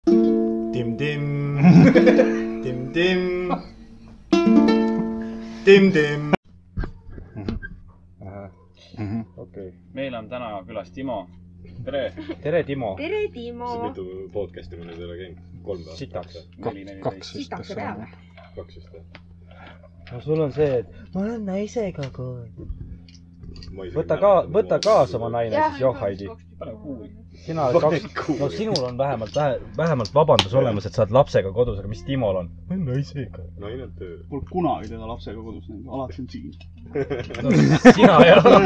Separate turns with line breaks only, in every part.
Dim-dim. Dim-dim. Dim-dim.
Mhm.
okei ,
meil on täna külas Timo . tere .
tere , Timo .
tere , Timo .
mitu podcast'i meil ei ole käinud ? kolm või ?
sitaks . kaks vist ,
sitaks
eks
ja peale
ole ..
kaks vist või ?
no sul on see , et ma olen naisega koos .
Ma isegi
võta
ei
ka
mäleta, ,
võta
ma-
kaasa oma naine siis , joh , Heidi .
pane kuuli .
sina oled
Pane
kaks ,
kuuli.
no sinul on vähemalt , vähemalt vabandus olemas , et sa oled lapsega kodus , aga mis Timol on ? ma olen naisega .
naine on tööl .
Pole kunagi teda lapsega kodus näinud , alati on siin .
sina ei ole .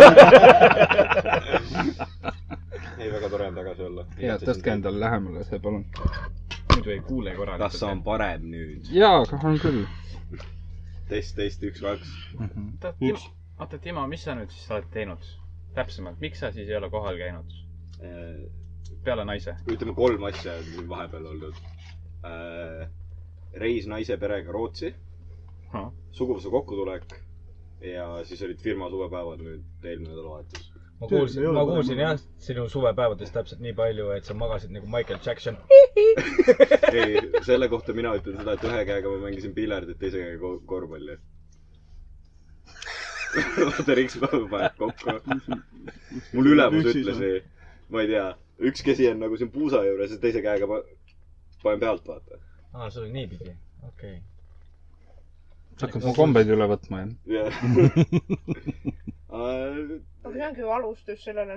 ei , väga tore on tagasi olla .
ja tõstke . endale lähemale see , palun .
muidu ei kuule korralikult .
kas on parem nüüd ?
jaa , on küll .
test , test , üks , kaks .
on ? oota , Timo , mis sa nüüd siis oled teinud täpsemalt , miks sa siis ei ole kohal käinud peale naise ?
Eh, ütleme , kolm asja on siin vahepeal olnud . reis naise perega Rootsi
Ahah. ,
suguvõsa kokkutulek ja siis olid firma suvepäevad nüüd eelmine nädalavahetus .
ma kuulsin , ma kuulsin jah , sinu suvepäevadest täpselt nii palju , et sa magasid nagu Michael Jackson .
ei , selle kohta mina ütlen seda , et ühe käega ma mängisin piljardit , teise käega ko- korvpalli . vaata , rikspäev paneb kokku . mul ülemus
Üks siis
ütles , ma ei tea , üks käsi on nagu siin puusa juures ja teise käega pa- panen pealt , vaata .
aa , sul oli niipidi , okei .
hakkad mu kombeid üle võtma , jah ?
ja Äh,
aga Oh, see ongi ju alustus sellele .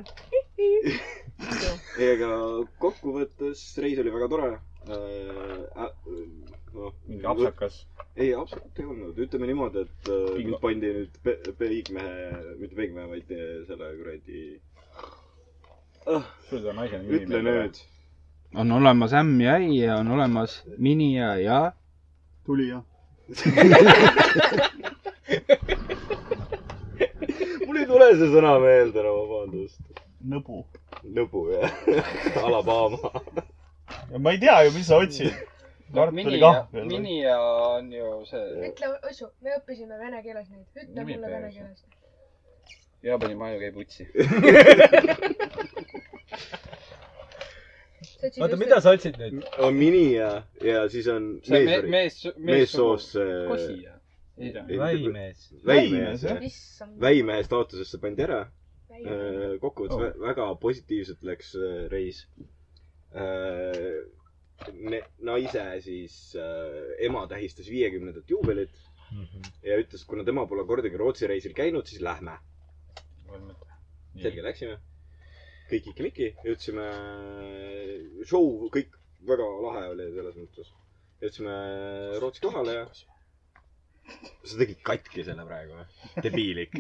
ei , aga kokkuvõttes reis oli väga tore . noh ,
mingi apsakas .
ei , absoluutselt ei olnud , ütleme niimoodi , et äh,
Pingo.
mind pandi nüüd pe- , peigmehe , mitte peigmehe , vaid äh, selle kuradi ah, .
sul seda naise nimi .
ütle nüüd .
on olemas ämm ja ei ja on olemas mini ja ja .
tuli jah ?
mul ei tule see sõna meelde , no vabandust .
nõbu .
nõbu jah , Alabama .
ma ei tea ju , mis sa otsid . kartulikahvel .
mini ja on ju see .
ütle , Ossu , me õppisime vene keeles neid . ütle
Nimi
mulle
peale
vene
siis.
keeles .
Jaapani maju käib utsi .
oota , mida sa otsid nüüd ?
on mini ja , ja siis on
see me,
mees ,
mees ,
meessoost see
kosija .
väimees .
väimees
Väimees, jah.
jah .
issand .
väimehe staatusesse pandi ära . äh, kokkuvõttes vä- väga positiivselt läks äh, reis . naise siis äh, ema tähistas viiekümnendat juubelit ja ütles , kuna tema pole kordagi Rootsi reisil käinud , siis lähme . selge , läksime . kõik iki-miki , jõudsime , show kõik väga lahe oli selles mõttes . jõudsime Rootsi kohale ja . sa tegid katki selle praegu või ? debiilik .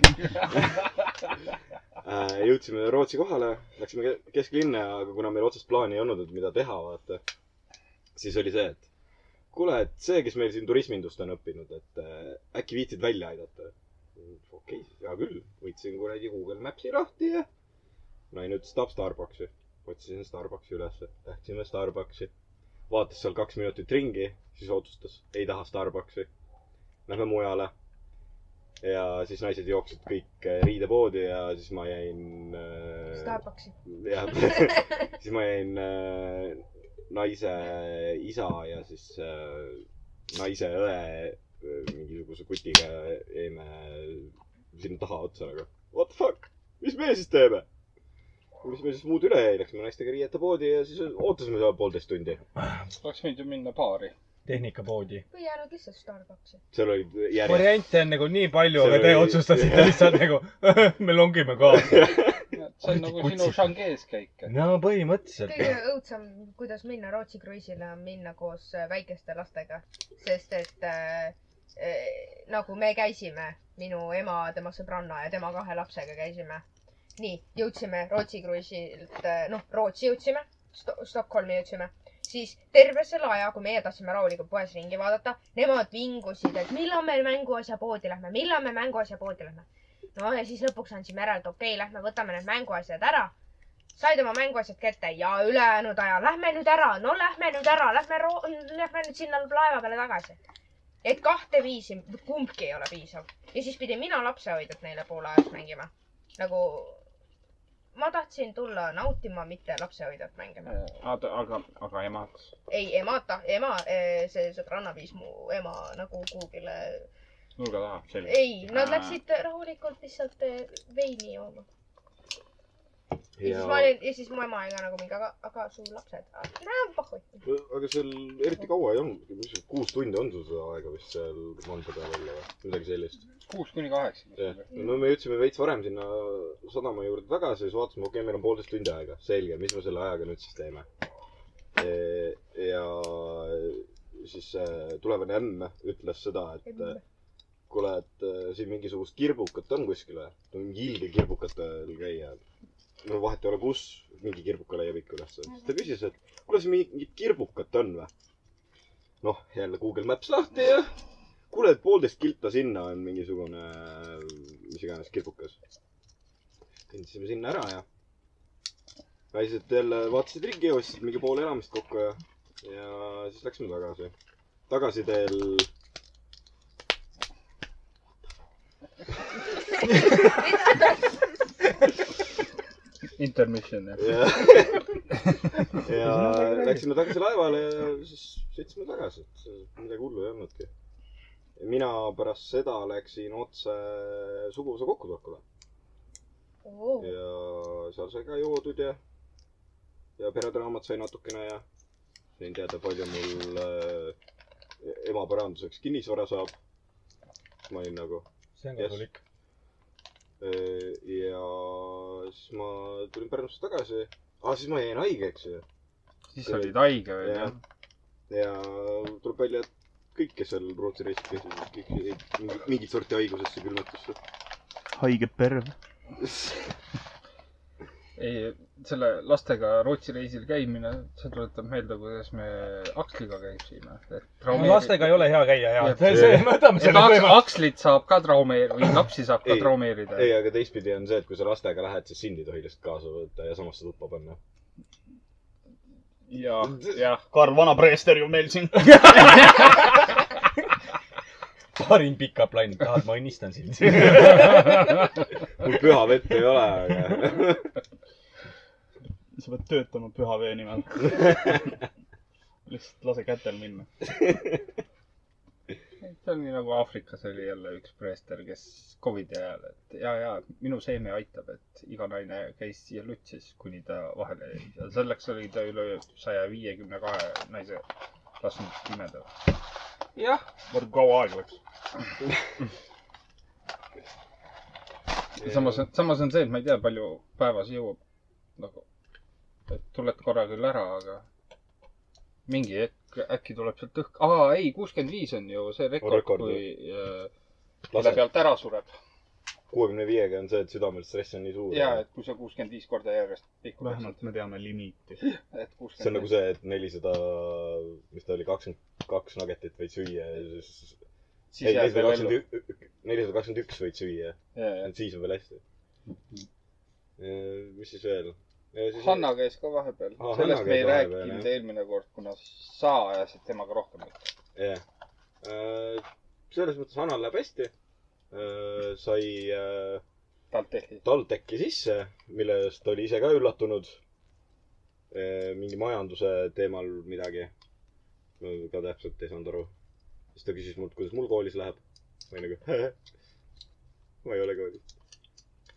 Äh, jõudsime Rootsi kohale , läksime ke- kesklinna , aga kuna meil otsest plaani ei olnud , et mida teha , vaata , siis oli see , et kuule , et see , kes meil siin turismindust on õppinud , et äh, äkki viitsid välja aidata . okei , hea küll , võtsin kuradi Google Maps'i lahti ja naine ütles , tahab Starbucksi . otsisin Starbucksi ülesse , läksime Starbucksi , vaatas seal kaks minutit ringi , siis otsustas , ei taha Starbucksi . Lähme mujale ja siis naised jooksid kõik äh, riidepoodi ja siis ma jäin äh, .
Starbucksi .
jah , siis ma jäin äh, naise isa ja siis äh, naise õe äh, mingisuguse kutiga jäime sinna taha otsa nagu . What the fuck , mis me siis teeme ? mis meil siis muud üle jäi , läksime naistega riietepoodi ja siis ootasime seal poolteist tundi .
oleks võinud ju minna baari .
tehnikapoodi .
või jäänud lihtsalt Starbucksi .
seal olid järjest ,
variante on nagu nii palju ,
See
aga te
oli-
otsustasite lihtsalt nagu me longime ka .
see on nagu sinu
Kutsi.
šangees käik .
no põhimõtteliselt .
kõige õudsem , kuidas minna Rootsi kruiisile , on minna koos äh, väikeste lastega , sest et äh, äh, nagu me käisime , minu ema , tema sõbranna ja tema kahe lapsega käisime . nii , jõudsime Rootsi kruiisilt , noh , Rootsi jõudsime Sto , Stockholmi jõudsime , siis terve selle aja , kui meie tahtsime rahulikult poes ringi vaadata , nemad vingusid , et millal me mänguasja poodi lähme , millal me mänguasja poodi lähme . no ja siis lõpuks andsime ära , et okei okay, , lähme võtame need mänguasjad ära . said oma mänguasjad kätte ja ülejäänud aja , lähme nüüd ära , no lähme nüüd ära , lähme , lähme nüüd sinna laeva peale tagasi . et kahte viisi , kumbki ei ole piisav ja siis pidin mina lapsehoidjat neile poole ajast mängima . nagu ma tahtsin tulla nautima , mitte lapsehoidjat mängima .
oota , aga , aga emad ?
ei , ema ta , ema , see sõbranna viis mu ema nagu kuhugile .
nurga taha , selge .
ei , nad läksid rahulikult lihtsalt eh, veini jooma . ja siis ma
ja ,
olin , ja siis mu ema oli ka nagu mingi , aga , aga su lapsed ? pahoid .
aga seal eriti kaua ei olnud , kuus tundi on sul seda aega vist seal maantee peal olla või midagi sellist .
kuus kuni kaheksa .
jah , no me jõudsime veits varem sinna sadama juurde tagasi , siis vaatasime , okei okay, , meil on poolteist tundi aega , selge , mis me selle ajaga nüüd siis teeme . eh, ja siis eh, tulevane ämm ütles seda , et eh, kuule , et eh, siin mingisugust kirbukat on kuskil või ? mingi ilge kirbukatel käia . no vahet ei ole , kus mingi kirbuka leiab ikka ülesse . siis ta küsis , et kuule , siin mingit kirbukat on või ? noh , jälle Google Maps lahti ja kuule , et poolteist kilta sinna on mingisugune , mis iganes kirbukas . kõndisime sinna ära ja naised jälle vaatasid ringi , ostsid mingi pool elamist kokku ja , ja siis läksime tagasi . tagasiteel
Intermission , jah .
ja, ja läksime tagasi laevale ja siis sõitsime tagasi , et midagi hullu ei olnudki . mina pärast seda läksin otse suguvõsa kokkutulekule ja seal sai ka joodud ja , ja peredraamat sai natukene ja sain teada , palju mul äh, ema paranduseks kinnisvara saab . ma olin nagu
see on
Jah. kasulik. . ja siis ma tulin Pärnusse tagasi . aa , siis ma jäin haigeks ju .
siis olid haige veel ,
ja
jah .,
ja tuleb välja , et kõik , kes seal Rootsi reisil käisid , kõik jäid mingi- mingit sorti haigusesse , külmetusse .
haige perv .
ei , selle lastega Rootsi reisil käimine , see tuletab meelde , kuidas me Aksliga käisime .
lastega ei ole hea käia ja
Jah.
see , see , me võtame
et
selle
aks,
teema .
Akslit saab ka traumeerida või lapsi saab ka
Ei.
traumeerida .
ei , aga teistpidi on see , et kui sa lastega lähed , siis sind ei tohi lihtsalt kaasa võtta ja samasse tuppa panna .
ja , jah .
Karl Vana-Preester ju meil siin .
parim pika plaani , tahad , ma õnnistan sind .
mul püha vett ei ole , aga
sa pead töötama püha vee nimel . lihtsalt lase kätel minna .
see ongi nagu Aafrikas oli jälle üks preester , kes Covidi ajal , et ja , ja minu seeme aitab , et iga naine käis ja lutsis , kuni ta vahele jäi ja selleks oli ta üle saja viiekümne kahe naise lasknud pimeda . jah ,
vaata , kui kaua aega läks .
samas , samas on see , et ma ei tea , palju päevas jõuab nagu , et tuled korra küll ära , aga mingi hetk äkki tuleb sealt õhk , aa ei , kuuskümmend viis on ju see rekord ,
rekord,
kui äh, mille
lase
pealt ära sureb .
kuuekümne viiega on see , et südamel stress on nii suur .
ja , et kui sa kuuskümmend viis korda järjest pikku
vähemalt me teame limiiti .
et
see on nagu
kuuskümmend .
see , et nelisada , mis ta oli , kakskümmend kaks nagetit võid süüa ja siis . ei , nelisada kakskümmend üks , nelisada kakskümmend üks võid süüa ,
üks .
et siis on veel hästi . mis siis veel ?
Hanna käis ka vahepeal
Aa, . Hanna
sellest me
käis
ei
vahepeal,
rääkinud
jah.
eelmine kord , kuna sa ajasid temaga rohkem juttu .
jah . Äh, selles mõttes Hannal läheb hästi . sai äh,
talt tehti .
TalTechi sisse , millest ta oli ise ka üllatunud . mingi majanduse teemal midagi . ma ka täpselt ei saanud aru . siis ta küsis mult , kuidas mul koolis läheb . ma olin nagu ma ei ole koolis .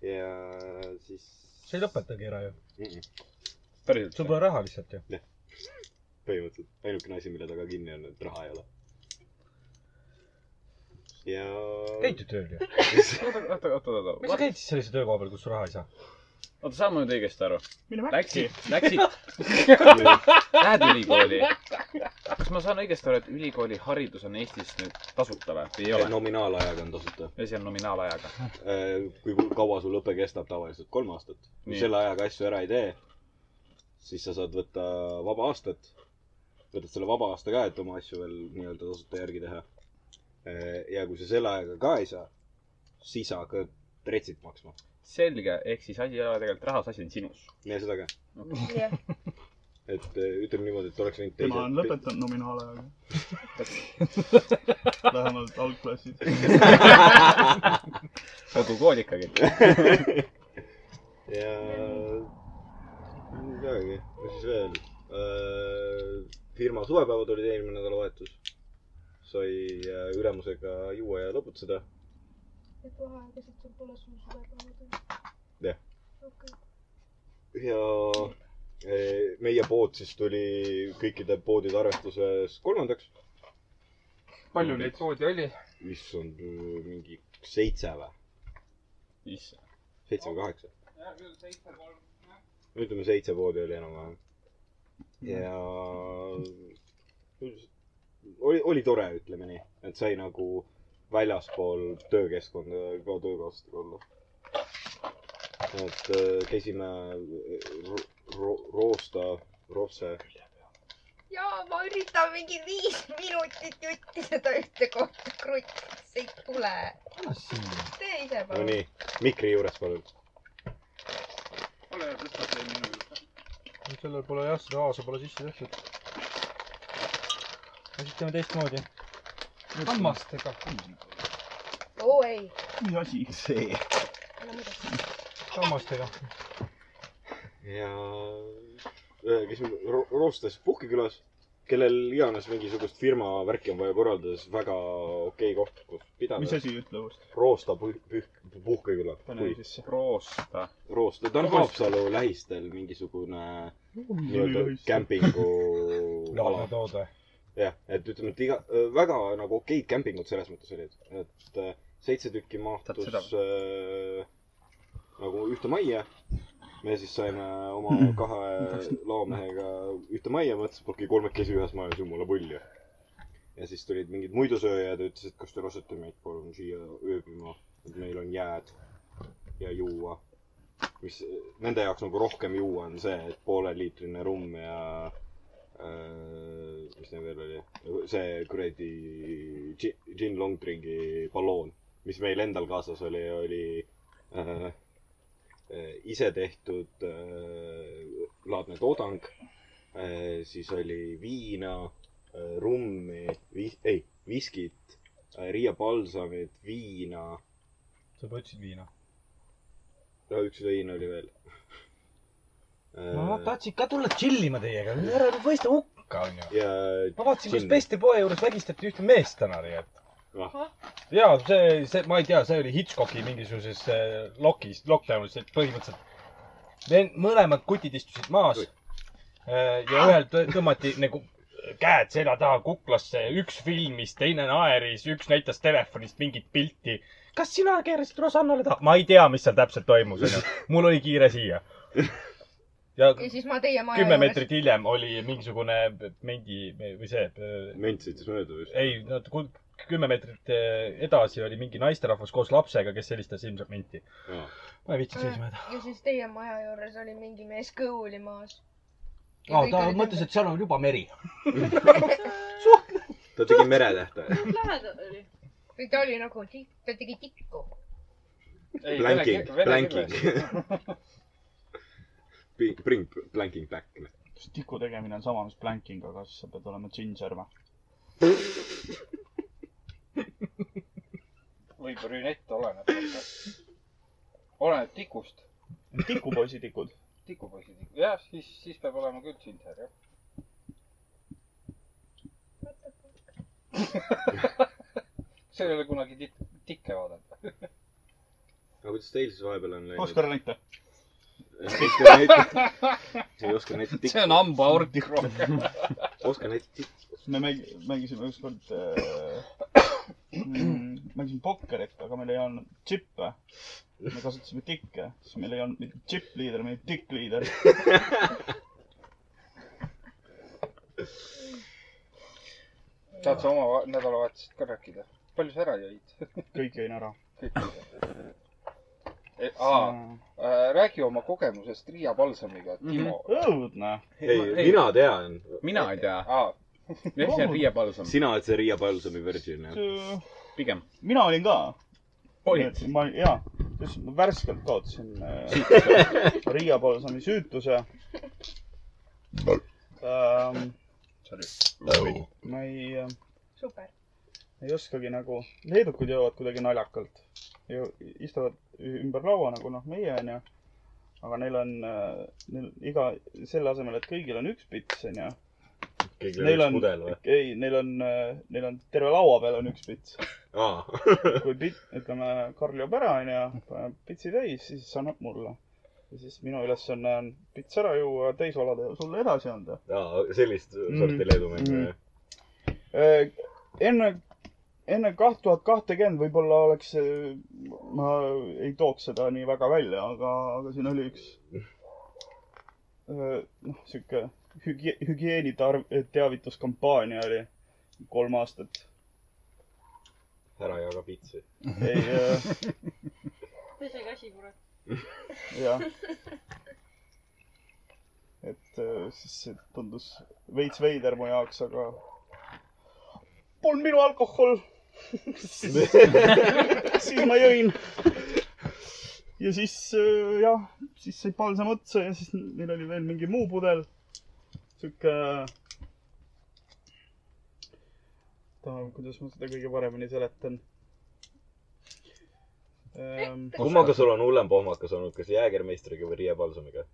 ja siis .
sa ei lõpetagi ära ju .
päriselt
sul ? pole raha lihtsalt ju .
põhimõtteliselt ainukene asi , mille taga kinni on , et raha ei ole . ja .
käid ju tööl ju .
oota , oota , oota , oota ,
miks sa
oota ,
käid siis sellise töökoha peal , kus sa raha ei saa ?
oota , saan ma nüüd õigesti aru ?
mine mäkki .
Läksid , läksid , lähed ülikooli . kas ma saan õigesti aru , et ülikooli haridus on Eestis nüüd tasuta või ? või ei ole ?
nominaalajaga on tasuta .
või see on nominaalajaga ?
Äh, kui kaua sul õpe kestab tavaliselt , kolm aastat . kui
Nii.
selle ajaga asju ära ei tee , siis sa saad võtta vaba aastat . võtad selle vaba aasta ka , et oma asju veel nii-öelda tasuta järgi teha . ja kui sa selle ajaga ka ei saa , siis sa hakkad retsit maksma .
selge , ehk siis asi ei ole tegelikult rahas , asi on sinus .
ja seda ka ,
jah ,
et eh, ütleme niimoodi , et oleks võinud
tema on . lõpetanud nominaalajaga . vähemalt algklassid .
Nagu kodukool ikkagi .
ja midagi . ja siis veel . firma suvepäevad olid eelmine nädalavahetus . sai äh, ülemusega juua ja lõbutseda .
et vaheaegasid sul pole sul suvepäevad .
Jah.
okei ,
ja äh, meie pood siis tuli kõikide poodide arvestuses kolmandaks .
palju neid poodi oli ?
issand , äh, mingi seitse või ?
issand .
seitse või kaheksa ? ütleme seitse poodi oli enam-vähem . ja oli , oli tore , ütleme nii , et sai nagu väljaspool töökeskkonda ka töökaaslastega olla . et äh, käisime ro- , ro- , Roosta , Rootse ,
jaa , ma üritan mingi viis minutit jutti seda ühte kohta kruttida , see ei tule . tee ise
no
palun .
nii , mikri juures palun .
ole hea , tõsta see minu juurde .
sellel pole jah , seda A-sa pole sisse tehtud .
no siis teeme teistmoodi .
hammastega .
oo ei ,
mis asi see ?
ära muidu .
hammastega .
ja äh, käisime Ro- Roostes puhkekülas , kellel iganes mingisugust firma värki on vaja korraldada , siis väga okei koht , kus pidada .
mis asi ütle uuesti ?
Roosta puh- , puh- , puhkeküla .
pane sisse .
Roosta .
Roosta , ta on Haapsalu lähistel mingisugune nii-öelda kämpingu ala .
toode .
jah , et ütleme , et iga , väga nagu okeid kämpingud selles mõttes olid , et äh, seitse tükki
Tahad
mahtus
seda
äh, nagu ühte majja . me siis saime oma kahe laomehega ühte majja , mõtlesime , et okei , kolmekesi ühes majas , jumala pull ju . ja siis tulid mingid muidusööjad ja ütlesid , et kas te lasete meid palun siia ööbima , et meil on jääd ja juua . mis nende jaoks nagu rohkem juua on see , et pooleliitrine rumm ja äh, mis neil veel oli , see kuradi gin- gin long drink'i balloon , mis meil endal kaasas oli , oli äh, äh, ise tehtud äh, laadne toodang äh, , siis oli viina äh, , rummi , vi- , ei , viskit äh, , Riia palsamit , viina ,
sa juba ütlesid viina .
üks vein oli veel
ma
äh, .
tahtsin ka tulla chill ima teiega , ära mõista hukka onju .
ja
ma vaatasin , kuidas
Chill.
Besti poe juures vägistati ühte meest täna
Ah.
tegelikult . ja see , see , ma ei tea , see oli Hitchcocki mingisuguses äh, lokis , lockdown'is , et põhimõtteliselt ven- mõlemad kutid istusid maas
Oi.
Äh, ja ühel tõ- tõmmati nagu käed selja taha kuklasse , üks filmis , teine naeris , üks näitas telefonist mingit pilti . kas sina keerasid Rosannale taha ? ma ei tea , mis seal täpselt toimus , onju . mul oli kiire siia . ja
ja siis ma teie maja
kümme meetrit hiljem oli mingisugune mendi või see ,
ment sõitis mööda vist .
ei , no ku- kümme meetrit eh, edasi oli mingi naisterahvas koos lapsega , kes helistas ilmselt menti . ma ei viitsinud seisma jääda .
ja siis teie maja juures oli mingi mees kõhuli maas .
aa , ta mõtles ,. et seal on juba meri .
ta tegi meretähte .
lähedal oli .
ta oli nagu , ta tegi tikku .
Blanking , blanking . Bring blanking back .
kas tiku tegemine on sama mis planking , aga siis sa pead olema ginger või ?
või brünett , oleneb . oleneb tikust .
tikupoisi tikud .
tikupoisi tiku . jah , siis , siis peab olema küll ginger , jah . see ei ole kunagi tik- , tikke vaadata .
aga kuidas teil siis vahepeal on läinud ?
Oskar näita .
Oskar näitab , ei oska näitab tikku ,
hambaorg rohkem .
Oskar näitab tikku .
me mängi- , mängisime ükskord äh, , mängisime pokkerit , aga meil ei olnud džippe . me kasutasime tikke , siis meil ei olnud mitte džipp-liider , meil oli tikk-liider .
tahad sa oma va- nädalavahetusest ka rääkida ? palju sa ära jõid ?
kõik jäin ära .
Eh,
aa , räägi oma kogemusest Riia palsamiga ,
Mhm.
Timo .
õudne .
ei , mina tean ,
mina ei tea .
aa ,
mis
Oh.
see on Riia palsam ?
sina oled see Riia Palsami versioon jah ?
pigem .
mina olin ka .
olid ?
ma , jaa , just ma värskelt kaotasin äh, Riia Palsami süütuse ähm, . ma ei äh,
super .
ei oskagi nagu , leedukad joovad kuidagi naljakalt . istuvad ü- ümber laua nagu noh , meie onju . aga neil on , neil iga , selle asemel , et kõigil on üks pits , onju .
kõigil on
Neil
üks
on
mudel või ?,
ei , neil on , neil on terve laua peal on üks pits .
aa ,
kui pit- , ütleme , Karl joob ära , onju , paneb pitsi täis , siis annab mulle . ja siis minu ülesanne on pits ära juua , täis valada ja sulle edasi anda .
aa , sellist sorti
Mm.
Leedu mängu
Mm.
jah ?
Äh, enne , enne kaht tuhat kahtekümmend võib-olla oleks , ma ei tooks seda nii väga välja , aga , aga siin oli üks öö, noh , sihuke hügie- , hügieenitarv- , teavituskampaania oli kolm aastat .
ära jaga pitsi .
ei , äh,
pese käsi , kurat .
jah . et öö, siis see tundus veits veider mu jaoks , aga polnud minu alkohol siis ma jõin . ja siis äh, jah , siis sai palsam otsa ja siis neil oli veel mingi muu pudel . äh, sihuke . kuidas ma seda kõige paremini seletan ähm, ?
kummaga sul on hullem pohmakas olnud , kas Jäägermeistriga või Riia Palsumiga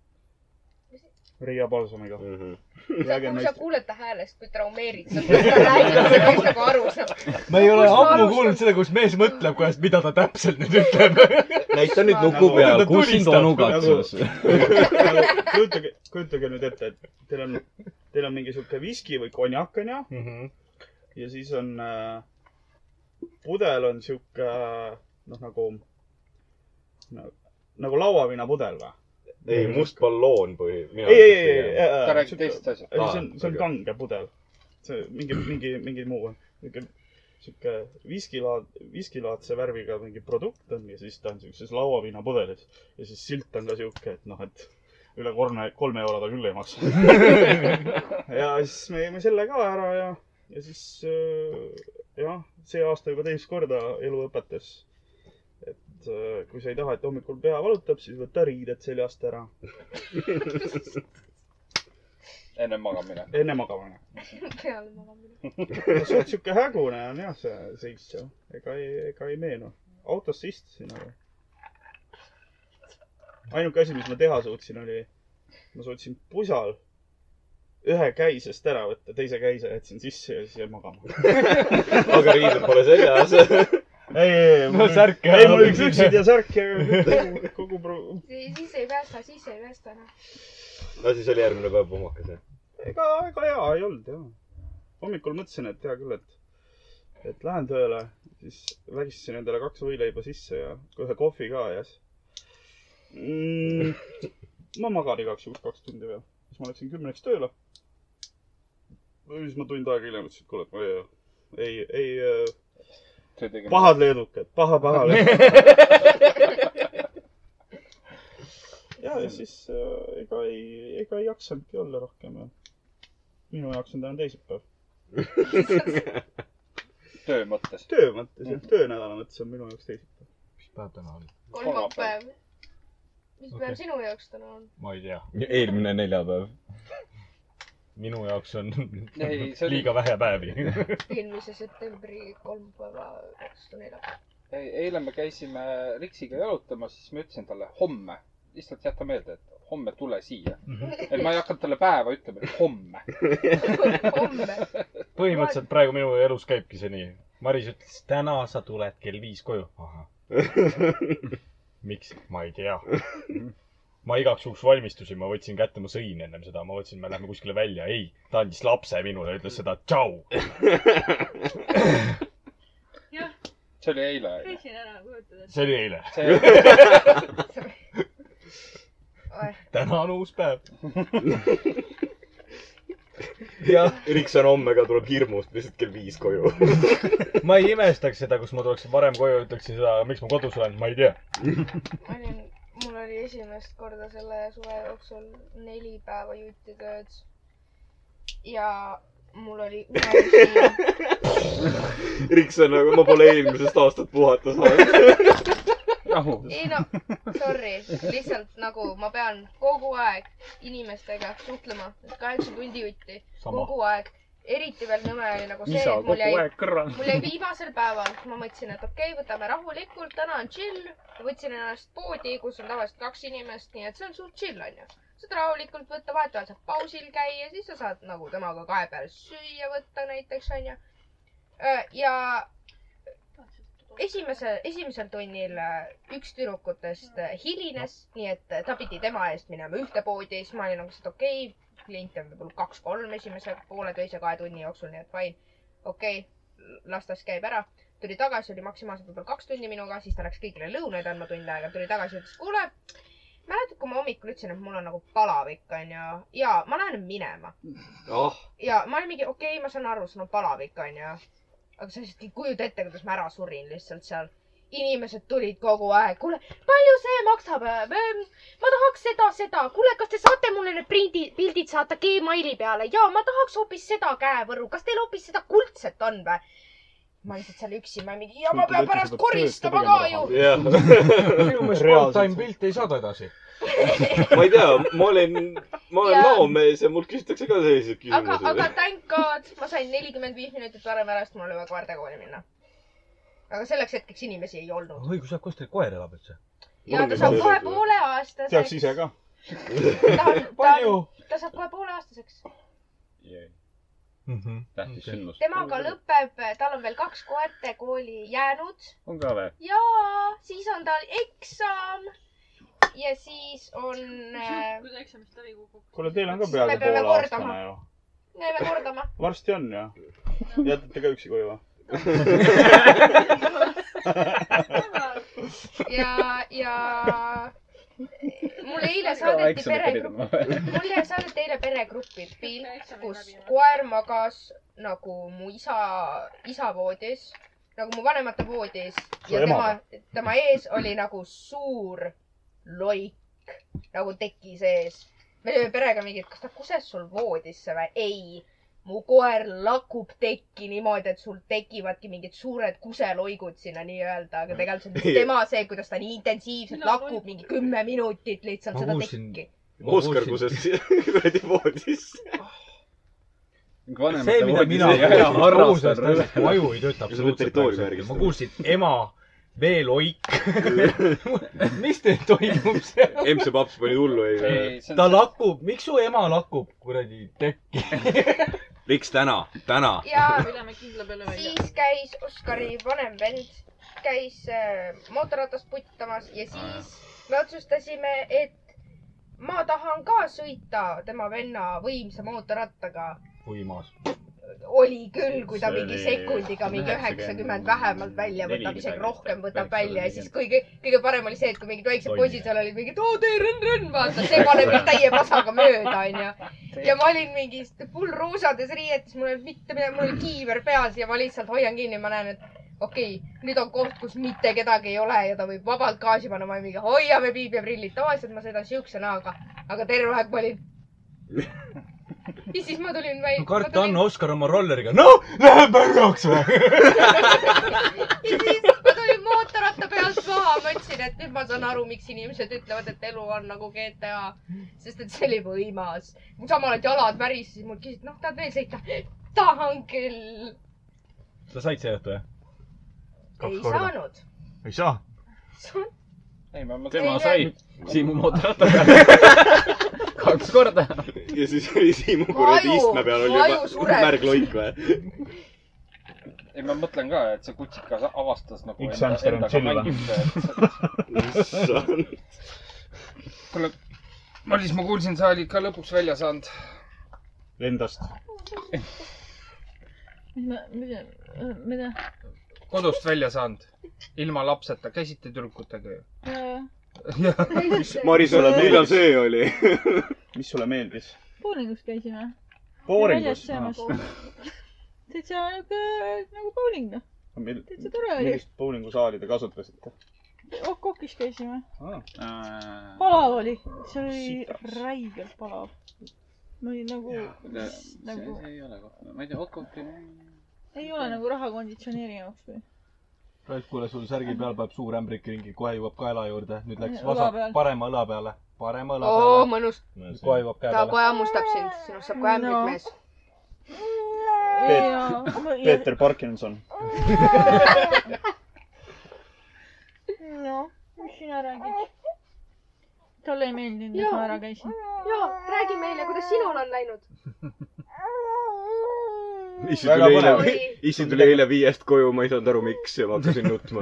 Riia palsamiga .
mm ? -hmm.
sa , kui sa
jäägermeist-
kuuled ta häälest , kui traumeerid sa , siis ta räägib , sa peaks nagu aru saama .
ma ei ole
Kus ma
ammu
alustan?
kuulnud seda , kus mees mõtleb , kuidas , mida ta täpselt nüüd ütleb .
näita nüüd nuku
Nagu-
peal .
Ta
kus sind
tunnistab.
onu katsus ?
kujutage , kujutage nüüd ette , et teil on , teil on mingi sihuke viski või konjak onju
Mhm.
ja siis on äh, , pudel on sihuke noh , nagu nagu, nagu lauaviinapudel või ?
ei , must balloon põhi .
ei , ei , ei , ei , ei ,
ta räägib teisest asjast .
ei ,
Aa,
see on , see on
okei.
kange pudel . see mingi , mingi , mingi muu , sihuke , sihuke viskilaad , viskilaadse värviga mingi produkt on ja siis ta on siukses lauaviinapudelis ja siis silt on ka sihuke , et noh , et üle kolme , kolme euro ta küll ei maksa . ja siis me jõime selle ka ära ja , ja siis äh, jah , see aasta juba teist korda elu õpetas , et äh, kui sa ei taha , et hommikul pea valutab , siis võta riided seljast ära
enne magamine .
enne magama
peale magamine .
no suht siuke hägune on jah see seis seal , ega ei , ega ei meenu . autosse istusin , aga . ainuke asi , mis ma teha suutsin , oli , ma suutsin pusal ühe käisest ära võtta , teise käise jätsin sisse ja siis jäin magama .
aga riided pole seljas .
ei , ei , ei ,
no
mul ,
särk
ei , mul olid püksid ja särk ja kogu , kogu pro- ,
siis ei päästa , siis ei päästa
noh.
enam .
no siis oli järgmine päev pohmakas jah .
ega , ega hea ei olnud jah . hommikul mõtlesin , et hea küll , et , et lähen tööle , siis vägistasin endale kaks võileiba sisse ja ühe kohvi ka ja siis mm, . ma magan igaks juhuks kaks tundi veel , siis ma läksin kümneks tööle . siis ma tund aega hiljem ütlesin , et kuule , et ma ei , ei , ei äh,
töö tegemine .
pahad leedukad , paha , paha leedukad . ja , ja siis äh, ega ei , ega ei jaksanudki olla rohkem ja minu jaoks on täna teisipäev .
töö mõttes .
töö mõttes jah , töönädala mõttes on minu jaoks teisipäev .
mis päev täna on ?
kolmapäev . mis päev
Okei.
sinu jaoks täna on ?
ma ei tea .
eelmine neljapäev .
minu jaoks on
ei , see oli ,
liiga vähe päevi .
eelmise septembri kolmapäeva vastu neljapäeva .
ei , eile me käisime Riksiga jalutamas , siis ma ütlesin talle homme , lihtsalt jäta meelde , et homme tule siia . et ma ei hakanud talle päeva ütlema , et homme .
homme .
põhimõtteliselt praegu minu elus käibki see nii . Maris ütles , täna sa tuled kell viis koju . ahah . miks ? ma ei tea . ma igaks juhuks valmistusin , ma võtsin kätte , ma sõin ennem seda , ma mõtlesin , me lähme kuskile välja . ei , ta andis lapse minule , ütles seda tšau .
jah ,
see oli eile .
käisin ära , kujutad ette .
see oli eile .
see ,
täna on uus päev .
jah , Rikson homme ka tuleb hirmust lihtsalt kell viis koju .
ma ei imestaks seda , kus ma tuleksin varem koju , ütleksin seda , miks ma kodus olen , ma ei tea .
ma olin , mul oli esimest korda selle suve jooksul neli päeva juutitööd . ja mul oli unerežiim .
Rikson , aga ma pole eelmisest aastast puhata saanud .
rahu .
ei no , sorry , lihtsalt nagu ma pean kogu aeg inimestega suhtlema , kaheksa tundi jutti ,
sama .
kogu aeg eriti veel nõme oli nagu see ,
isa
et mul
kogu
jäi
aeg kõrval .
mul jäi viimasel päeval , ma mõtlesin , et okei okay, , võtame rahulikult , täna on chill . võtsin ennast poodi , kus on tavaliselt kaks inimest , nii et see on suht chill onju . saad rahulikult võtta , vahetevahel saad pausil käia , siis sa saad nagu temaga kahe peale süüa võtta näiteks onju . ja esimese , esimesel tunnil äh, üks tüdrukutest äh, hilines , nii et äh, ta pidi tema eest minema ühte poodi , siis ma olin nagu , et okei okay, , kliente on võib-olla kaks-kolm esimese pooleteise kahe tunni jooksul , nii et fine , okei okay, , las ta siis käib ära . tuli tagasi , oli maksimaalselt võib-olla kaks tundi minuga , siis ta läks kõigile lõunaid andma tund aega , tuli tagasi , ütles kuule , mäletad , kui ma hommikul ütlesin , et mul on nagu palavik onju ja ma lähen minema
ah ,
ja ma olin mingi , okei okay, , ma saan aru , sul on palavik , onju . aga sa lihtsalt ei kujuta ette , kuidas ma ära surin lihtsalt seal . inimesed tulid kogu aeg , kuule , palju see maksab ? ma tahaks seda , seda . kuule , kas te saate mulle need prindi , pildid saata Gmaili peale ? jaa , ma tahaks hoopis seda käevõrru . kas teil hoopis seda kuldset on või ? ma lihtsalt seal üksi , ma olin mingi , ja ma
Kujuta
pean
ette,
pärast
sa pead
koristama
tööd ka
ka
tegema
ju .
jah .
sinu meelest
Reaalselt.
part-time pilte ei saada edasi .
ma ei tea , ma olen , ma olen
Jaa.
maomees ja mult küsitakse ka selliseid
aga , aga
küsimusi .
thank god , ma sain nelikümmend viis minutit varem ära , sest mul oli vaja koertekooli minna . aga selleks hetkeks inimesi ei olnud .
õigusjad , kus teil koer elab üldse ?
ja ta saab kohe poole
teaks
aastaseks .
ise ka .
ta on , ta
palju
on ,? ta saab kohe pooleaastaseks .
Mhm.
tähtis
Okei.
sündmus .
temaga lõpeb , tal on veel kaks koertekooli jäänud
on ka või ?
ja siis on tal eksam . ja siis on , äh,
kui ta eksamist läbi kukub .
kuule , teil on ka
peame
peaaegu poole
kordama.
aastane ju .
näeme kordama .
varsti on ju . jätate ka üksi koju või ?
ja , ja mulle eile saadeti peregruppi , mulle saadeti eile peregruppi pilt , kus koer magas nagu mu isa , isa voodis , nagu mu vanemate voodis ja tema
emaga. ,
tema ees oli nagu suur loik nagu teki sees . me olime perega mingi , et kas ta kuses sul voodisse või ? ei , mu koer lakub tekki niimoodi , et sul tekivadki mingid suured kuseloigud sinna nii-öelda , aga tegelikult see on tema see , kuidas ta nii intensiivselt
Mina
lakub mingi kümme minutit lihtsalt
Ma
seda
kuulsin-
tekki .
Oskar kuses kuradi voodisse .
see , mida mina kuulsin , mu aju ei tööta
Kas sa oled territooriumi
absoluutselt .
järgistanud?
ma kuulsin ema , veel oik . mis teil toimub seal ?
emse paps pani hullu eile .
ta lakub , miks su ema lakub , kuradi tekki ?
miks täna , täna ?
ja
pidame kindla peale välja .
siis käis Oskari vanem vend , käis äh, mootorratast puttamas ja siis me otsustasime , et ma tahan ka sõita tema venna võimsa mootorrattaga .
võimas .
oli küll , kui ta
See
mingi
oli
sekundiga mingi
90
üheksakümmend vähemalt välja võtab ,
neli
isegi
midagi.
rohkem võtab
Päris
välja ja
oli
siis kõige , kõige parem oli see , et kui mingid väiksed
Tonni.
poisid seal olid mingid , oo tee rõnn-rõnn , vaata see paneb mind täie pasaga mööda , onju . ja ma olin mingis pull ruusades riietes , mul ei olnud mitte midagi , mul oli kiiver peas ja ma lihtsalt hoian kinni , ma näen , et okei okay, , nüüd on koht , kus mitte kedagi ei ole ja ta võib vabalt gaasi panna , ma olin mingi hoiame piibliprillid , tavaliselt ma sõidan siukse näoga , aga terve aeg ma olin ja siis ma tulin välja .
karta on , Oskar oma rolleriga , noh , läheb märjaks või ?
ja siis ma tulin mootorratta pealt maha , ma ütlesin , et nüüd ma saan aru , miks inimesed ütlevad , et elu on nagu GTA , sest et see oli võimas . mul samal ajal jalad värisesid , mul küsiti , noh , tahad veel sõita ? tahan küll .
sa said see õhtu , jah ?
ei saanud .
ei saa .
tema
Ei,
sai Siimu mootorrattaga kaks korda .
ja siis oli Siimu kuradi
Mu aju-
istme peal
mu
oli
aju
juba
sureb.
märg loik või ?
ei , ma mõtlen ka , et see kutsikas avastas nagu
Üks hamster on chill, või?
või ?
issand .
kuule , Maris , ma kuulsin , sa olid ka lõpuks välja saanud .
Endast .
mida , mida , mida ?
kodust välja saanud . ilma lapseta , käisite tüdrukutega ju ?
Äh,
Maris ,
Sulle
millal
meeldis?
see oli ?
mis sulle meeldis ? Ah,
bowlingus käisime .
Booringus .
täitsa niuke nagu bowling noh , täitsa tore oli .
millist bowlingusaali te kasutasite ?
Okkokis Oh, käisime .
ma
palav oli , see oli
Sitaks.
räigelt palav . ma olin nagu , nagu
ei ole kohta , ma ei tea , Okoki .
ei ole nagu raha konditsioneeri jaoks või ?
Ralf , kuule , sul särgi peal paneb suur ämbrik ringi , kohe jõuab kaela juurde . nüüd läks
Õla
vasak
peal. ,
parema õla peale , parema õla peale .
oo , mõnus .
kohe jõuab käe
ta
peale .
kohe hammustab sind , sinust saab kohe ämblik
No.
mees .
Peeter Parkinson .
noh , mis sina räägid ? talle ei meeldinud ,
Jaa.
et ma ära käisin .
jaa , räägi meile , kuidas sinul on läinud .
issi
Väga
tuli eile
põnev. ,
issi tuli eile viiest koju , ma ei saanud aru , miks ja ma hakkasin nutma .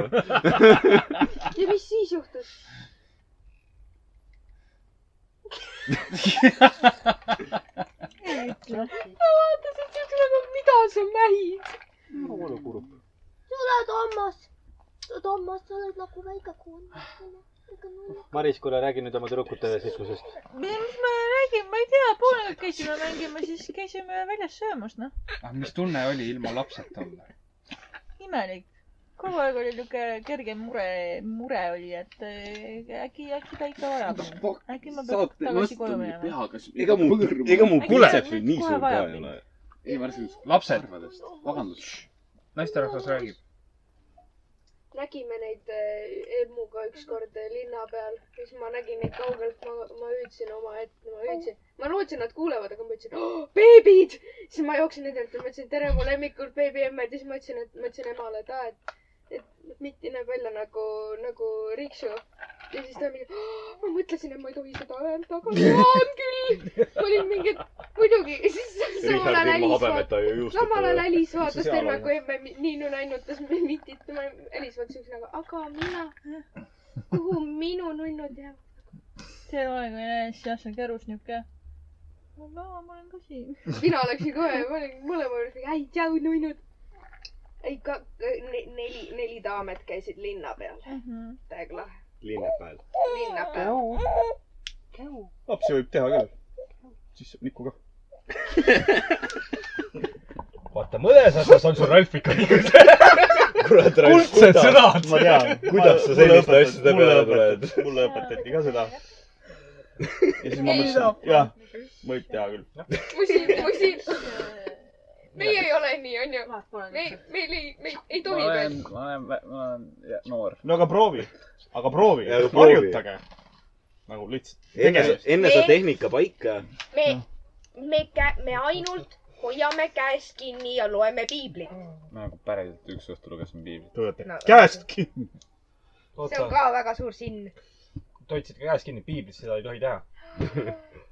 ja mis siis juhtus ?
ma vaatasin siukse nagu , mida sa mähid .
tule , Toomas . Toomas , sa oled nagu väike kuul .
Maris , kuule , räägi nüüd oma tüdrukute sissusest .
mis ma räägin , ma ei tea , poolel käisime mängimas , siis käisime väljas söömas , noh .
aga mis tunne oli ilma lapseta olla ?
imelik . kogu aeg oli niuke kerge mure , mure oli , et äh, äkki , äkki ta ikka vajab mind . äkki ma pean
saate
tagasi koju
vastanud
minema .
peaga , siis
ega mu
Põrmu. ,
ega mu
Äkki
põlev
see
nüüd
nüüd
nii
kohe
suur ka
vajab
ei
mind?
ole .
ei , ma rääkisin just
Lapsed.
arvadest , vabandust .
naisterahvas räägib .
nägime neid äh, Elmuga ükskord äh, linna peal , siis ma nägin neid kaugelt , ma , ma hüüdsin oma , et ma hüüdsin , ma lootsin , nad kuulevad , aga ma ütlesin oh, , beebid . siis ma jooksin nende juurde , ma ütlesin tere , mu lemmikud beebiemmed ja siis ma ütlesin , et ma ütlesin emale , et aa , et , et Mitti näeb välja nagu , nagu riksu . ja siis ta mingi oh, , ma mõtlesin , et ma ei tohi seda öelda , aga saan küll . ma olin mingi , et muidugi . siis samal
Richard
ajal
ilma
Alice
habemeta ju juustub .
samal ajal Alice
Mis
vaatas
sa seal
terve
arvad?
kui nagu emme Niinu nännutas mitit , tema Alice vaatas siukse nagu , aga mina , kuhu minu nunnud jääb ?
see aeg oli hästi jah , seal kerus niuke . aga ma olen ka siin .
mina läksin kohe , ma olin mõlema juures , ei tšau nunnud . ei , ka e, ne- neli , neli daamet käisid linna peal ,
Mhm.
täiega lahe ,
linna peal .
linna peal .
lapsi võib teha küll . siis Miku ka .
vaata , mõnes asjas on sul Ralf ikka nii .
kurat ,
kuldsed
Ah,
sõnad .
ma tean .
Kuidas sa selliste asjade peale tuled?
mulle õpetati ka seda . ja siis ma mõtlesin , jah , võib teha küll .
musi , musi , meie ei ole nii , onju . me
ma ,
meil ei , me ei
ma
tohi
olen
veel .,
ma olen , ma olen ja- noor .
no aga proovi , aga proovi
Ja, aga , proovi.
harjutage . nagu lihtsalt .
enne , enne sa tehnika paika .
me ,
Noh.
me , me ainult hoiame käes kinni ja loeme piiblit .
ma nagu päriselt üks õhtu lugesin piiblit .
No.
käest kinni .
see on
oota ,
ka väga suur sinn .
toitsid ka käes kinni , piiblis seda ei tohi teha .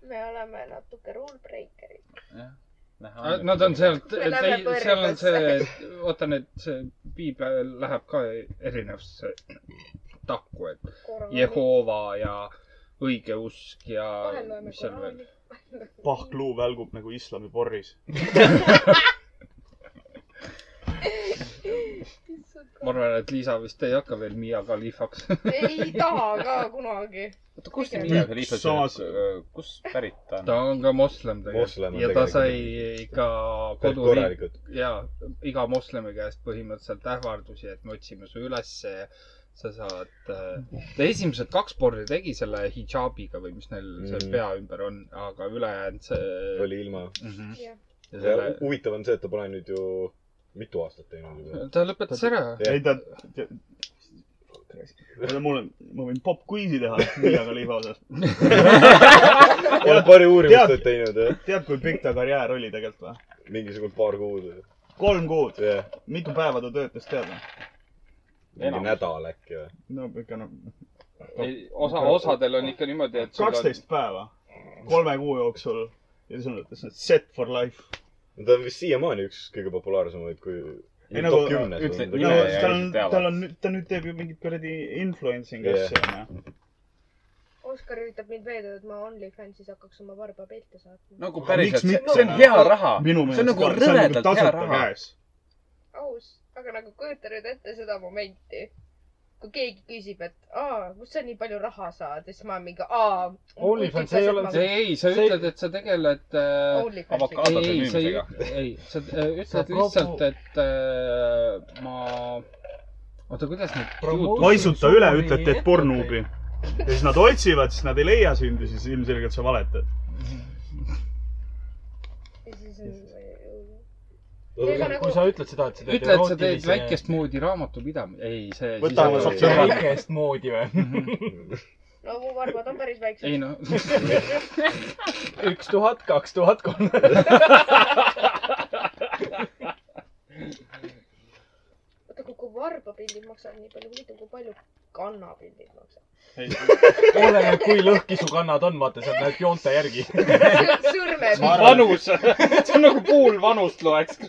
me oleme natuke rule breaker'id .
Ah, Nad on sealt ,
Me lähme
seal on see , vaata nüüd see piibel läheb ka erinevusse takku , et Jehova ja õigeusk ja
vahel loeme
mis seal veel
Koraani .
pahkluu välgub nagu islami porris .
ma arvan , et Liisa vist ei hakka veel Miia Kalifaks .
ei taha ka kunagi .
oota , kust te
Üks
Miia Khalifa
samas-
sööb , kust pärit ta
äh.
on ?
ta on ka moslem
Moslem on
tegelikult ja ta
tegelikult.
sai ikka koduriik
korralikult .
ja iga moslemi käest põhimõtteliselt ähvardusi , et me otsime su ülesse ja sa saad äh, , ta esimesed kaks porri tegi selle hidžaabiga või mis neil mm. seal
Mhm.
pea ümber on , aga ülejäänud see
oli ilma .
mm . -hmm.
Jah.
ja
ja
selle
hu- , huvitav on see , et ta pole nüüd ju mitu aastat teinud juba .
ta lõpetas ära .
ei ta , oota mul on , ma võin popquizi teha Miia Khalifa osas .
olen paari uurimust
Tead-
nüüd teinud jah ,
tead , kui pikk ta karjäär oli tegelikult või ?
mingisugune paar kuud .
kolm kuud .
jah ,
mitu päeva ta töötas , tead või ?
mingi nädal äkki või ?
no ikka noh ,
osa , osadel on ikka niimoodi , et sul on ,
kaksteist päeva kolme kuu jooksul ja siis on ütles , et set for life .
ta on vist siiamaani üks kõige populaarsemaid , kui .
Ei,
top
nagu-
kümnes
ütle-
on
no
Nime
ta .
ja
tal on ,
teavad.
tal on , ta nüüd teeb ju mingit kuradi influencing
Jah.
asja onju .
Oskar üritab mind veenda , et ma OnlyFansis hakkaks oma varbapilte saatma no. .
nagu
Miks
päriselt ,
mitte?
see on hea
Ah.
raha .
minu
see on
meelest
nagu
ka , see on nagu
rõvedalt hea
tasuta
raha .
käes .
aus , aga nagu kujuta nüüd ette seda momenti , kui keegi küsib , et aa , kust sa nii palju raha saad ja siis ma mingi aa .
OnlyFans ei ole-
ei , ei , sa
See-
ütled , et sa tegeled äh,
OnlyFansiga .
Avokado
ei , ei , sa ei
müümisega. ,
ei , sa äh,
Sa
ütled
promo-
lihtsalt , et äh, ma , oota , kuidas
Promo-
nüüd .
paisuta üle , ütlete , et pornuubi . ja siis nad otsivad , siis nad ei leia sind ja siis ilmselgelt sa valetad .
ja siis on .
kui
nagu-
kui sa ütled seda , et sa teed
ütle , et sa teed väikest moodi raamatupidamist , ei , see .
Võta
oma
See on väikest moodi või ?
nagu, no mu varbad on päris
ei
väiksed .
noh ,
üks tuhat , kaks tuhat , kolm .
pillid maksavad nii palju , huvitav , kui palju kannapillid maksavad .
oleneb , kui lõhki su kannad on , vaata , sealt läheb joonte järgi .
sõrme
Ma arvan- vanus , see on nagu pool vanust loeks .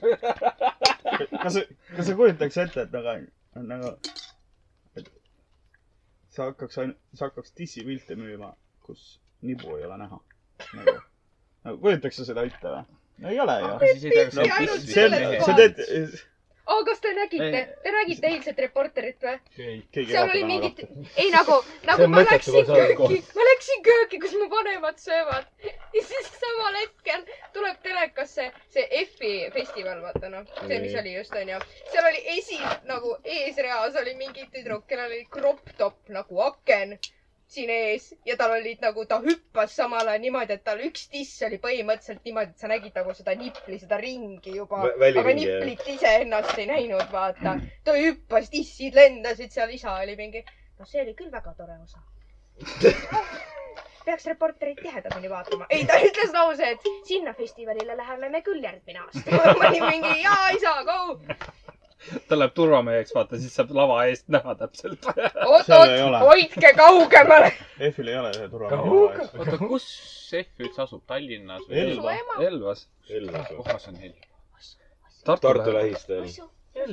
kas , kas sa kujutaks ette , et nagu , nagu , et sa hakkaks ainult , sa hakkaks dissipilte müüma , kus nibu ei ole näha . nagu , nagu kujutaks sa seda ette või ? no ei ole ju
Aga . siis ei teaks, et
no,
piss-
see on ,
piss-
sa teed ,
aa , kas te nägite
Ei. ,
te nägite eilset Reporterit või ?
keegi ei
seal oli
vaata täna
mingit
rohkem .,
ei nagu , nagu
on
ma
mõttetu,
läksin
kui sa oled
kööki , ma läksin kööki , kus mu vanemad söövad . ja siis samal hetkel tuleb telekasse see EFI festival , vaata noh , see , mis
Nii.
oli just onju . seal oli esi , nagu eesreas oli mingi tüdruk , kellel oli crop top nagu aken siin ees ja tal olid nagu , ta hüppas samal ajal niimoodi , et tal üks tiss oli põhimõtteliselt niimoodi , et sa nägid nagu seda nipli , seda ringi juba
Vä- .
aga
väliringi, jah.
niplit iseennast ei näinud , vaata . ta hüppas , tissid lendasid seal , isa oli mingi , no see oli küll väga tore osa . peaks reporterit tihedamini vaatama . ei , ta ütles lause , et sinna festivalile läheme me küll järgmine aasta . ma olin mingi jaa , isa , go .
ta läheb turvameheks , vaata , siis saab lava eest näha täpselt .
oot , oot , hoidke kaugemale .
EF-il ei ole ühe turvamehe
oota , kus EF üldse asub , Tallinnas
Elva.
Elvas ? Elvas .
Elvas või?
kohas on Elva ?
Tartu lähistel .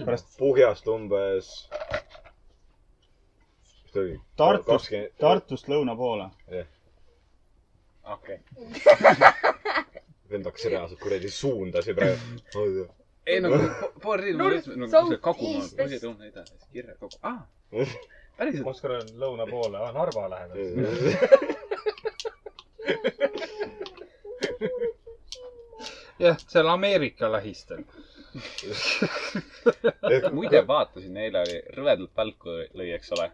pärast Puhjast umbes . mis ta oli ?
Tartust , Tartust lõuna poole .
okei .
vend hakkas reaalselt kuradi suundasi praegu .
ei no paar riidu
North,
no
South,
see kagumaa ,
East,
põhja
West.
tõune ida , siis kirja kagu , aa . päriselt .
Oskar on lõuna poole , aa Narva lähedal .
jah , seal Ameerika lähistel . muide , vaatasin , eile oli rõvedalt välku lõi , eks ole .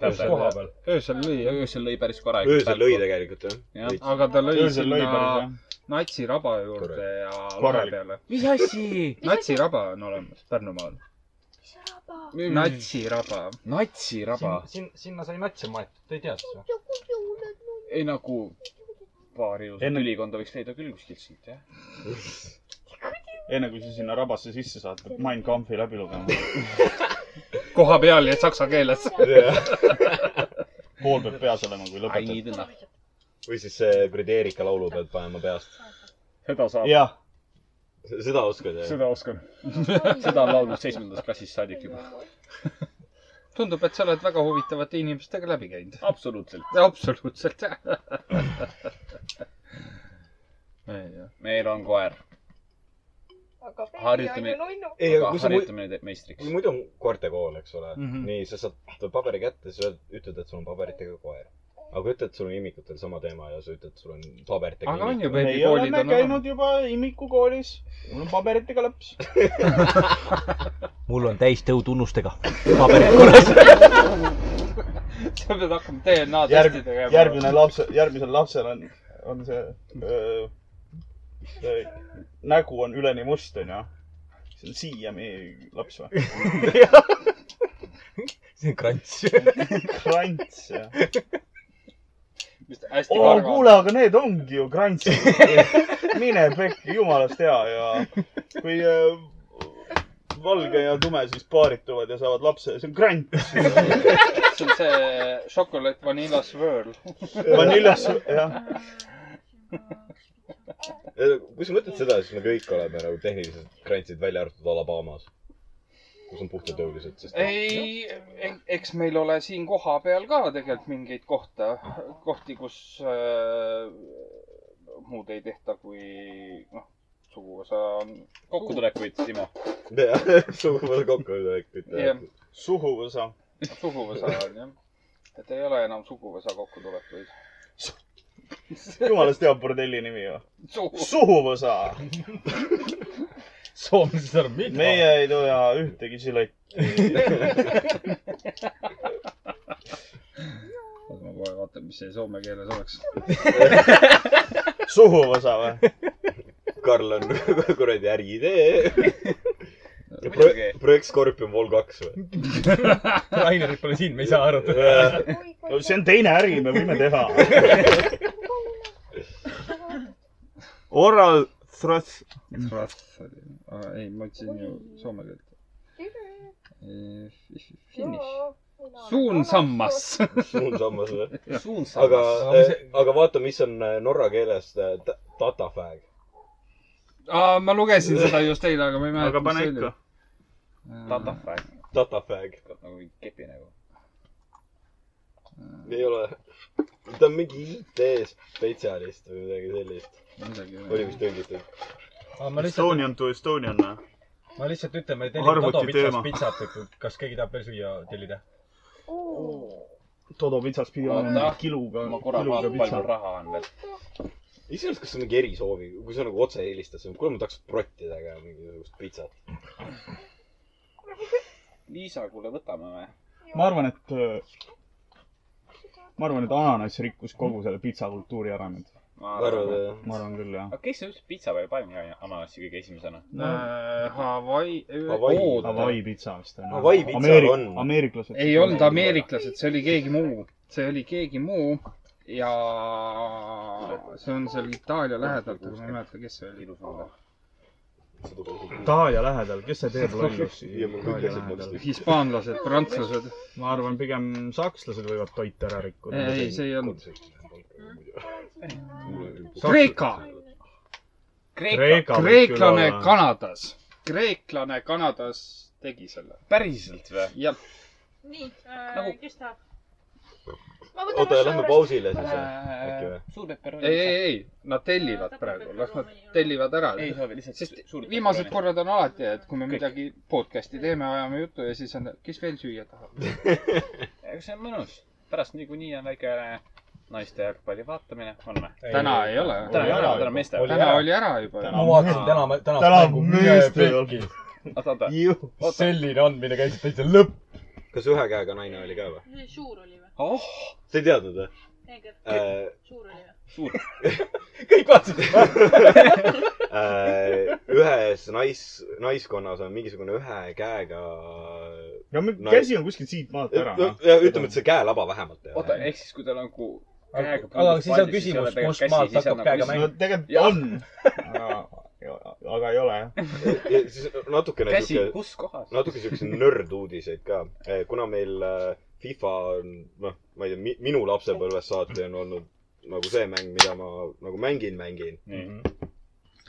Öösel koha peal.
öösel lõi , öösel lõi päris korralikult .
öösel lõi . tegelikult jah .
jah , aga ta lõi
Öösel lõi
sinna
päris, jah.
natsiraba juurde ja lahe
Korralik.
peale .
Mis asi?
natsiraba on olemas Pärnumaal . natsiraba . natsiraba
Sin- , sin- , sinna sai natse maetud , te ei teadnud seda ?
ei nagu paari ilusat ülikonda võiks leida küll kuskilt siit , jah .
enne kui sa sinna rabasse sisse saad , pead Mein Kampfi läbi lugema .
koha peal ja saksa keeles .
pool peab peas olema , kui lõpetad .
või siis see kuradi Erika laulu pead panema peast .
seda saab .
jah .
seda oskad jah ?
seda oskan . seda on laulnud seitsmendast klassist saadik juba . tundub , et sa oled väga huvitavate inimestega läbi käinud . absoluutselt . absoluutselt . meil on koer .
aga
Harjuta
Harjutame...
me-
on ju nunnu .
ei ,
Aga
aga kui sa
harjutame neid meistriks.
kui muidu on koertekool , eks ole mm ,
Mhm.
-hmm. nii sa saad paberi kätte , sa ütled , et sul on paberitega koer . aga kui ütled , et sul on imikutel sama teema ja sa ütled , et sul on paberitega
Aga on
imikutel.
ju, baby,
ei ole me käinud juba imikukoolis . mul on paberitega lõps .
mul on täis tõutunnustega . paberid korras .
sa pead hakkama DNA testi
järg- ,
tegema .
järgmine . laps , järgmisel lapsel on , on see, öö, see nägu on üleni must , onju . see on siiami laps või ?
see on krants .
krants , jah .
hästi
oo , kuule , aga need ongi ju krantsid . mine pekki , jumalast hea ja kui öö, valge ja tume siis paarituvad ja saavad lapse , see on krants .
see on see šokolaad vanilla swirl .
Vanillas , jah .
Äh, kui sa mõtled seda , siis me kõik oleme nagu tehnilised krantsid , välja arvatud Alabamas , kus on puhtad õulised , sest .
ei , eks meil ole siin kohapeal ka tegelikult mingeid kohta , kohti , kus äh, muud ei tehta , kui noh , suguvõsa on kokkutulekuid , Timo .
jah , suguvõsa kokkutulekut .
Jah.
suguvõsa .
suguvõsa on jah , et ei ole enam suguvõsa kokkutulekuid .
jumalast hea bordelli nimi või ?
Suhu.
suhuvõsa .
soomlased arvavad , mida ?
meie ei toja ühtegi siletti .
ma kohe vaatan , mis see soome keeles oleks .
suhuvõsa või ?
Karl on kuradi äriidee . projekt Scorpion Vol kaks või ?
Rainerit pole siin , me ei saa arutada .
no see on teine äri , me võime teha . Oral Thrush .
Rath oli , ei ma ütlesin ju soome keelt .
Finish . Suunsammas .
suunsammas või ?
Suunsammas.
aga eh,
Aga mis ,
aga vaata , mis on äh, norra keeles äh, ta- datafag .
aa , ma lugesin seda just eile , aga ma ei mäleta .
Aga pane ikka. .
Datafag .
datafag .
nagu mingi kepi nägu .
ei ole . ta on mingi IT-spetsialist või midagi sellist . oli vist tõlgitud .
ma lihtsalt ,
Estonian to Estonian või ?
ma lihtsalt ütlen , ma tellin
Arvuti
Todo pitsast
teema.
pitsat , et kas keegi tahab veel süüa tellida .
Todo pitsas piirama
Oota.
kiluga ,
ma korra
kiluga
vaatan , palju
pitsa .
raha on veel .
iseenesest , kas see on mingi erisoovi , kui sa nagu otse helistad , siis kuule , ma tahaks prottida ka mingisugust pitsat .
Liisa , kuule , võtame või ?
ma arvan , et , ma arvan , et ananass rikkus kogu selle pitsakultuuri ära nüüd .
arvad , jah ?
ma arvan küll , jah .
aga kes see üldse pitsa peal pani ananassi kõige esimesena ?
Äh, Hawaii ,
Hawaii.
Hawaii pitsa vist on .
Hawaii pitsa on.
ameeriklased .
ei olnud . ameeriklased , see oli keegi muu , see oli keegi muu ja see on seal Itaalia lähedalt , aga ma ei mäleta , kes see oli .
Itaalia lähedal , kes see teeb lollust
Ja mul kõik
Itaalia
läksid
lähedal ?
mõttest.
hispaanlased , prantslased ,
ma arvan , pigem sakslased võivad toit ära rikkuda .
ei , ei see ei olnud . Kreeka ,
Kreeka võib
kreeklane
küll olla.
Kanadas , kreeklane Kanadas tegi selle .
päriselt või ?
jah ,
nii äh,
Nagu- ,
kes tahab ?
oota , lähme pausile siis eh. või ? äkki või ?
suur peperoni .
ei , ei , ei , nad tellivad praegu , las nad tellivad ära .
ei soovi , lihtsalt
sest
suur
viimased . korrad on alati , et kui me midagi podcast'i teeme , ajame juttu ja siis on , kes veel süüa tahab .
aga see on mõnus . pärast niikuinii on väike naiste jalgpalli vaatamine , on või ?
täna ei ole .
täna ei ole , täna on meeste
Oli
jalgpall .
täna
ära.
oli ära juba .
ma vaatasin täna , tänast
Täna
mängu üle
meestel on-
pekki .
oota , oota . Oota.
selline andmine käis täitsa lõpp .
kas ühe käega naine oli ka või ?
suur oli või ?
oh ,
sa ei teadnud eh? või ?
Neeger ,
Äh,
suur oli või ?
suur .
kõik vaatasid .
eh, ühes nais , naiskonnas on mingisugune ühe käega .
no me-
No-
käsi on kuskilt siit maalt ära , noh .
ütleme , et see käelaba vähemalt .
oota , ehk siis , kui tal nagu
aga
käega
aga siis on küsimus , kust maalt
nagu
hakkab käega
no
mängima .
tegelikult
Jah.
on , aga , aga ei ole jah .
ja siis natukene
käsi
sihuke ,,
kus kohas ?
natuke siukse nörduudiseid ka . kuna meil äh, FIFA on , noh , ma ei tea mi, , minu lapsepõlvest saati on olnud nagu see mäng , mida ma nagu mängin , mängin .
Mhm.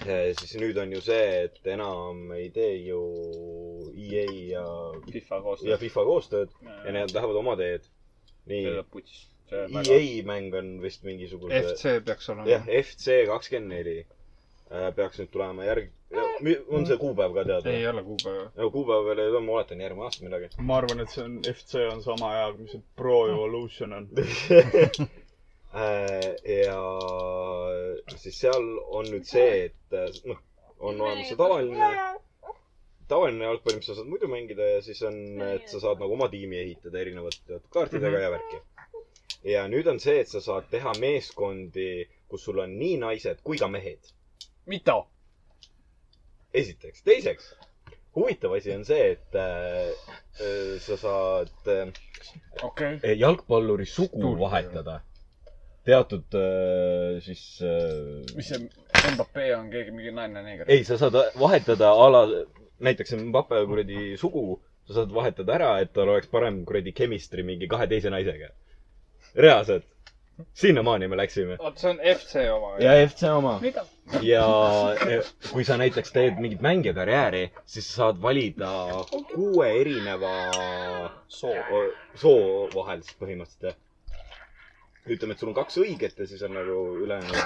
siis nüüd on ju see , et enam ei tee ju EA ja ,
FIFA
ja
koostöös .
FIFA koostööd ja need lähevad oma teed . nii ,
lõpuks .
EA mäng on vist mingisugune .
FC peaks olema
jah ,. FC kakskümmend neli Äh, peaks nüüd tulema järg , on see kuupäev ka teada ?
ei ole kuupäeva .
kuupäev veel ei ole , ma oletan järgmine aasta midagi .
ma arvan , et see on , FC on sama hea , mis see Pro Evolution on .
ja Äh, siis seal on nüüd see , et äh, noh , on olemas see tavaline , tavaline jalgpall , mis sa saad muidu mängida ja siis on , et sa saad nagu oma tiimi ehitada erinevate teatud kaartidega ja värki . ja nüüd on see , et sa saad teha meeskondi , kus sul on nii naised kui ka mehed .
mida ?
esiteks , teiseks , huvitav asi on see , et äh, äh, sa saad äh,
okei .
Eh, jalgpalluri sugu
Tuult.
vahetada teatud äh, siis äh, ,
mis see Mbappe on keegi mingi naine neeger ?
ei , sa saad vahetada a la , näiteks Mbappe kuradi sugu , sa saad vahetada ära , et tal oleks parem kuradi chemistry mingi kahe teise naisega . reaalselt , sinnamaani me läksime .
vot see on FC oma .
ja FC oma .
mida ?
ja e, kui sa näiteks teed mingit mängijakarjääri , siis sa saad valida kuue erineva soo , soo vahel siis põhimõtteliselt jah . ütleme , et sul on kaks õiget ja siis on nagu ülejäänud .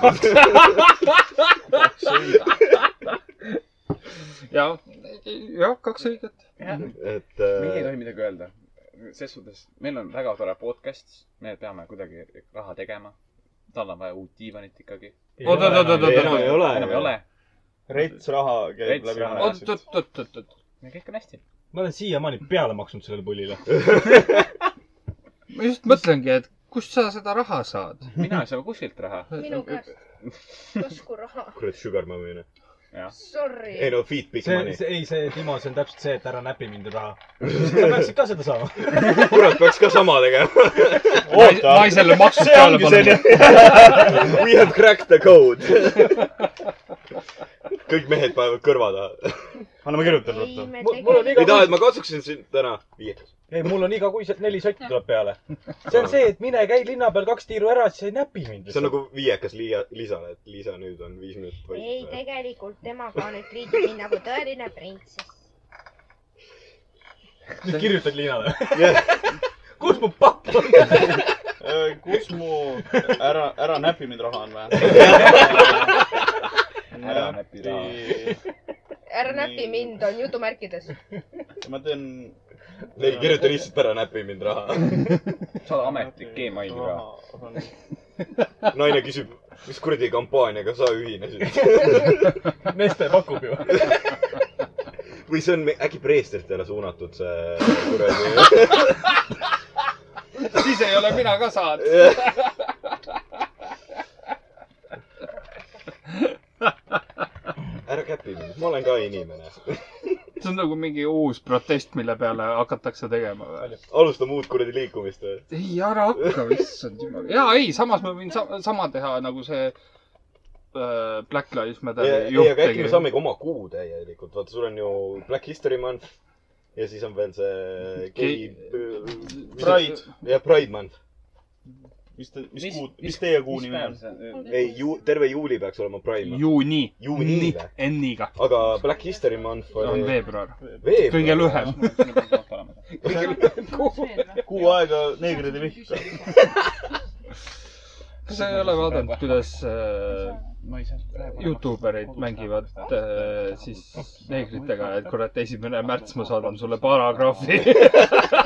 jah , jah , kaks õiget .
et
meie ei
äh,
tohi midagi öelda . ses suhtes , meil on väga tore podcast , me peame kuidagi raha tegema . tal on vaja uut diivanit ikkagi .
oot , oot , oot , oot ,
ei, enam
oot ,
ei ole .
enam ei ole .
rets raha
Rets
käib läbi
raha.
oot ,
ananassi .
oot , oot , oot , oot .
me kõik on hästi .
ma olen siiamaani peale maksnud sellele pullile .
ma just mõtlengi , et kust sa seda raha saad .
mina ei saa kuskilt raha .
minu käest , taskuraha ,
kurat , sugar mommy on ju .
sorry .
ei no , feet big
see ,
money .
see , ei see , Timo , see on täpselt see , et ära näpi mind raha . sa peaksid ka seda saama .
kurat , peaks ka sama tegema .
oota ,
naisele maksud
see
peale
ongi
panna .
see ,
We have cracked the code . kõik mehed panevad kõrva taha .
anname kirjutada
ei ,
ruttu .
me
mul on iga-
tegelikult .
ei taha , et ma katsuksin sind täna viietes .
ei , mul on igakuiselt neli sotti tuleb peale . see on see , et mine käi linna peal kaks tiiru ära , siis sa ei näpi mind .
see on nagu viiekas Liia , Lisale , et Liisa nüüd on viis minutit
ei ,
vait .
tegelikult temaga nüüd liitub mind nagu tõeline printsess .
nüüd kirjutad Liinale
Jah. .
kus mu papp on ?
kus mu , ära , ära näpi mind raha on vaja .
Ära näpi
raha .
ära näpi mind , on jutumärkides .
ma teen .
ei kirjuta lihtsalt ära , näpi mind raha .
sa oled ametlik Gmaili ka .
naine küsib , mis kuradi kampaaniaga sa ühinesid nagu-
Neste pakub ju .
või see on me- äkki preestritele suunatud see kuradi .
siis ei ole mina ka saanud .
ära käpi mind , ma olen ka inimene .
see on nagu mingi uus protest , mille peale hakatakse tegema või ?
alustame uut kuradi liikumist või ?
ei , ära hakka , issand jumal . ja ei , samas ma võin sa sama teha nagu see äh, Black Lives Matteri
ei ,
juht
aga äkki me
tegi .
saamegi oma kuu täielikult , vaata , sul on ju Black History Month ja siis on veel see gei
Pride. .
jah , Pride Month .
mis te , mis kuud , mis teie kuu nimi on ?
ei , ju- , terve juuli peaks olema Pride Month .
juuni .
juuni või ?
N-iga .
aga Black History Month oli...
on veebruar .
veebruar .
kõige lühem .
kuu aega neegride vihka .
kas sa ei ole vaadanud , kuidas äh, Youtube erid mängivad äh, siis neegritega , et kurat , esimene märts ma saadan sulle paragrahvi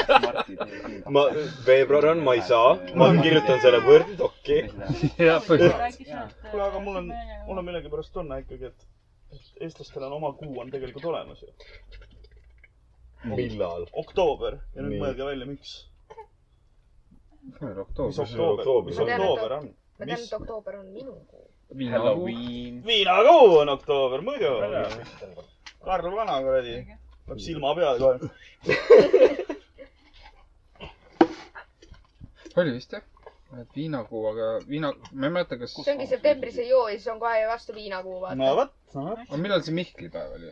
ma , veebruar on , ma ei saa , ma kirjutan selle Wordi dokki .
ja põhimõtteliselt .
äh,
kuule , aga mul on , mul on millegipärast tunne ikkagi , et , et eestlastel on oma kuu on tegelikult olemas ju .
millal ?
oktoober ja nüüd
Nii.
mõelge välja , miks . mis
Mis on
oktoober ,
oktoober?
mis
Ma tean, et
oktoober on ?
ma tean , et oktoober on minu kuu .
Halloween .
viinakuu on oktoober , muidu . Karl Vana kuradi , läheb silma peale kohe .
oli vist jah ? et viinakuu , aga viina , ma ei mäleta , kas .
see ongi septembris ei joo ja siis on kohe vastu viinakuu ,
no
vaata .
vot , no vot .
aga millal see Mihklipäev oli ?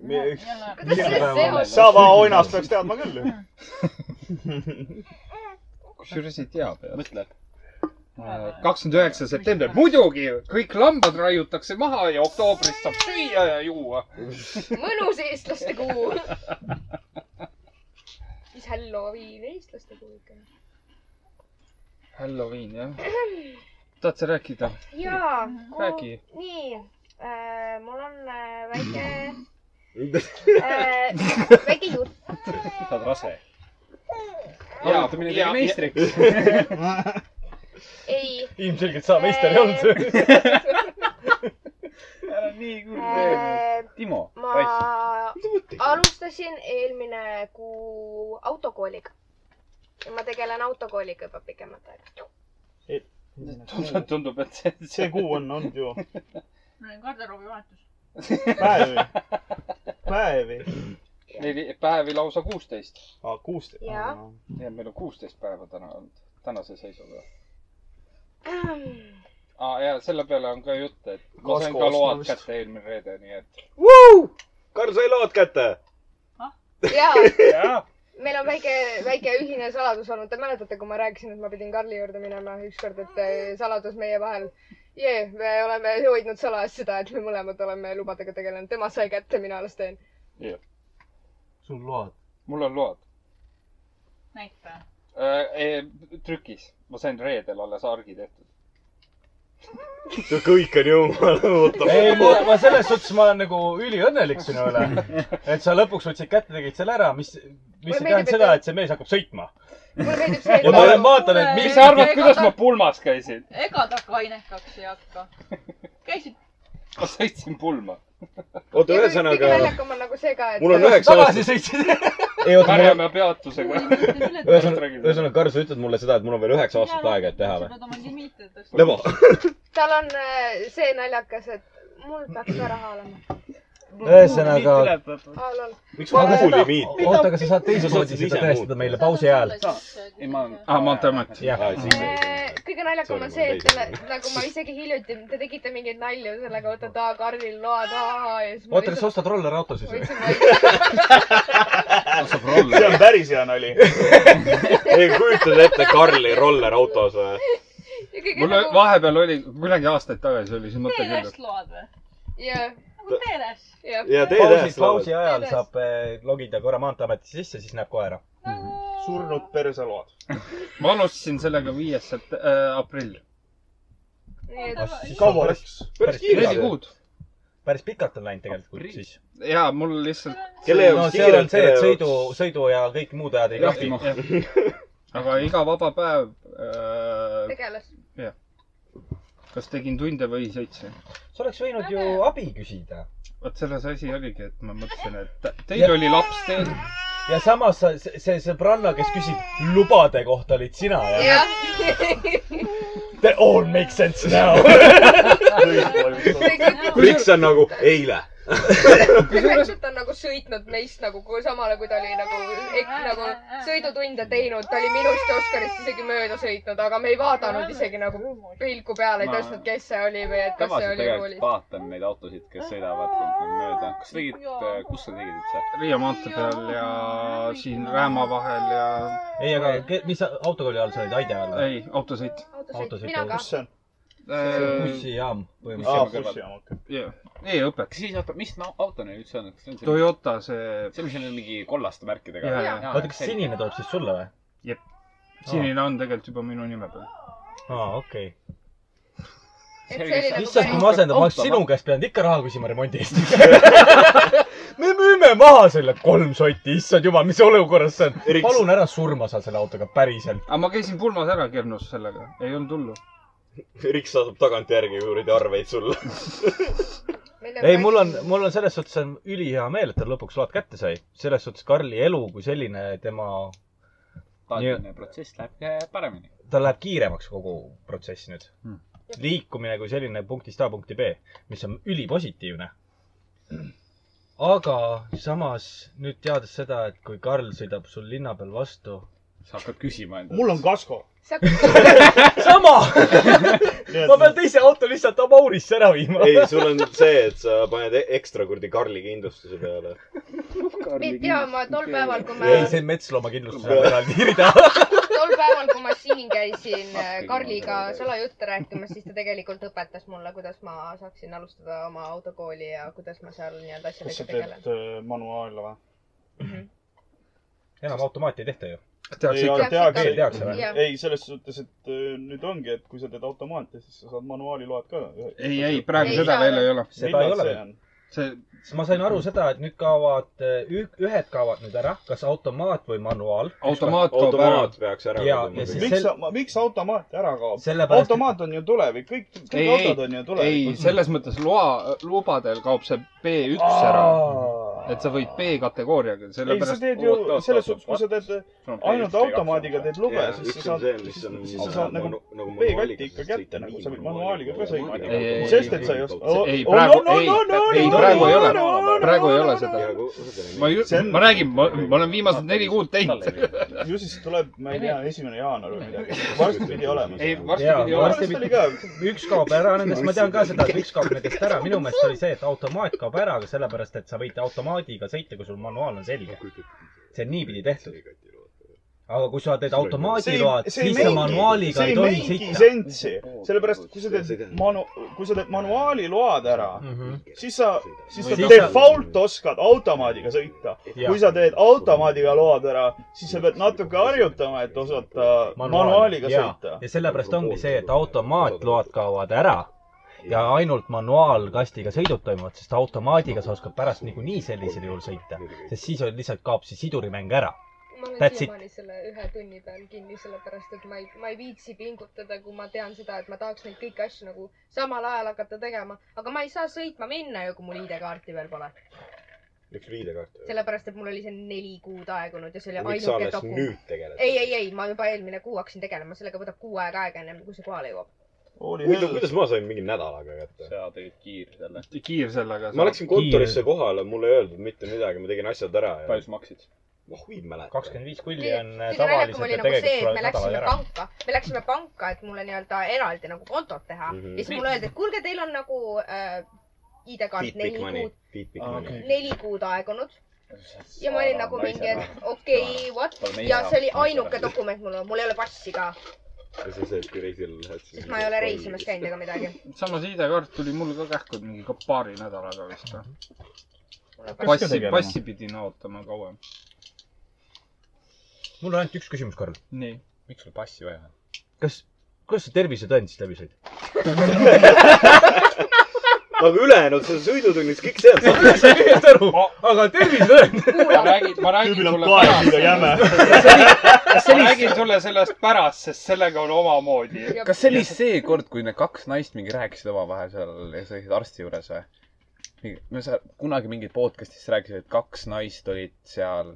kuidas sellest seos ?
Saba oinas peaks teadma küll ju .
kusjuures ei tea peale . mõtle .
Äh,
kakskümmend üheksa september , muidugi , kõik lambad raiutakse maha ja oktoobris saab süüa ja juua .
mõnus eestlaste kuu . mis Halloween eestlaste kuu ikka on ?
Halloween jah . tahad sa rääkida ?
jaa .
Räägi. .
nii äh, , mul on äh, väike äh, , väike jutt .
sa oled rase .
arutamine tegi meistriks .
ei
ilmselgelt sa meister ei
äh,
olnud .
ära nii kurb
äh, ,
Timo ,
ma alustasin eelmine kuu autokooliga . ma tegelen autokooliga juba pikemat aega .
tundub , et see ,
see kuu on olnud ju
mul on garderoobi vahetus .
päevi , päevi .
neli päevi lausa kuusteist .
aa , kuusteist .
Jaa.
nii et meil on kuusteist päeva täna olnud , tänase seisuga . aa ja selle peale on ka jutt , et ma
Kasko
sain ka load
ostmist.
kätte eelmine reede , nii et .
Karl sai lood kätte .
jaa ,
jah ,
meil on väike , väike ühine saladus olnud . Te mäletate , kui ma rääkisin , et ma pidin Karli juurde minema ükskord , et äh, saladus meie vahel . jee , me oleme hoidnud salajas seda , et me mõlemad oleme lubadega tegelenud . tema sai kätte , mina alles teen .
sul load .
mul on load
näita .
äh, . trükis , ma sain reedel alles argi tehtud .
kõik on jumala
ei ,
ootav .
ma , ma selles suhtes , ma olen nagu üliõnnelik sinu üle , et sa lõpuks võtsid kätte , tegid selle ära , mis , mis
Mulle
ei tähenda
meeldib,
seda ,
et-
et see mees hakkab sõitma .
mulle meeldib see ,
ja
et
ma olen
ma ,
vaadanud , et
mis
mis
sa arvad , kuidas ma pulmas käisin ?
ega ta kainekaks ei hakka . käisid
ma sõitsin pulma .
oota ,
ja kõige
ühesõnaga ,
naljakam on nagu see ka , et
mul on üheksa
tagasi
aastat .
sõitsid .
ei oota , mul on ,
Pärjamäe peatusega .
ühesõnaga , ühesõnaga , Karl , sa ütled mulle seda , et mul on veel üheksa aastat aega , et teha
või ?
või ?
sa pead oma limiite
Lebo ,
eh, tal on äh, see naljakas , et mul peaks ka raha olema .
ühesõnaga ,
miks ma kuhu limiit ?
oota , aga sa saad
Sa
teist
saad
moodi
seda
seda
ise
tõestada
muuta.
meile pausi ajal .
äh,
ei , Ah, ma olen .
aa , Maanteeamet .
jah ,
Eh,
kõige naljakam on
Sorry,
see ,
mul
et teile , nagu ma isegi hiljuti , te tegite mingeid nalju selle kohta , et aa , Karlil load , aa , ja siis ma
oota , kas sa ostad rollerauto siis või ?
see on päris hea nali .
ei , kujutad ette Karli rollerautos või ?
mul
nagu-
oli- vahepeal oli , kuidagi aastaid tagasi oli see mõte küll ,
teeres lood või ?
jah ,
nagu teeres .
ja
pausi , pausi
teed .
ajal saab eh, logida korra Maanteeameti sisse , siis näeb kohe ära .
nagu-
surnud persaload .
et ma alustasin sellega viies sept- , äh, aprill .
kaua läks ?
päris
neli
kiirelt .
kuud .
päris pikalt on läinud tegelikult siis .
jaa , mul lihtsalt .
Kelle jaoks
no seal on
kiirelt,
see , et
kelle
sõidu
jaoks- ,
sõidu ja kõik muud ajad ei klapi .
aga iga vaba päev äh, ,
tegeles .
kas tegin tunde või seitse .
sa oleks võinud ju abi küsida .
vot selles asi oligi , et ma mõtlesin , et teil oli laps , teil .
ja samas sa , see , see sõbranna , kes küsib lubade kohta , olid sina ja ?
jah ,
They all make sense now .
Priks on nagu eile .
tegelikult on nagu sõitnud meist nagu kui- samale , kui ta oli nagu , nagu sõidutunde teinud , ta oli minust ja Oscarist isegi mööda sõitnud , aga me ei vaadanud isegi nagu pilku peale , ei
Ma-
tõstnud , kes see oli või et kas see
tavaliselt
oli
tegelikult
koolis .
vaatan neid autosid , kes sõidavad nagu mööda . kas tegid , kus sa tegid üldse ?
Riia maantee peal ja siin Rääma vahel ja
ei , aga ke- mis sa- autokooli all sa olid , Aide all või ?
ei , autosõit .
Autosõit,
mina ka .
kus see on ?
äh,
bussijaam
aa ,
põhimõtteliselt .
bussijaam , okei .
jah , e-õpeks .
siis oota , mis na- auto neil üldse on ? see on see ,
Toyota see ,
see , mis on mingi kollaste märkidega .
Jaa, jaa.
oota , kas sinine tuleb siis sulle või ?
sinine on tegelikult juba minu nime peal .
aa , okei .
et see oli nagu
issand , kui ma asendan , ma oleks
Auto-
sinu käest pidanud ikka raha küsima remondi eest . me müüme maha selle kolm sotti , issand jumal , mis olukorras see on .
Eriks-
palun ära surma seal selle autoga , päriselt .
aga ma käisin pulmas ära Kernus sellega , ei olnud hullu .
Priks saadab tagantjärgi kuradi arveid sulle .
ei , mul on , mul on selles suhtes on ülihea meel , et ta lõpuks load kätte sai . selles suhtes Karli elu kui selline , tema ,
taotlemine protsess läheb eh, paremini .
tal läheb kiiremaks kogu protsess nüüd
Hmm. .
liikumine kui selline punktist A punkti B , mis on ülipositiivne . aga samas nüüd teades seda , et kui Karl sõidab sul linna peal vastu ,
sa hakkad küsima endale .
mul on kasko .
sama , ma pean teise auto lihtsalt Amaurisse ära viima .
ei , sul on see , et sa paned e- ekstra kuradi Karli kindlustuse peale .
ei tea , ma tol päeval , kui ma
ei , see Metslooma kindlustus on eraldi rida .
tol päeval , kui ma siin käisin äh, Karliga salajutte rääkimas , siis ta tegelikult õpetas mulle , kuidas ma saaksin alustada oma autokooli ja kuidas ma seal nii-öelda
kas sa
asjadega tegelen . Mhm.
teed äh, manuaale või ?
enam automaati ei tehta ju .
ei ,
tehakse ikka .
aga tehakse
Veel tehakse või?
Jah.
ei , selles suhtes , et äh, nüüd ongi , et kui sa teed automaati , siis sa saad manuaaliload ka .
ei , ei , praegu
Ei
seda
saa
veel
veel.
ei ole .
seda ei ole veel .
see ,
siis ma sain aru seda , et nüüd kaovad , ühed kaovad nüüd ära , kas automaat või manuaal .
automaat kaob ära .
automaat peaks ära
Jaa,
kaduma
ja siis-
kõik.
miks
Sel-
sa , miks automaat ära kaob ?
sellepärast ,
automaat on ju tulevik , kõik , kõik
ei ,
autod on
ei ,
ju
ei ,
tulevik .
selles mõttes loa , lubadel kaob see B1 ära . et sa võid B-kategooriaga ,
ei , sa
sellepärast
teed ju
Oot, oot, oot,
selles suhtes , kui
oot.
sa teed ainult automaadiga teed lube ,
Jaa,
siis
üks
sa
on
saad
see, , mis on
siis sa saad nagu
nagu manuaaliga
B-katti ikka
saad
kätte
sõita
nagu ,
nii,
sa võid
manuaaliga
manuaaliga ka sõita
manuaaliga.
Ei, ei, .
sest et sa Oh, ei
ei,
oska
ei, .
ei , praegu , ei , ei , praegu ei ole . praegu ei ole seda .
ja kui sa teed
ma ju
See on- ,
ma räägin , ma , ma olen viimased neli kuud teinud .
ju siis tuleb , ma ei tea , esimene jaanuar või midagi . varsti pidi olema .
ei ,
Jaa,
varsti
varsti-
varsti
varsti oli ka .
üks kaob ära nendest , ma tean ka seda , et üks kaob nendest ära . minu meelest oli see , et automaat kaob ära , aga sellepärast , et sa võid automaadiga sõita , kui sul manuaal on selge . see on niipidi tehtud . aga kui sa teed automaadiload , siis sa manuaaliga ei tohi sõita .
sensi , sellepärast , kui sa teed manu- , kui sa teed manuaaliload ära ,
Mhm.
siis sa , siis sa
Siis sa-
default oskad automaadiga sõita .
Jah.
kui sa teed automaadiga load ära , siis sa pead natuke harjutama , et osata manuaaliga sõita .
ja sellepärast ongi see , et automaatload kaovad ära ja ainult manuaalkastiga sõidud toimuvad , sest automaadiga sa oskad pärast niikuinii sellisel juhul sõita , sest siis on lihtsalt kaob see sidurimäng ära .
ma olen
That's it.
siiamaani selle ühe tunni peal kinni , sellepärast et ma ei , ma ei viitsi pingutada , kui ma tean seda , et ma tahaks neid kõiki asju nagu samal ajal hakata tegema , aga ma ei saa sõitma minna ju , kui mul ID-kaarti veel pole .
üks viidekaart .
sellepärast , et mul oli see neli kuud aegunud ja see oli
miks sa
ainuke
alles
dokument .
nüüd tegeled ?
ei , ei , ei , ma juba eelmine kuu hakkasin tegelema , sellega võtab kuu aega aega ennem , kui see kohale jõuab .
huvitav , kuidas ma sain mingi nädalaga kätte ?
sa tegid kiir selle .
kiir sellega .
ma läksin kontorisse . kohale , mulle ei öeldud mitte midagi , ma tegin asjad ära ja
palju sa maksid ?
ma huvi ei mäleta .
kakskümmend viis kulli on äh,
kõige naljakam
tavaliselt
oli
ja
nagu see ,
tegelikult
et me
tuleb nädalal
läksime
ära .
panka , me läksime panka , et mulle nii-öelda eraldi nagu kontot teha mm
Mhm.
-hmm. ja siis mulle öeldi , et kuulge , teil on nagu äh, ID-kaart
Big
neli
money
kuud ,,
big big
Ah,
Aa,
money .
neli kuud aegunud . ja ma olin nagu mingi , et okei okay, , what
Pole
ja see oli
meile-
ainuke dokument mul , mul ei ole passi ka ,
ja see on see , et kui reisil lähed , siis
sest ma ei ole reisimas käinud ega midagi .
samas ID-kaart tuli mul ka kähku mingi ka paari nädalaga vist .
Peaks ka
passi ,
tegema.
passi pidin ootama kauem .
mul on ainult üks küsimus , Karl .
nii .
miks sul passi vaja on ?
kas , kuidas sa tervisetõend siis läbi said ?
aga ülejäänud seal sõidutunnis kõik see on
ma ei saa kõigest aru , aga tervisetõend .
ma räägin , ma räägin
tüübil on
sulle
kael liiga jäme .
ma räägin sulle sellest pärast , sest sellega on omamoodi .
kas see oli see kord , kui need kaks naist mingi rääkisid omavahel seal ja sa olid arsti juures või ? me seal kunagi mingid podcast'is rääkisid , et kaks naist olid seal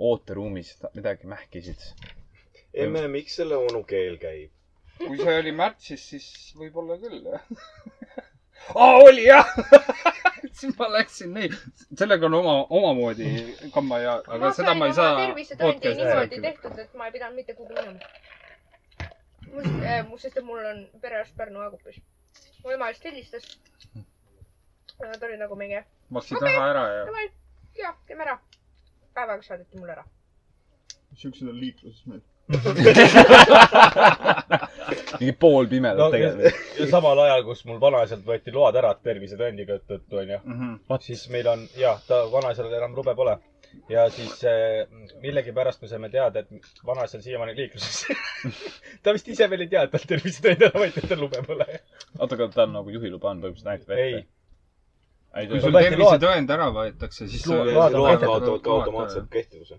ooteruumis , midagi mähkisid .
emme , miks selle onu keel käib ?
kui see oli märtsis , siis võib-olla küll , jah . aa , oli jah . siis ma läksin neid , sellega on oma , omamoodi kamma ja , aga seda ma ei saa .
tervisetõendi niimoodi tehtud , et ma ei pidanud mitte kuhugi minema . mul äh, , mul , sest et mul on perearst Pärnu Aegupis . mu ema just helistas . Nad olid nagu mingi ,
maksid raha ära ja
davai , jah , teeme ära . päevaga saadeti mulle ära .
siuksed on liikluses meil .
mingi poolpimedad
no
no,
ja,
tegelikult .
ja samal ajal , kus mul vanaisalt võeti load ära tervisetõendiga tõttu , onju .
mm . -hmm.
vot siis meil on jah , ta vanaisal enam lube pole ja siis eh, millegipärast me saime teada , et vanaisa on siiamaani liikluses . ta vist ise veel ei tea , et tal tervisetõend ära võeti , et tal lube pole .
oota , aga tal nagu juhiluba on , põhimõtteliselt näitab
ei
ette ., ei
kui
tule
sul
võeti load-
tervisetõend ära võetakse , siis .
Load-
load kaotavad ka
automaatselt .
automaatselt kehtivuse .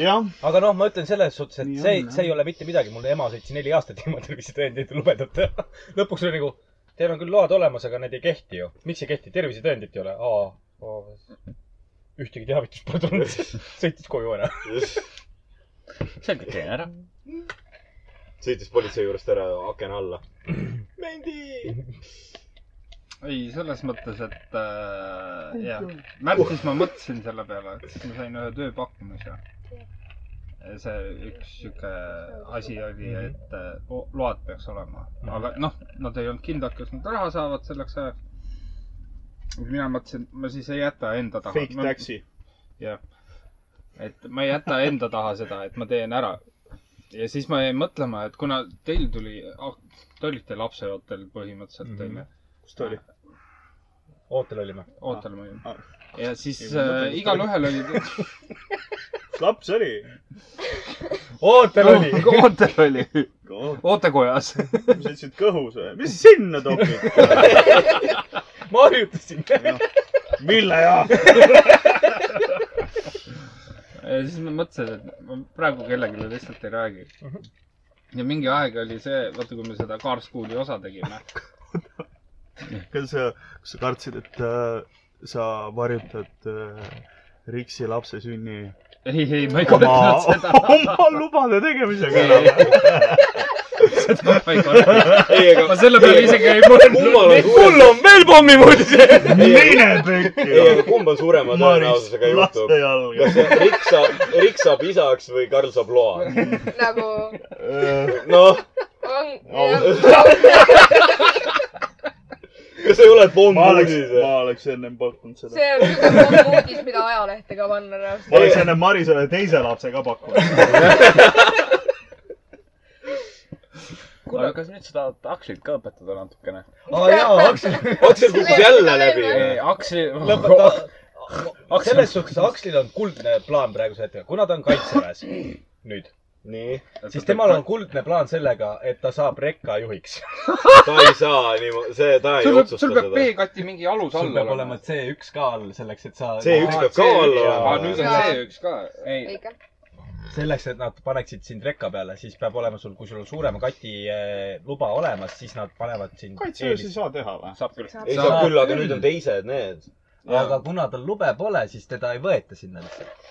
jah ,
aga noh , ma ütlen selles suhtes , et
Nii
see
on, ,
see ei ole mitte midagi . mul ema sõitsi neli aastat ilma tervisetõendit lubedata . lõpuks oli nagu , teil on küll load olemas , aga need ei kehti ju . miks ei kehti ? tervisetõendit ei ole . aa , ühtegi teavitust pole tulnud . sõitis koju ära .
selge , teen ära .
sõitis politsei juurest ära aken alla . Mendi .
ei , selles mõttes , et äh, jah , märtsis ma mõtlesin selle peale , et siis ma sain ühe tööpakkumise . see üks sihuke asi oli , et äh, lo- load peaks olema , aga noh , nad ei olnud kindlad , kas nad raha saavad selleks ajaks . mina mõtlesin , et ma siis ei jäta enda taha .
fake taxi .
et ma ei jäta enda taha seda , et ma teen ära . ja siis ma jäin mõtlema , et kuna teil tuli , te olite lapseootel põhimõtteliselt
Mhm.
mm , onju -hmm.
kus ta oli ?
ootel olime .
ootel ma olin
Ah. .
ja siis
Ei, ma mõtlen,
äh,
kus
igalühel oli ,
kus laps oli ?
ootel oli .
ootel oli , ootekojas .
sa ütlesid kõhus või ? mis sinna topib ?
ma harjutasin .
mille ja ?
ja siis ma mõtlesin , et ma praegu kellelegi lihtsalt ei räägi . ja mingi aeg oli see , vaata , kui me seda Car School'i osa tegime .
kas sa , kas sa kartsid , et äh, sa varjutad äh, Riksi lapse sünni
ei , ei , ma ei
oma
kordanud , seda .
oma lubade tegemisega ära ?
seda ma ei kordanud .
ei , aga
ma selle peale isegi ei
kummal
mõelnud .
on suurem ,
on veel pommimuudis .
mine pekki
ei , aga . kumb on suurema
Maris
tõenäosusega , juhtub
laste ? jalga
kas . Rick saab , Rick saab isaks või Karl saab loa ?
nagu
noh ,
on ,
kas ei ole
ma oleks
pommuudis , või ?
ma oleks ennem pakkunud seda .
see on kõige parem uudis , mida ajalehte ka panna
noh.
reaalselt .
ma oleks ennem Marisele teise lapse ka pakkunud .
kuule , kas nüüd sa tahad Akslit ka õpetada natukene ?
aa jaa , Aksel ,
Aksel kukkus jälle läbi .
ei , Aksli .
lõpeta . selles suhtes Akslil on kuldne plaan praegusel hetkel , kuna ta on kaitseväes nüüd ,
nii ,
siis temal on kuldne plaan sellega , et ta saab rekkajuhiks .
ta ei saa niimoodi , see , ta ei
sul peab ,
otsusta
sul peab
seda .
B-kati mingi alus
sul
all
peab
olema
olema . C1 ka all selleks , et sa .
C1 peab ka alla
aa ,
olema.
nüüd on
Jaa.
C1 ka .
ei ,
õige .
selleks , et nad paneksid sind rekka peale , siis peab olema sul , kui sul on suurema kati eh, luba olemas , siis nad panevad sind
kaitseväes ei
eelis-
saa teha või ?
saab küll .
ei saa küll , aga nüüd on teised need .
aga kuna tal lube pole , siis teda ei võeta sinna lihtsalt .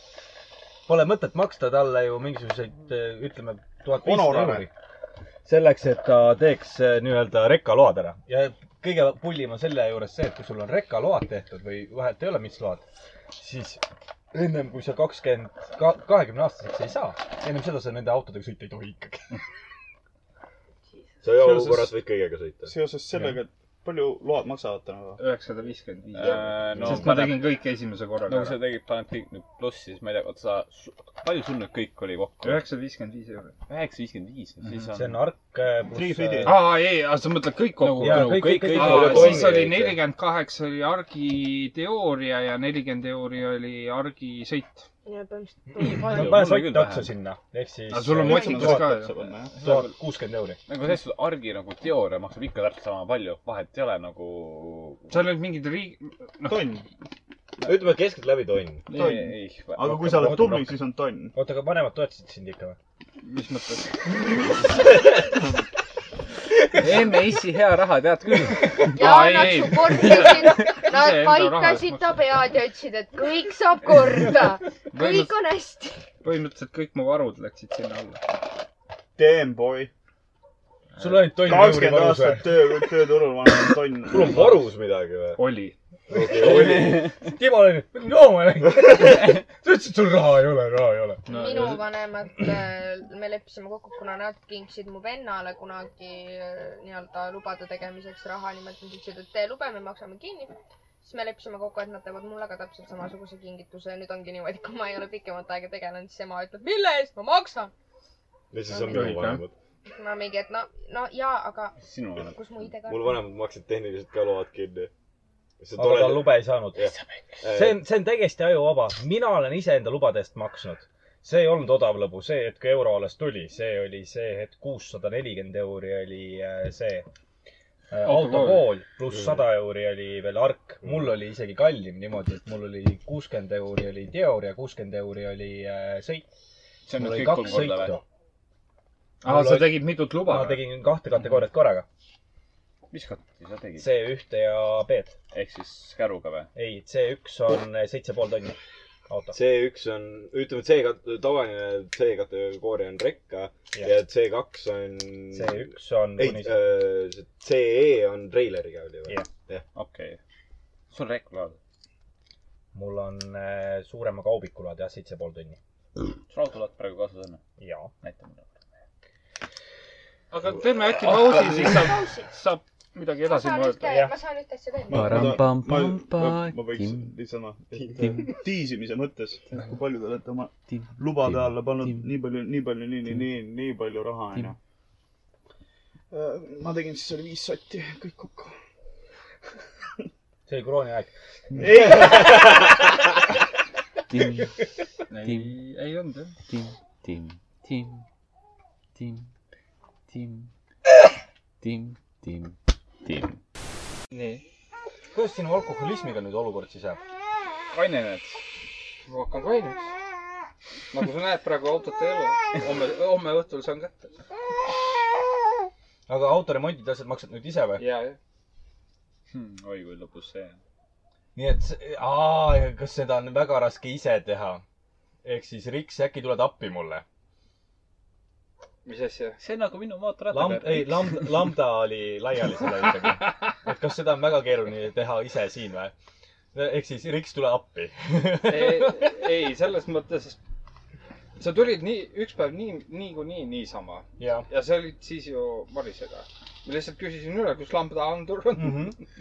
Pole mõtet maksta talle ju mingisuguseid , eh, ütleme , tuhat viissada
Honorare.
euri . selleks , et ta teeks eh, nii-öelda rekaload ära ja kõige pullim on selle juures see , et kui sul on rekaload tehtud või vahelt ei ole , mis load , siis ennem kui sa kakskümmend , kahekümne aastaseks ei saa , ennem seda sa nende autodega sõita ei tohi ikkagi .
sa jõukorras võid kõigega sõita .
seoses sellega , et palju load maksavad tänapäeval ?
üheksasada viiskümmend viis .
Äh,
Äh,
no
Sest ma
ma
tegin
tegin
kõik esimese korraga
nagu sa tegid , paned kõik nüüd plussi , siis ma ei tea , oota sa , palju sul nüüd kõik oli kokku ?
üheksasada viiskümmend viis eurot .
Nagu
üheksa viiskümmend viis , no siis on .
see on ark eh, pluss .
aa , ei , sa mõtled kõik kokku ?
Jaa, kõik- kõik- kõik- kõik-
siis
kõik-
oli
kõik-
nelikümmend kaheksa oli argiteooria ja nelikümmend euri oli argisõit .
ja põhimõtteliselt
no
tuli
pane
mulle
sott
küll
otsa
vähe.
sinna , ehk siis .
Aga sul on motsikas ka ju.
tuhat kuuskümmend euri .
nagu selles suhtes argi nagu teooria maksab ikka täpselt sama palju , vahet ei ole nagu . seal olid mingid riig- , noh .
tonn .
ütleme keskeltläbi tonn .
ei , ei .
aga kui sa oled tubli , siis on tonn .
oota , aga vanemad toetasid sind ikka või ?
mis mõttes ? MES-i hea raha , tead küll .
ja nad su kordasid , nad paikasid ta pead ja ütlesid , et kõik saab korda . kõik on hästi .
põhimõtteliselt kõik mu varud läksid sinna alla .
Damn boy .
sul oli tonn euri
kakskümmend
varus
aastat
või ?
töö , tööturul ma olen tonn .
sul on varus midagi või ?
oli .
okei , oli .
Timo oli , jooma läinud . sa ütlesid , sul raha ei ole , raha ei ole .
minu vanemad , me leppisime kokku , kuna nad kingsid mu vennale kunagi äh, nii-öelda lubade tegemiseks raha , nimelt nad ütlesid , et tee lube , me maksame kinni . siis me leppisime kokku , et nad teevad mulle ka täpselt samasuguse kingituse ja nüüd ongi niimoodi , kui ma ei ole pikemat aega tegelenud , siis ema ütleb , mille eest ma maksan .
ja siis on minu vanemad .
ma mingi , et no , no jaa , aga
sinu
vanemad.
kus mu ID-kaart
mul vanemad maksid tehniliselt ka load kinni .
aga ta lube ei saanud .
Äh,
see on , see on täiesti ajuvaba . mina olen iseenda lubade eest maksnud . see ei olnud odav lõbu , see hetk kui euro alles tuli , see oli see hetk kuussada nelikümmend euri oli äh, see äh,
Autokool.
autokool pluss sada euri oli veel ark . mul oli isegi kallim niimoodi , et mul oli kuuskümmend euri oli teooria , kuuskümmend euri oli äh, sõit .
See on
mul
nüüd
oli
kõik
kaks
kolm korda või?
sõitu .
Aa, sa tegid mitut luba
ma
või?
tegin kahte kategooriat korraga .
mis kotti sa tegid ?
C1-te ja B-d .
ehk siis käruga või ?
ei , C1 on seitse pool tonni auto .
C1 on , ütleme C , tavaline C kategooria on rekka
Jah.
ja C2 on .
C1 on
ei äh,
kuni- ,
CE E on treileriga oli või
Jah. ?
jah .
okei okay. . sul on reklaam .
mul on äh, suurema kaubikulaad jah , seitse pool tonni .
sul autolaat praegu kaasas on ?
jaa .
näita mulle . aga teeme äkki pausi , siis saab , saab midagi
ma
edasi
saan ühte
mõelda .,
ma saan ühte asja veel .
Parampampampa- ma võiks lisada , et tiisimise mõttes , kui palju te olete oma lubade alla pannud nii palju , nii palju , nii , nii , nii , nii palju raha , onju . Äh, ma tegin , siis oli viis sotti , kõik kokku .
see oli krooni aeg .
Ei.
Tim ,
ei
Tim ,,
ei olnud jah .
Tim , Tim , Tim , Tim , Tim , Tim , Tim , Tim .
nii .
kuidas sinu alkoholismiga nüüd olukord siis jääb ?
kainened . ma hakkan kaineks . nagu sa näed , praegu autot ei ole . homme , homme õhtul saan kätte .
aga autoremondid ja asjad maksad nüüd ise või ?
ja , ja . oi kui lõbus see on .
nii et , aa , kas seda on väga raske ise teha ? ehk siis , Riks , äkki tuled appi mulle ?
mis asja ? see on nagu minu mootorrattaga
Lamb- , ei , lamb- , lambda oli laiali selle ikkagi . et kas seda on väga keeruline teha ise siin või ? ehk siis , Riks , tule appi .
ei , ei , selles mõttes , sa tulid nii , üks päev nii , niikuinii niisama
Jah.
ja sa olid siis ju Marisega . ma lihtsalt küsisin üle , kus lambdaandur on mm .
Mhm.
-hmm.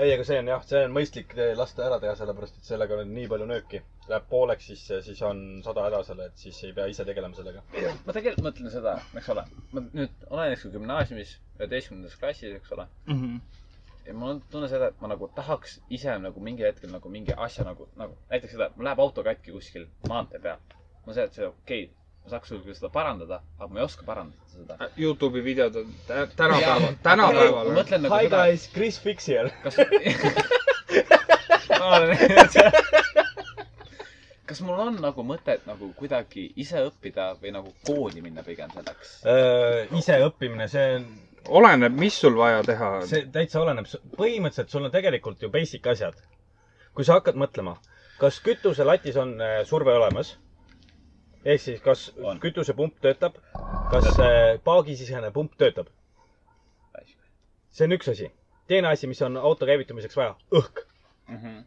ei , aga see on jah , see on mõistlik eh, lasta ära teha , sellepärast et sellega on nii palju nööki . Läheb pooleks sisse , siis on sada häda selle , et siis ei pea ise tegelema sellega .
ma tegelikult mõtlen seda , eks ole , ma nüüd olen eks ju gümnaasiumis üheteistkümnendas klassis , eks ole . ja mul on tunne seda , et ma nagu tahaks ise nagu mingil hetkel nagu mingi asja nagu , nagu näiteks seda , et mul läheb auto katki kuskil maantee peal . ma saan , et see okei okay, , ma saaks sul küll seda parandada , aga ma ei oska parandada seda .
Youtube'i videod on tä-
Jaa.
tänapäeval , tänapäeval
Ma mõtlen nagu
Hi
seda-
guys , Chris Fix here .
kas mul on nagu mõtet nagu kuidagi ise õppida või nagu kooli minna pigem selleks ?
Äh, ise õppimine , see on ,
oleneb , mis sul vaja teha on .
see täitsa oleneb . põhimõtteliselt sul on tegelikult ju basic asjad . kui sa hakkad mõtlema , kas kütuselatis on eh, surve olemas ?
äh, ehk siis , kas kütusepump töötab , kas äh, paagisisene pump töötab ? see on üks asi . teine asi , mis on auto käivitumiseks vaja , õhk .
Mhm.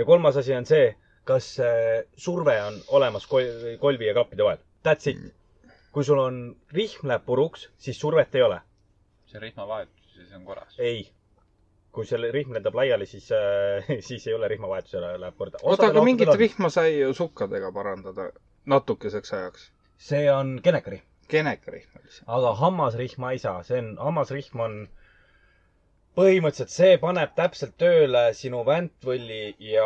ja kolmas asi on see , kas äh, surve on olemas kol kolvi ja klappide vahel . That's it . kui sul on , rihm läheb puruks , siis survet ei ole .
see rihmavahetus , siis on korras .
ei . kui selle rihm lendab laiali , siis äh, , siis ei ole rihmavahetusele , läheb korda .
oota , aga mingit rihma sai ju sukkadega parandada natukeseks ajaks .
see on kenekarihm .
kenekarihm oli see .
aga hammasrihma ei saa , see on , hammasrihm on põhimõtteliselt , see paneb täpselt tööle sinu väntvõlli ja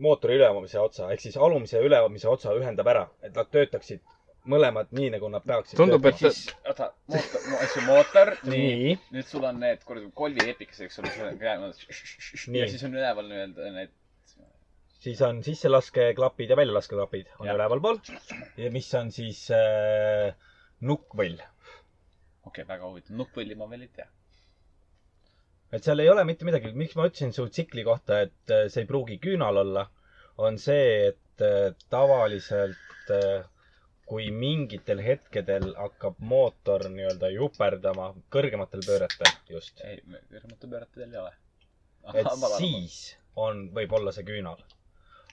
mootori ülemise otsa ehk siis alumise ja ülemise otsa ühendab ära , et nad töötaksid mõlemad nii , nagu nad peaksid .
Tundub, et
siis , oota , mootor , asju mootor ,
Nii.
nii . nüüd sul on need kuradi kolli epikas , eks ole , sul on käenud . ja
Nii.
siis on üleval nii-öelda need ,
siis on sisselaskeklapid ja väljalaskeklapid on ülevalpool , mis on siis äh, nukkvõll .
okei okay, , väga huvitav , nukkvõlli ma veel ei tea .
et seal ei ole mitte midagi , miks ma ütlesin su tsikli kohta , et äh, see ei pruugi küünal olla , on see , et äh, tavaliselt äh, kui mingitel hetkedel hakkab mootor nii-öelda juperdama kõrgematel pööretel just ,
ei , kõrgemate pöörata veel ei ole .
et siis on , võib olla see küünal .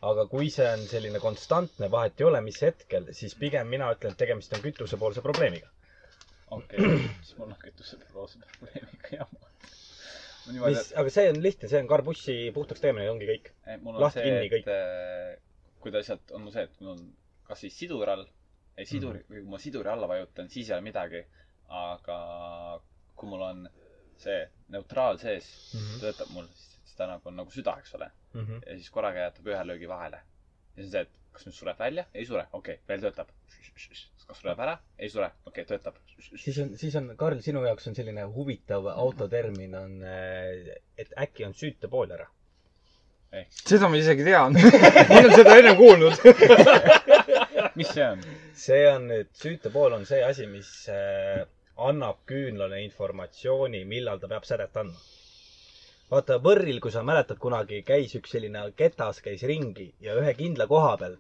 aga kui see on selline konstantne , vahet ei ole , mis hetkel , siis pigem mina ütlen , et tegemist on kütusepoolse probleemiga .
okei okay, , siis mul on kütuseproose probleemiga jama .
mis , aga see on lihtne , see on karbussi puhtaks tegemine , ongi kõik .
Eh, mul on
lahti ,
see ,
kinni , kõik .
et eh, kui ta lihtsalt on mul see , et mul on kas siis sidural , ei siduri
Mhm.
mm , -hmm. kui ma siduri alla vajutan , siis ei ole midagi . aga kui mul on see neutraal sees mm ,
Mhm.
-hmm. töötab mul , siis ta nagu on nagu süda , eks ole mm .
Mhm.
-hmm. ja siis korraga jätab ühe löögi vahele . ja siis on see , et kas nüüd sureb välja , ei sure , okei okay, , veel töötab . kas sureb ära , ei sure , okei okay, , töötab .
siis on , siis on , Karl , sinu jaoks on selline huvitav autotermin on , et äkki on süütepool ära .
seda ma isegi tean . ma olen seda enne kuulnud .
mis see on ?
see on nüüd , süütepool on see asi , mis äh, annab küünlale informatsiooni , millal ta peab sädet andma . vaata võrril , kui sa mäletad , kunagi käis üks selline ketas , käis ringi ja ühe kindla koha peal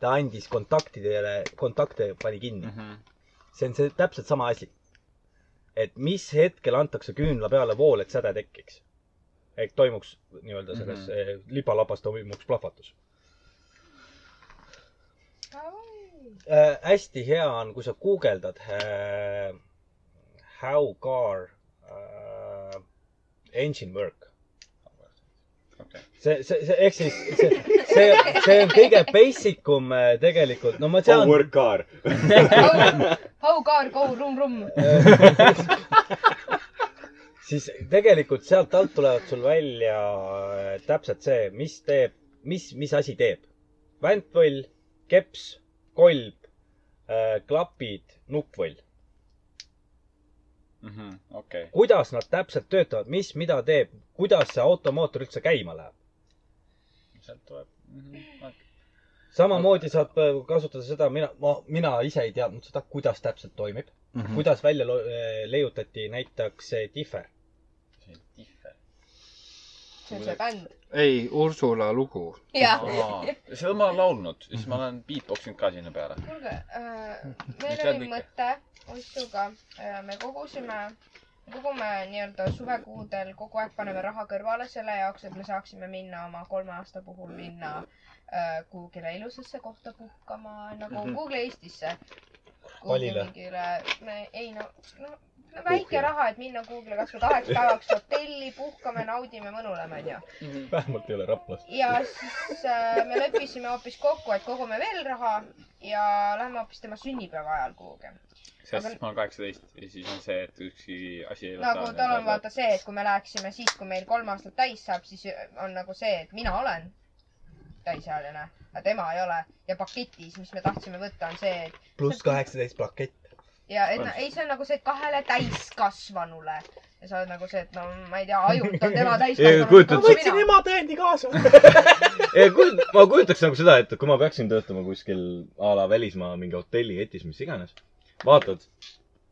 ta andis kontaktidele , kontakte pani kinni mm . -hmm. see on see täpselt sama asi . et mis hetkel antakse küünla peale vool , et säde tekiks . ehk toimuks nii-öelda selles mm
Mhm.
-hmm. lipalapas toimuks plahvatus . äh, hästi hea on , kui sa guugeldad äh, how car äh, engine work . see , see , see ehk siis see , see , see on kõige basic um äh, tegelikult , no ma tean .
How work car.
How car go rum rum .
siis tegelikult sealt alt tulevad sul välja äh, täpselt see , mis teeb , mis , mis asi teeb . väntvõll , keps , kolb , klapid , nuppvõll .
Mhm. okei ,
kuidas nad täpselt töötavad , mis , mida teeb , kuidas see automootor üldse käima läheb .
sealt tuleb mhm, .
samamoodi saab äh, kasutada seda , mina , ma , mina ise ei teadnud seda , kuidas täpselt toimib mm ,
Mhm.
-hmm. kuidas välja lo- äh, leiutati näiteks see differ .
see on see bänd .
ei , Ursula lugu .
Jah.
seda ma olen laulnud , siis ma olen beatboxinud ka sinna peale .
kuulge
Mis tead,
äh, , meil oli
Mihkel?
mõte Ostuga äh, , me kogusime , kogume nii-öelda suvekuudel kogu aeg paneme raha kõrvale selle jaoks , et me saaksime minna oma kolme aasta puhul minna äh, kuhugile ilusasse kohta puhkama , nagu
Mhm.
Google Eestisse .
Palile.
mingile , me ei no , no, no väike
Kuhugile.
raha , et minna Google'i kasvõi kaheks päevaks hotelli , puhkame , naudime , mõnuleme , onju
Mhm.
vähemalt ei ole Raplas .
ja siis äh, me leppisime hoopis kokku , et kogume veel raha ja lähme hoopis tema sünnipäeva ajal kuhugi .
sest ma olen kaheksateist ja siis on see , et ükski asi ei
nagu tal on vaata see , et kui me läheksime siis , kui meil kolm aastat täis saab , siis on nagu see , et mina olen täisealine , aga tema ei ole ja paketis , mis me tahtsime võtta , on see , et
pluss kaheksateist plakett .
ja et no, ei , see on nagu see et kahele täiskasvanule ja sa oled nagu see , et no ma ei tea , ajult on tema
Ei, kujutad
täiskasvanu .
sa-
ema tõendi kaasa .
ei , kujut- , ma kujutaks nagu seda , et kui ma peaksin töötama kuskil a la välismaa mingi hotelli etis , mis iganes , vaatad .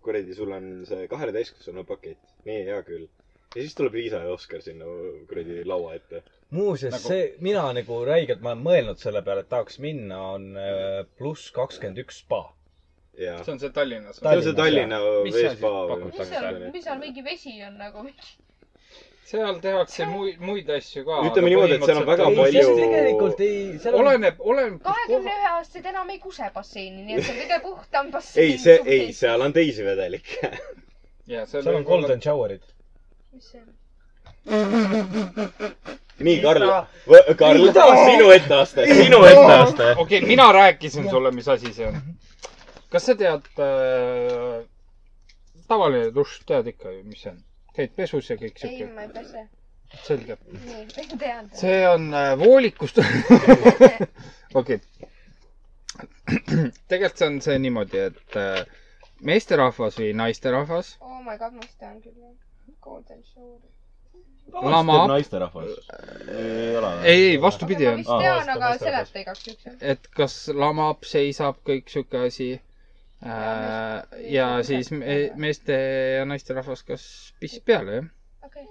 kuradi , sul on see kaheteistkümne pakett , nii hea küll .
ja siis tuleb Liisa ja Oskar sinna kuradi laua ette .
muuseas nagu... , see , mina nagu räigelt , ma olen mõelnud selle peale , et tahaks minna , on äh, pluss kakskümmend üks spa .
jaa .
see on see Tallinnas .
See on see Tallinna
Mis seal siis
veespa või-
pakutakse?
mis seal , mis seal mingi vesi on nagu mingi .
seal tehakse muid , muid asju ka .
Ütleme niimoodi, et seal on väga palju- tegelikult
ei ,
seal on . oleneb , oleneb .
kahekümne ühe aastased enam ei kuse basseini , nii et see on kõige puhtam bassein .
ei , see , ei ,. seal on teisi vedelikke .
ja
seal on golden shower'id .
mis see on ?
nii , Karl , Karl , sinu etteaste , sinu etteaste .
okei , mina rääkisin sulle , mis asi see on . kas sa tead äh, , tavaline dušš , tead ikka ju , mis see on ? käid pesus ja kõik
ei ,
siuke .
ma ei pese .
selge .
nii , tean .
see on äh, voolikust . okei . tegelikult see on see niimoodi , et äh, meesterahvas või naisterahvas
oh my god , ma vist tean küll jah . Golden Shower .
Lama.
naisterahvas . ei ole
ei , ei , vastupidi
ma
on
vist . tean , aga seleta igaks juhuks .
et kas lamab , seisab , kõik sihuke asi . ja siis me, meeste ja naisterahvas , kas pissib peale , jah ?
okei ,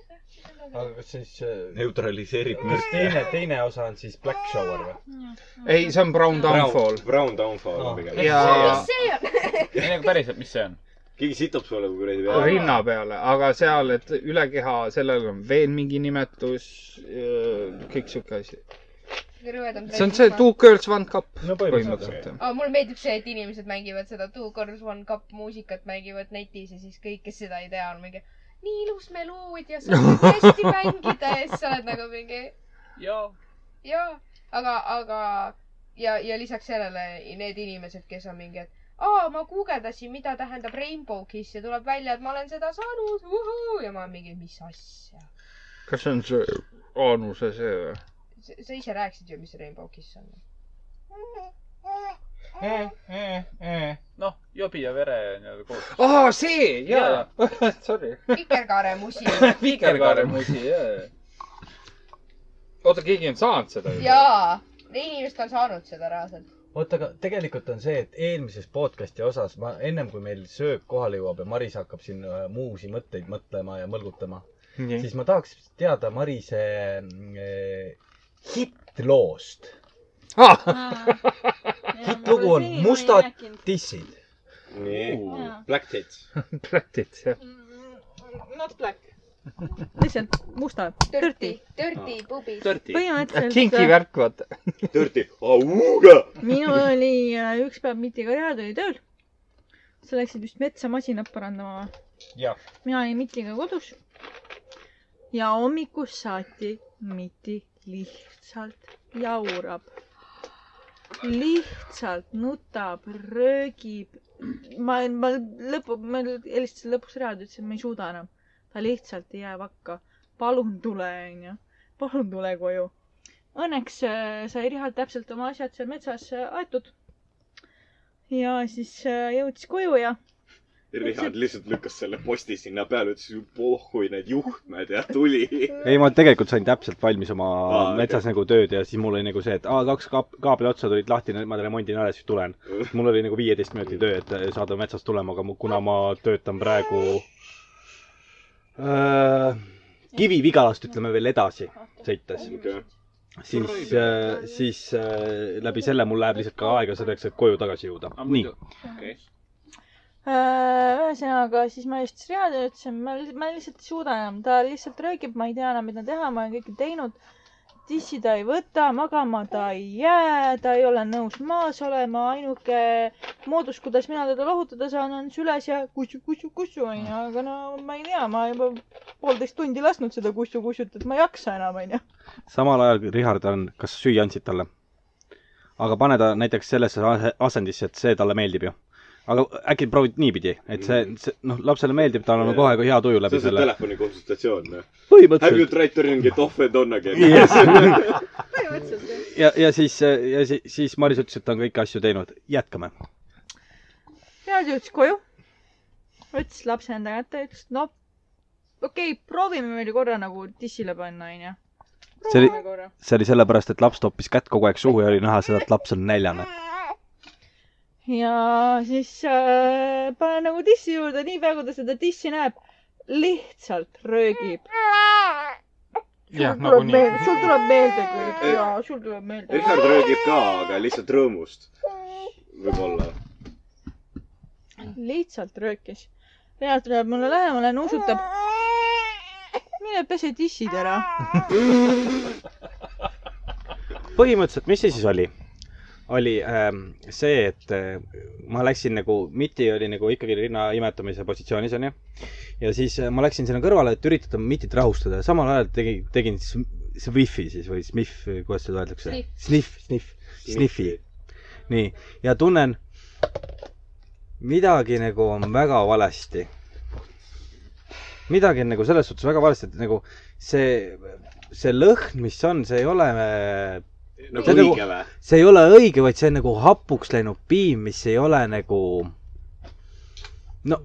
aga kas siis äh, ,
neutraliseerib
kas teine , teine osa on siis black shower või ?
ei , see on Brown Downfall .
Brown Downfall on
Ah.
pigem .
ja
mis see on ?
ei nagu päriselt , mis see on ?
keegi sitab sulle kuradi peale .
rinna peale , aga seal , et ülekeha , sellel on veel mingi nimetus , kõik sihuke asi .
rõvedam .
see on see Two Girls One Cup
no,
põhimõtteliselt .
aga mulle meeldib see , et inimesed mängivad seda Two Girls One Cup muusikat , mängivad netis ja siis kõik , kes seda ei tea , on mingi nii ilus melood ja sa saad hästi mängida ja siis sa oled nagu mingi
jaa .
jaa , aga , aga ja , ja lisaks sellele need inimesed , kes on mingi , et aa , ma guugeldasin , mida tähendab Rainbow Kiss ja tuleb välja , et ma olen seda saanud , vuhuu ja ma olen mingi , mis asja .
kas see on see Anuse see või ?
sa ise rääkisid ju , mis Rainbow Kiss on .
noh , jobi ja vere nii-öelda koos .
aa , see , jaa . Sorry .
vikerkaare musi .
vikerkaare musi , jaa . oota , keegi on saanud seda ju ?
jaa , inimesed on saanud seda reaalselt .
oota , aga tegelikult on see , et eelmises podcast'i osas ma ennem kui meil söök kohale jõuab ja Maris hakkab siin äh, muusi mõtteid mõtlema ja mõlgutama ,
Mhm.
siis ma tahaks teada Marise äh, hittloost .
Ah,
hittlugu on Mustad dissid .
nii ,
Jaa.
Black Tits .
Plätid , jah .
Mm, Not black . lihtsalt mustad , dirty .
Dirty pubis .
põhimõtteliselt-
kinki värk , vaata .
Dirty , auuga .
minul oli äh, üks päev Miti karjäär tuli tööl . sa läksid vist metsa masinat parandama või ?
jah ,
mina olin Mitiga kodus . ja hommikust saati Miti lihtsalt jaurab . lihtsalt nutab , röögib . ma , ma lõpu , ma helistasin lõpuks ära , ta ütles , et ma ei suuda enam . ta lihtsalt jääb hakka . palun tule , onju . palun tule koju . Õnneks äh, sai Rihard täpselt oma asjad seal metsas äh, aetud . ja siis äh, jõudis koju ja
Richard lihtsalt lükkas selle posti sinna peale , ütles pohhui need juhtmed ja tuli .
ei , ma tegelikult sain täpselt valmis oma
Aa, okei.
metsas nagu tööd ja siis mul oli nagu see , et aa , kaks kaab- , kaabli otsa tulid lahti , nüüd ma remondin ära , siis tulen . mul oli nagu viieteist minuti töö , et saada metsast tulema , aga mu- kuna ma töötan praegu äh, Kivi-Vigalast , ütleme veel edasi sõites , siis äh, , siis äh, läbi selle mul läheb lihtsalt ka aega selleks , et koju tagasi jõuda . nii .
okei .
Äh, ühesõnaga , siis ma just reaalselt ütlesin , ma , ma lihtsalt ei suuda enam , ta lihtsalt röögib , ma ei tea enam , mida teha , ma olen kõike teinud . tissi ta ei võta , magama ta ei jää , ta ei ole nõus maas olema , ainuke moodus , kuidas mina teda lohutada saan , on süles ja kussu , kussu , kussu onju , aga no ma ei tea , ma juba poolteist tundi lasknud seda kussu , kussut , et ma ei jaksa enam onju .
samal ajal Richard on , kas süüa andsid talle ? aga pane ta näiteks sellesse ase- asendisse , et see talle meeldib ju . aga äkki proovid niipidi , et see , see , noh , lapsele meeldib , tal on kohe ka hea tuju
Mm. see
läbi
on see
selle .
telefoni konsultatsioon , noh . Have you
põhimõtteliselt
tried turning it off and on again
Yes.
põhimõtteliselt jah .
ja , ja siis , ja siis, siis Maris ütles , et ta on kõiki asju teinud . jätkame .
mina jõudsin koju , võttis lapse enda kätte , ütles no okei okay, , proovime veel korra nagu tissile panna onju .
see oli ,
proovime korra .
see oli sellepärast , et laps toppis kätt kogu aeg suhu ja oli näha seda , et laps on näljane .
ja siis äh, panen nagu dissi juurde , niipea kui ta seda dissi näeb , lihtsalt röögib .
jah ,
nagu
tuleb
nagunii .
meelde , sul tuleb meelde kõik ja sul tuleb meelde .
Richard röögib ka , aga lihtsalt rõõmust . võib-olla .
lihtsalt röökis . Lea tuleb mulle lähemale , nuusutab . mine pese dissid ära .
põhimõtteliselt , mis see siis oli ? oli ähm, see , et äh, ma läksin nagu , Miti oli nagu ikkagi rinna imetamise positsioonis onju . ja siis äh, ma läksin sinna kõrvale , et üritada Mitit rahustada ja samal ajal tegi , tegin sm- Swiffi siis või Smith , kuidas seda öeldakse
Sniff. ?
Sniff , sniff , sniffi . nii , ja tunnen , midagi nagu on väga valesti . midagi on nagu selles suhtes väga valesti , et nagu see , see lõhn , mis on , see ei ole äh,
Nagu
see on
õige või?
see ei ole õige , vaid see on nagu hapuks läinud piim , mis ei ole nagu no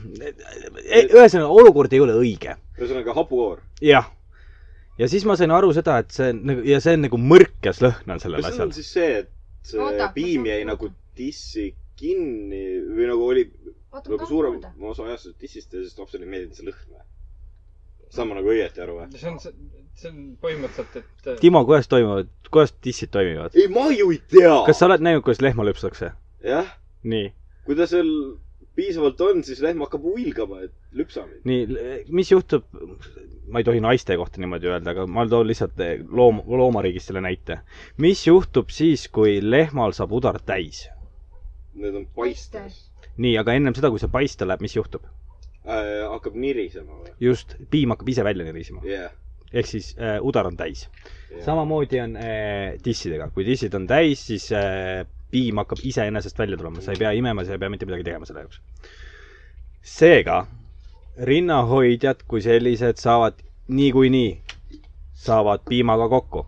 e- ühesõnaga olukord ei ole õige .
ühesõnaga hapukoor .
jah . ja siis ma sain aru seda , et see on nagu ja see on nagu mõrkes lõhn on sellel
kas see
asjal
on . siis see , et see
Oota,
piim jäi nagu dissi kinni või nagu oli
Oota, ma
nagu
tahan
suurem
kuulda.
osa ajast dissist ja siis lapsele ei meeldinud see lõhn või ? saan ma nagu õieti aru või ?
see on , see on põhimõtteliselt , et äh,
Timo , kuidas toimuvad , kuidas dissid toimivad ?
ei , ma ju ei tea .
kas sa oled näinud , kuidas lehma lüpstakse ?
jah ,
nii ,
kui ta seal piisavalt on , siis lehm hakkab huilgama , et lüpsa mind .
nii , mis juhtub , ma ei tohi naiste kohta niimoodi öelda , aga ma toon lihtsalt eh, loom- , loomariigist selle näite . mis juhtub siis , kui lehmal saab udar täis ?
Need on paistes
nii , aga ennem seda , kui see paista läheb , mis juhtub ?
äh, . hakkab nirisema või ?
just , piim hakkab ise välja nirisema .
jah ,
ehk siis äh, udar on täis . samamoodi on äh, dissidega , kui dissid on täis , siis äh, piim hakkab iseenesest välja tulema , sa ei pea imema , sa ei pea mitte midagi tegema selle jaoks . seega rinnahoidjad kui sellised saavad niikuinii , saavad piimaga kokku ,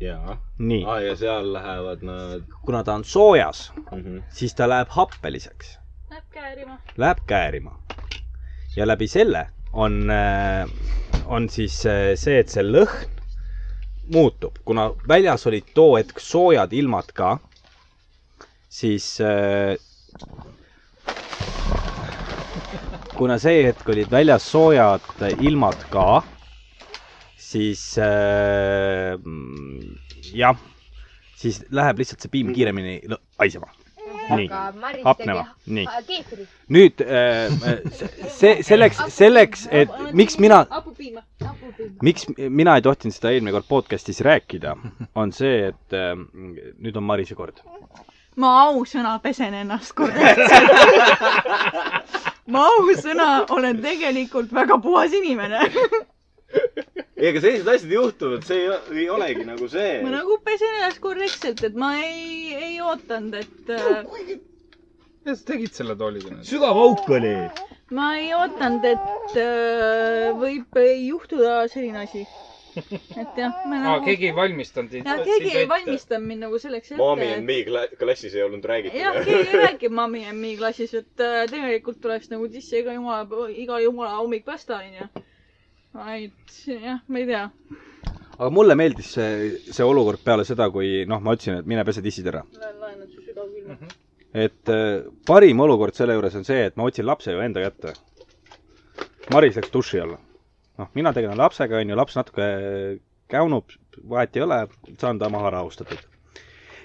jaa .
Nii.
aa , Ah, ja seal lähevad nad .
kuna ta on soojas
mm , -hmm.
siis ta läheb happeliseks ,
Läheb käärima .
läheb käärima ja läbi selle on , on siis äh, see , et see lõhn muutub , kuna väljas olid too hetk soojad ilmad ka , siis äh, kuna see hetk olid väljas soojad ilmad ka , siis äh, mm, jah , siis läheb lihtsalt see piim kiiremini lõ- haisema . nii , hapnema , nii .
keetri .
nüüd äh, see , selleks , selleks , et miks mina ,
hapupiima , hapupiima .
miks mina ei tohtinud seda eelmine kord podcast'is rääkida , on see , et äh, nüüd on Marise kord .
ma ausõna pesen ennast korraks . ma ausõna olen tegelikult väga puhas inimene .
ei , aga sellised asjad juhtuvad , see ei, ei olegi nagu see .
ma nagu pesen ennast korrektselt , et ma ei , ei ootanud , et äh,
ja sa tegid selle tooliga nüüd .
sügav auk oli .
ma ei ootanud , et äh, võib juhtuda selline asi . et jah , ma
aa ,
nagu ,
keegi ei valmistanud
ja keegi ei . valmista mind nagu selleks
Mommy
ette
and . me kla- klassis ei olnud räägitud .
jah , keegi ei räägi Mommy and me klassis , et äh, tegelikult tuleks nagu dissi iga jumala , iga jumala hommik pesta , onju . et jah , ma ei tea .
aga mulle meeldis see , see olukord peale seda , kui noh , ma ütlesin , et mine pese dissid ära .
lähen laenan su sügavkülma .
Mhm.
et äh, parim olukord selle juures on see , et ma otsin lapse ju enda kätte . Maris läks duši alla . noh , mina tegelen lapsega , onju , laps natuke äh, käunub , vahet ei ole , saan ta maha rahustatud .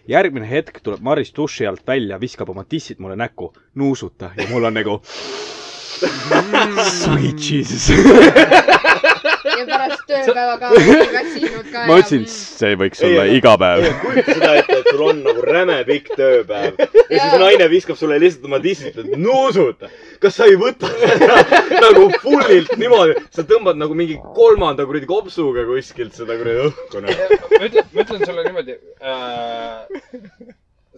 järgmine hetk tuleb Maris duši alt välja , viskab oma tissid mulle näkku , nuusuta ja mul on nagu "Mm, sweet jesus .
ja pärast tööpäeva ka oled katsinud ka
ma .
mm,
ütlesin , see võiks olla iga päev .
kujuta seda ette , et sul on nagu räme pikk tööpäev ja siis naine viskab sulle lihtsalt oma dissid , et nuusud . kas sa ei võta seda nagu fullilt niimoodi , sa tõmbad nagu mingi kolmanda kuradi kopsuga kuskilt seda kuradi õhku nagu .
ma ütlen , ma ütlen sulle niimoodi äh, .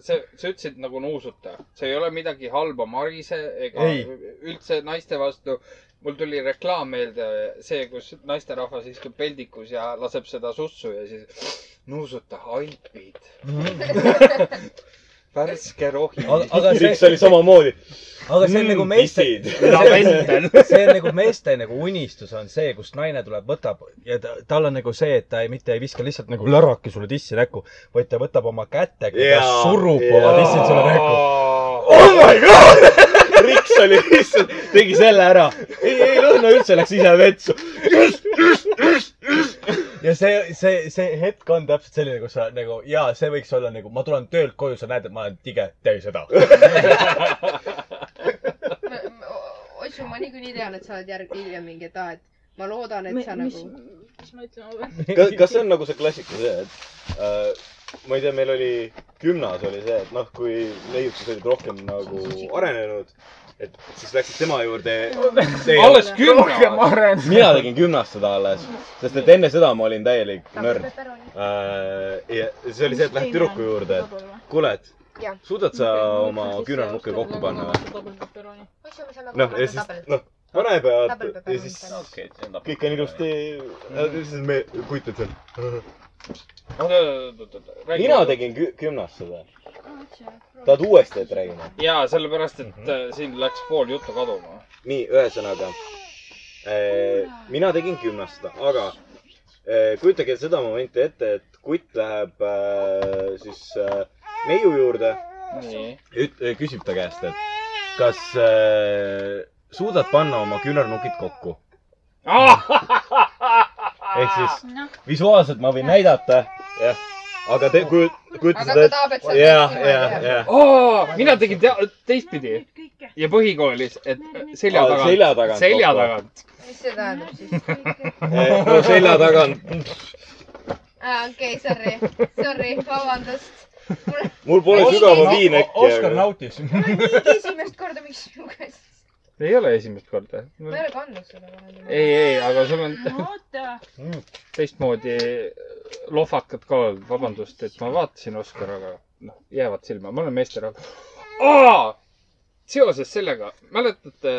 sa , sa ütlesid nagu nuusuta , see ei ole midagi halba Marise ega
Ei.
üldse naiste vastu . mul tuli reklaam meelde , see , kus naisterahvas istub peldikus ja laseb seda sussu ja siis nuusuta alpid . värske rohi .
Aga- aga see- Miks oli
samamoodi . Mm,
aga see on nagu meeste ,
laventel .
see on nagu meeste nagu unistus on see , kus naine tuleb , võtab ja ta , tal on nagu see , et ta ei , mitte ei viska lihtsalt nagu läraki sulle tissi näkku , vaid ta võtab oma kätega ja
Jaa,
surub
jaa.
oma tissid sulle näkku . Oh
oh my god , Riks oli lihtsalt , tegi selle ära . ei , ei , Õnne üldse läks ise vetsu .
ja see , see , see hetk on täpselt selline , kus sa nagu ja see võiks olla nagu , ma tulen töölt koju , sa näed , et ma olen tige , tee seda .
Otsu , ma niikuinii tean , et sa oled järg , hiljem mingi , et aa , et ma loodan , et sa
mis
nagu ,,
mis ma ütlen või ?
kas , kas see on nagu see klassika see , et äh, ma ei tea , meil oli gümnas oli see , et noh , kui neiukesed olid rohkem nagu arenenud , et siis läksid tema juurde .
Alles gümnas! Rohkem arenenud.
mina tegin gümnas seda alles , sest et enne seda ma olin täielik nörd . ja see oli see , et lähed tüdruku juurde , et kuule , et
Jah.
suudad sa oma küünarnukke kokku panna või ?
Otsu , me saame
noh , ja siis , noh , paneb ja , ja siis
Okei,
kõik on ilusti , siis me , kujutad seal . mina
nagu-
tegin kü- gümnas seda . tahad uuesti , et räägime ?
jaa , sellepärast ,
Mhm.
et äh, siin läks pool juttu kaduma .
nii , ühesõnaga . mina tegin gümnas seda , aga eh, kujutage seda momenti ette , et kutt läheb eh, siis eh, neiu juurde . üt- , küsib ta käest , et kas eh, suudad panna oma küünarnukid kokku . ehk siis visuaalselt ma võin näidata , jah , aga te kujut- , kujuta
Aga ta
seda
tahab, et sa
ette . jah ,
teed
jah ,
niimoodi.
jah .
Oo, mina tegin tea- , teistpidi ja põhikoolis , et selja
Aa,
tagant .
selja tagant
selja
kokku.
tagant .
mis see tähendab siis ?
no selja tagant .
aa , okei , Ah, sorry , sorry , vabandust .
mul pole sügava viin äkki .
Oskar nautis .
esimest korda , miks luges .
ei ole esimest korda .
ma ei ole kandnud seda varem .
ei , ei , aga sul on
oota ,
teistmoodi äh, lohvakad ka olnud , vabandust , et ma vaatasin Oskar , aga noh , jäävad silma , ma olen meesterahvas . seoses sellega , mäletate ,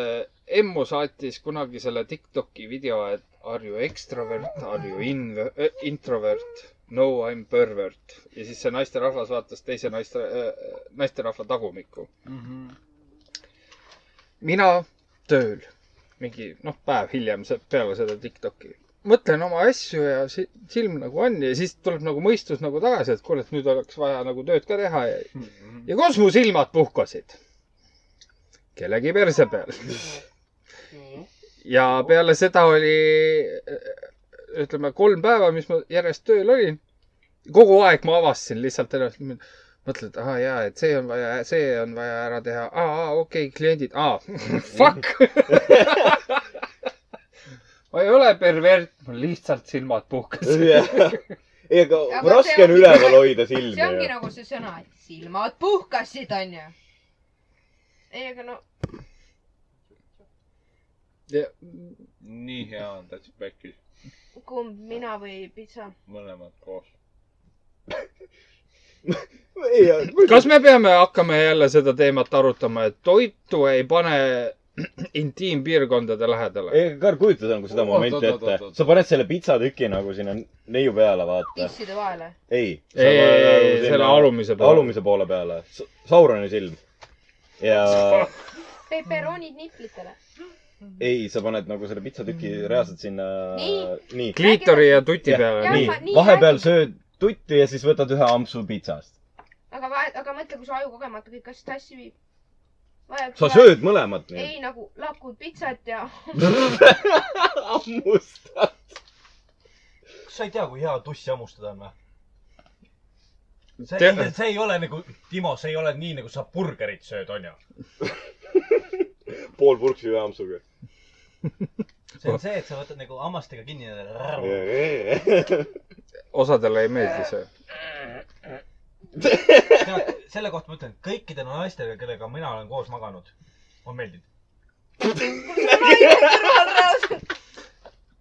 Emmu saatis kunagi selle Tiktoki video , et are you extrovert , are you in- , introvert , no I m pervert ja siis see naisterahvas vaatas teise naiste , naisterahva tagumikku . mina tööl , mingi noh , päev hiljem se- peale seda Tiktoki . mõtlen oma asju ja si- silm nagu on ja siis tuleb nagu mõistus nagu tagasi , et kuule , et nüüd oleks vaja nagu tööd ka teha ja , ja kus mu silmad puhkasid ? kellegi perse peal . ja peale seda oli äh, ütleme kolm päeva , mis ma järjest tööl olin . kogu aeg ma avastasin lihtsalt ennast , mõtled , aa jaa , et see on vaja , see on vaja ära teha , aa , aa , okei okay, , kliendid , aa , fuck . ma ei ole pervert , mul lihtsalt silmad puhkasid .
ei , aga raske on üleval hoida silmi .
see ongi nagu see sõna , et silmad puhkasid , onju . ei , aga no
nii
hea on Touch Backis ,
kumb mina või pitsa ?
mõlemad koos .
kas me peame hakkama jälle seda teemat arutama , et toitu ei pane intiimpiirkondade lähedale ?
ei , Karl , kujuta nagu seda
Oot,
momenti
oot, oot,
ette
oot, . oot.
sa paned selle pitsatüki nagu sinna neiu peale , vaata .
pisside vahele .
ei .
Ei, ei, ei, ei, selle alumise
peale .
poole.
alumise poole peale . Sauroni silm . ja
peperoonid niplitele .
ei , sa paned nagu selle pitsatüki reaalselt sinna .
Mm. Nii.
nii .
Kliitori ja tuti peale.
Jaa,
nii
ma- , nii
vahepeal sööd tutti ja siis võtad ühe ampsu pitsast .
aga vahe , aga mõtle , kui su aju kogemata kõik asjad sassi viib .
sa sööd mõlemat
nii ?
nii .
ei , nagu lakud pitsat ja
hammustad .
kas sa ei tea , kui hea tussi hammustada on või ? see
Tea-
ei , see ei ole nagu , Timo , see ei ole nii , nagu sa burgerit sööd , onju .
pool purksi ühe ampsuga .
see on see , et sa võtad nagu hammastega kinni ja .
osadele ei meeldi see .
tead , selle kohta ma ütlen , kõikide naistega , kellega mina olen koos maganud , on meeldinud .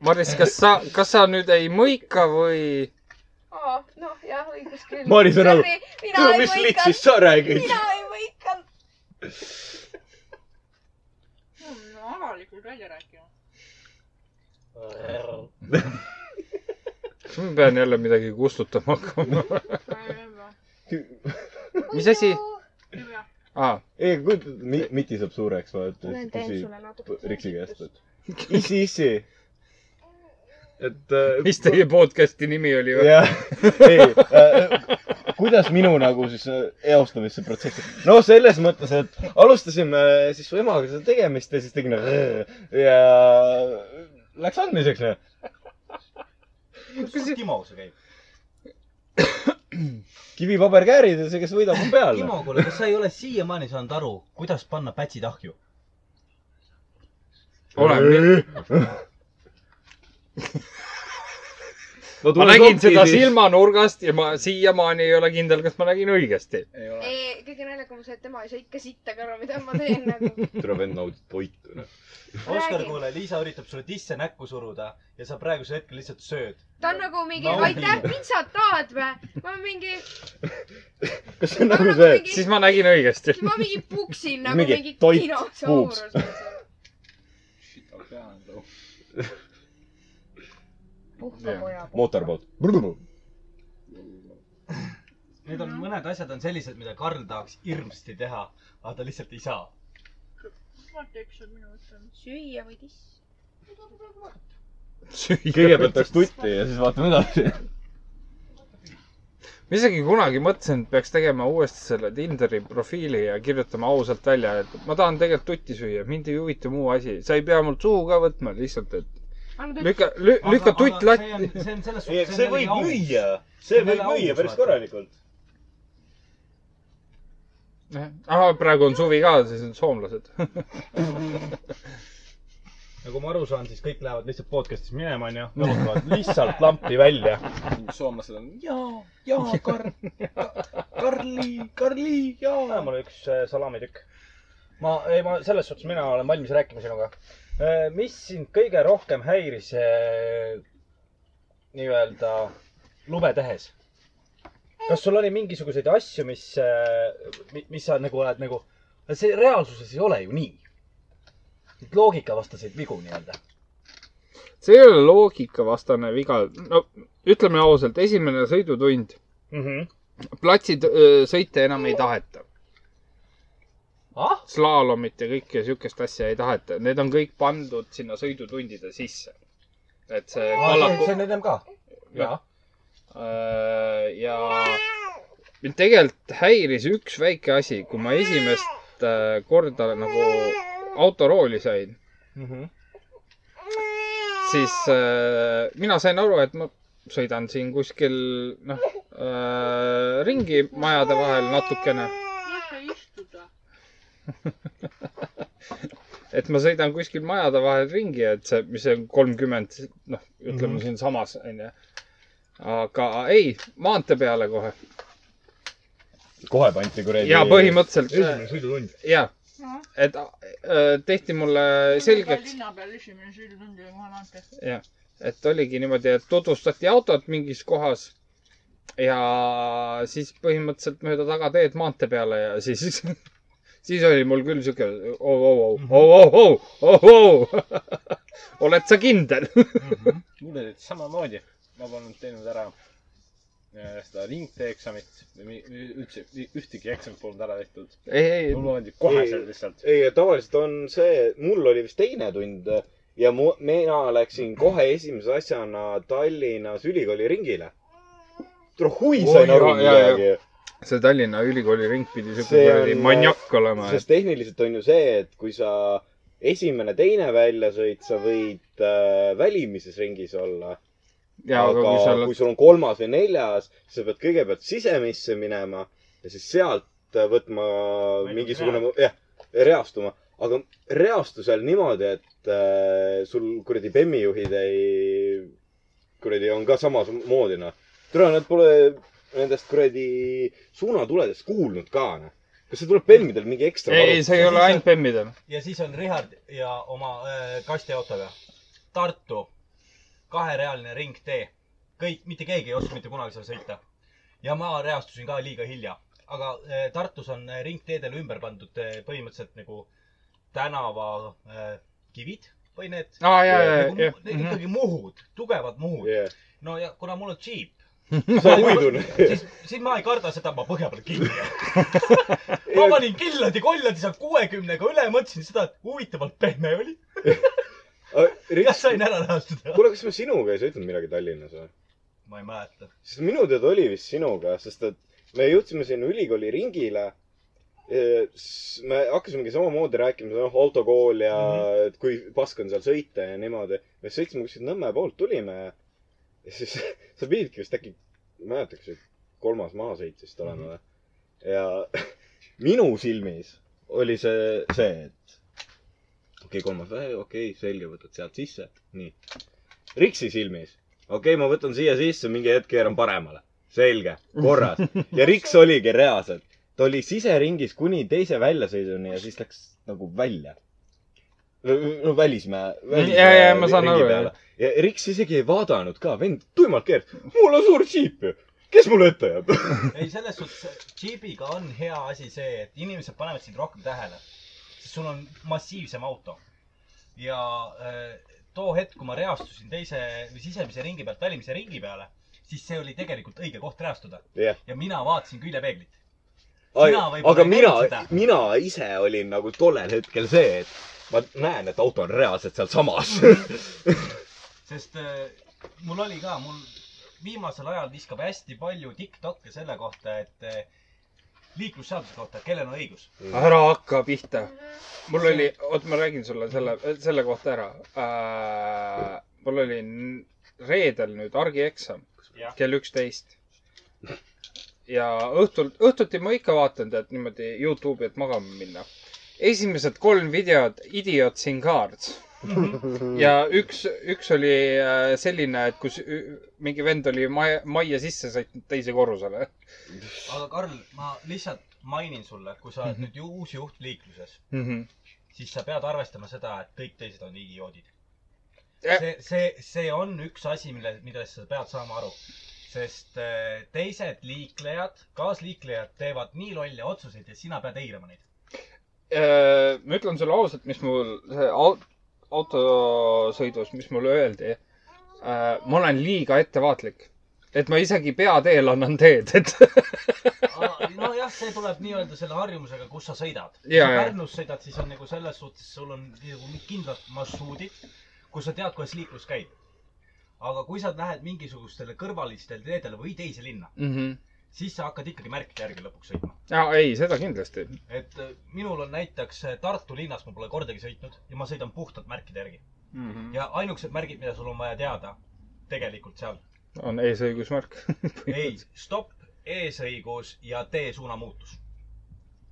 Maris , kas sa , kas sa nüüd ei mõika või ?
Aa, noh , jah , õigus küll .
Maris on nagu,
mina
"Tule,
ei
mis
võikanud.
litsist sa räägid?"
mina ei võikanud .
avalikult välja rääkima .
kas ma pean jälle midagi kustutama hakkama ? mis asi ? aa .
ei , kujuta , Miti saab suureks , vaata .
Ma teen sulle natuke
Riksi käest , et issi , issi . et äh,
mis teie podcast'i nimi oli
jah , ei äh, , kuidas minu nagu siis äh, eostumisse protsess , no selles mõttes , et alustasime äh, siis su emaga seda tegemist ja siis tegin rrr ja läks andmiseks .
kus see Timo see käib ?
kivi , paber , käärid ja see , kes võidab , on peal .
Timo , kuule , kas sa ei ole siiamaani saanud aru , kuidas panna pätsid ahju ?
olen . ma nägin seda . silmanurgast ja ma siiamaani ei ole kindel , kas ma nägin õigesti .
kõige naljakam on see , et tema ei saa ikka sitta ka aru , mida ma teen nagu .
tere , vend naudib toitu .
Oskar , kuule , Liisa üritab sulle tisse näkku suruda ja sa praegusel hetkel lihtsalt sööd .
ta on nagu mingi
Naudi.
aitäh , pitsat tahad või ? ma mingi ,
kas see on nagu see ,
siis ma nägin õigesti .
ma mingi puksin nagu
Mingi
mingi
toit
dinosaurus .
puhkapoja .
mootorboot .
Need on , mõned asjad on sellised , mida Karl tahaks hirmsasti teha , aga ta lihtsalt ei saa .
vaata , üks on minu otsa , süüa või tiss .
kõigepealt tahaks tutti ja siis vaatame edasi .
ma isegi kunagi mõtlesin , et peaks tegema uuesti selle Tinderi profiili ja kirjutama ausalt välja , et ma tahan tegelikult tutti süüa , mind ei huvita muu asi , sa ei pea mult suhu ka võtma , lihtsalt , et lükka , lükka tutt latti .
see on selles
ei ,
suhtes .
aga see võib müüa , see võib müüa päris . korralikult .
ahah , praegu on suvi ka , siis on soomlased .
nagu ma aru saan , siis kõik lähevad lihtsalt podcast'is minema , onju . jalutavad lihtsalt lampi välja .
soomlased on .
jaa , jaa , Karl , Karli , Karli , jaa .
jaa , mul on üks äh, salamitükk . ma , ei ma selles suhtes , mina olen valmis rääkima sinuga . mis sind kõige rohkem häiris äh, nii-öelda lube tehes ? kas sul oli mingisuguseid asju , mis , mis sa nagu oled nagu , see reaalsuses ei ole ju nii . loogikavastaseid vigu nii-öelda .
see ei ole loogikavastane viga , no ütleme ausalt , esimene sõidutund ,
mm . -hmm.
platsid , sõite enam ei taheta .
Ah?
slaalomit ja kõike siukest asja ei taheta , need on kõik pandud sinna sõidutundide sisse . et see
see
kallaku
see on ennem ka . jaa .
ja mind tegelikult häiris üks väike asi , kui ma esimest äh, korda nagu autorooli sain , siis äh, mina sain aru , et ma sõidan siin kuskil noh äh, ringi majade vahel natukene
lase istuda .
et ma sõidan kuskil majade vahel ringi , et see , mis see on kolmkümmend , noh , ütleme mm
Mhm.
-hmm. siinsamas onju . aga ei , maantee peale kohe .
kohe pandi kuradi .
ja põhimõtteliselt .
esimene sõidutund .
ja
Mhm. ,
et äh, tehti mulle selgeks ,
linna peal esimene sõidutund oli kohe maantees .
jah , et oligi niimoodi , et tutvustati autot mingis kohas ja siis põhimõtteliselt mööda tagateed maantee peale ja siis , siis oli mul küll siuke oh, oo-oo-oo , oo-oo-oo , oo-oo , oh, oled sa kindel ?
mul oli samamoodi , ma polnud teinud ära äh, seda ringtee eksamit või mi- või üldse mi- ühtegi eksamit polnud ära tehtud .
Ei, ei.
mul loodi koheselt lihtsalt .
ei , tavaliselt on see , mul oli vist teine tund ja mu , mina läksin kohe esimese asjana Tallinnas ülikooli ringile . tule hui , sain
Oi,
aru
jaa, jaa, jaa.
midagi .
see Tallinna Ülikooli ring pidi siuke
See
kuradi
on-
maniak olema ,
sest
et
tehniliselt on ju see , et kui sa esimene , teine välja sõid , sa võid äh, välimises ringis olla .
Jaa, aga
aga
kui
kui,
sa
oled...
oled-
kui sul on kolmas või neljas , sa pead kõigepealt sisemisse minema ja siis sealt äh, võtma mingisugune , jah , reastuma . aga reastu seal niimoodi , et äh, sul kuradi bemmi juhid ei , kuradi on ka samamoodi , noh . tule , nad pole nendest kuradi suunatuledest kuulnud ka , noh . kas see tuleb bemmidel mingi ekstra ?
ei , ei , see ei ole ainult . bemmidel .
ja siis on Richard ja oma äh, kastiautoga . Tartu , kaherealine ringtee . kõik , mitte keegi ei oska mitte kunagi seal sõita . ja ma reastusin ka liiga hilja . aga äh, Tartus on äh, ringteedele ümber pandud äh, põhimõtteliselt nagu tänavakivid äh, või need
Aa, Ah, jaa, jaa,
nagu,
jah.
need
Mhm.
ikkagi muhud , tugevad muhud
yeah. .
no ja kuna mul on džiip .
sa huidun .
siis , siis ma ei karda seda , ma põhja peal kinni jään . ma panin killadi kolladi seal kuuekümnega üle , mõtlesin seda , et huvitavalt pehme oli .
kas
sain ära rahastada ?
kuule , kas ma sinuga ei sõitnud midagi Tallinnas või ?
ma ei mäleta .
sest minu teada oli vist sinuga , sest et me jõudsime sinna ülikooli ringile . me hakkasimegi samamoodi rääkima , noh , autokool ja
Mhm.
mm. et kui pask on seal sõita ja niimoodi . me sõitsime kuskilt Nõmme poolt , tulime ja ja siis sa pididki vist äkki , ma ei mäleta , kas see kolmas maasõit vist
Mhm.
olema või ? ja minu silmis oli see , see , et okei okay, , kolmas , okei okay, , selge , võtad sealt sisse , nii . Riksi silmis , okei okay, , ma võtan siia sisse , mingi hetk keeran paremale . selge , korras . ja Riks oligi reaalselt . ta oli siseringis kuni teise väljasõiduni ja siis läks nagu välja . no välismäe .
Ja, ja, ma saan aru, jah.
ja Riks isegi ei vaadanud ka , vend tuimalt keeras . mul on suur džiip ju . kes mulle ette jääb ?
ei , selles suhtes džiibiga on hea asi see , et inimesed panevad sind rohkem tähele . sest sul on massiivsem auto . ja äh, too hetk , kui ma reastusin teise või sisemise ringi pealt välimise ringi peale , siis see oli tegelikult õige koht reastuda .
jah .
ja mina vaatasin küljepeeglit . Mina võib-olla
aga
ei
mina
teinud seda. ,
mina ise olin nagu tollel hetkel see , et ma näen , et auto on reaalselt sealsamas .
sest äh, mul oli ka , mul viimasel ajal viskab hästi palju tiktok'e selle kohta , et äh, liiklusseaduse kohta , kellel on õigus .
ära hakka pihta . mul oli , oot , ma räägin sulle selle , selle kohta ära äh, . mul oli n- reedel nüüd argieksam
Jah.
kell üksteist . ja õhtul , õhtuti ma ikka vaatan tead niimoodi Youtube'i , et magama minna . esimesed kolm videot , idiots in cards ja üks , üks oli äh, selline , et kus ü- mingi vend oli maja , majja sisse sõitnud teise korrusele .
aga Karl , ma lihtsalt mainin sulle , kui sa oled
Mhm.
nüüd ju uus juht liikluses , siis sa pead arvestama seda , et kõik teised on idioodid . see , see , see on üks asi , mille , millest sa pead saama aru . sest äh, teised liiklejad , kaasliiklejad teevad nii lolle otsuseid ja sina pead eirama neid .
Äh, ma ütlen sulle ausalt , mis mul see au- autosõidus , mis mulle öeldi . ma olen liiga ettevaatlik , et ma isegi peateel annan teed , et
nojah , see tuleb nii-öelda selle harjumusega , kus sa sõidad . kui
Jaa,
sa
jaa.
Pärnus sõidad , siis on nagu selles suhtes , sul on nagu mingid kindlad marsruudid , kus sa tead , kuidas liiklus käib . aga kui sa lähed mingisugustele kõrvalistele teedele või teise linna ,
Mhm.
siis sa hakkad ikkagi märkide järgi lõpuks sõitma .
ja ei , seda kindlasti .
et äh, minul on näiteks äh, Tartu linnas , ma pole kordagi sõitnud ja ma sõidan puhtalt märkide järgi .
Mhm.
ja ainukesed märgid , mida sul on vaja teada tegelikult seal ,
on eesõigusmärk .
ei , stopp , eesõigus ja tee suunamuutus .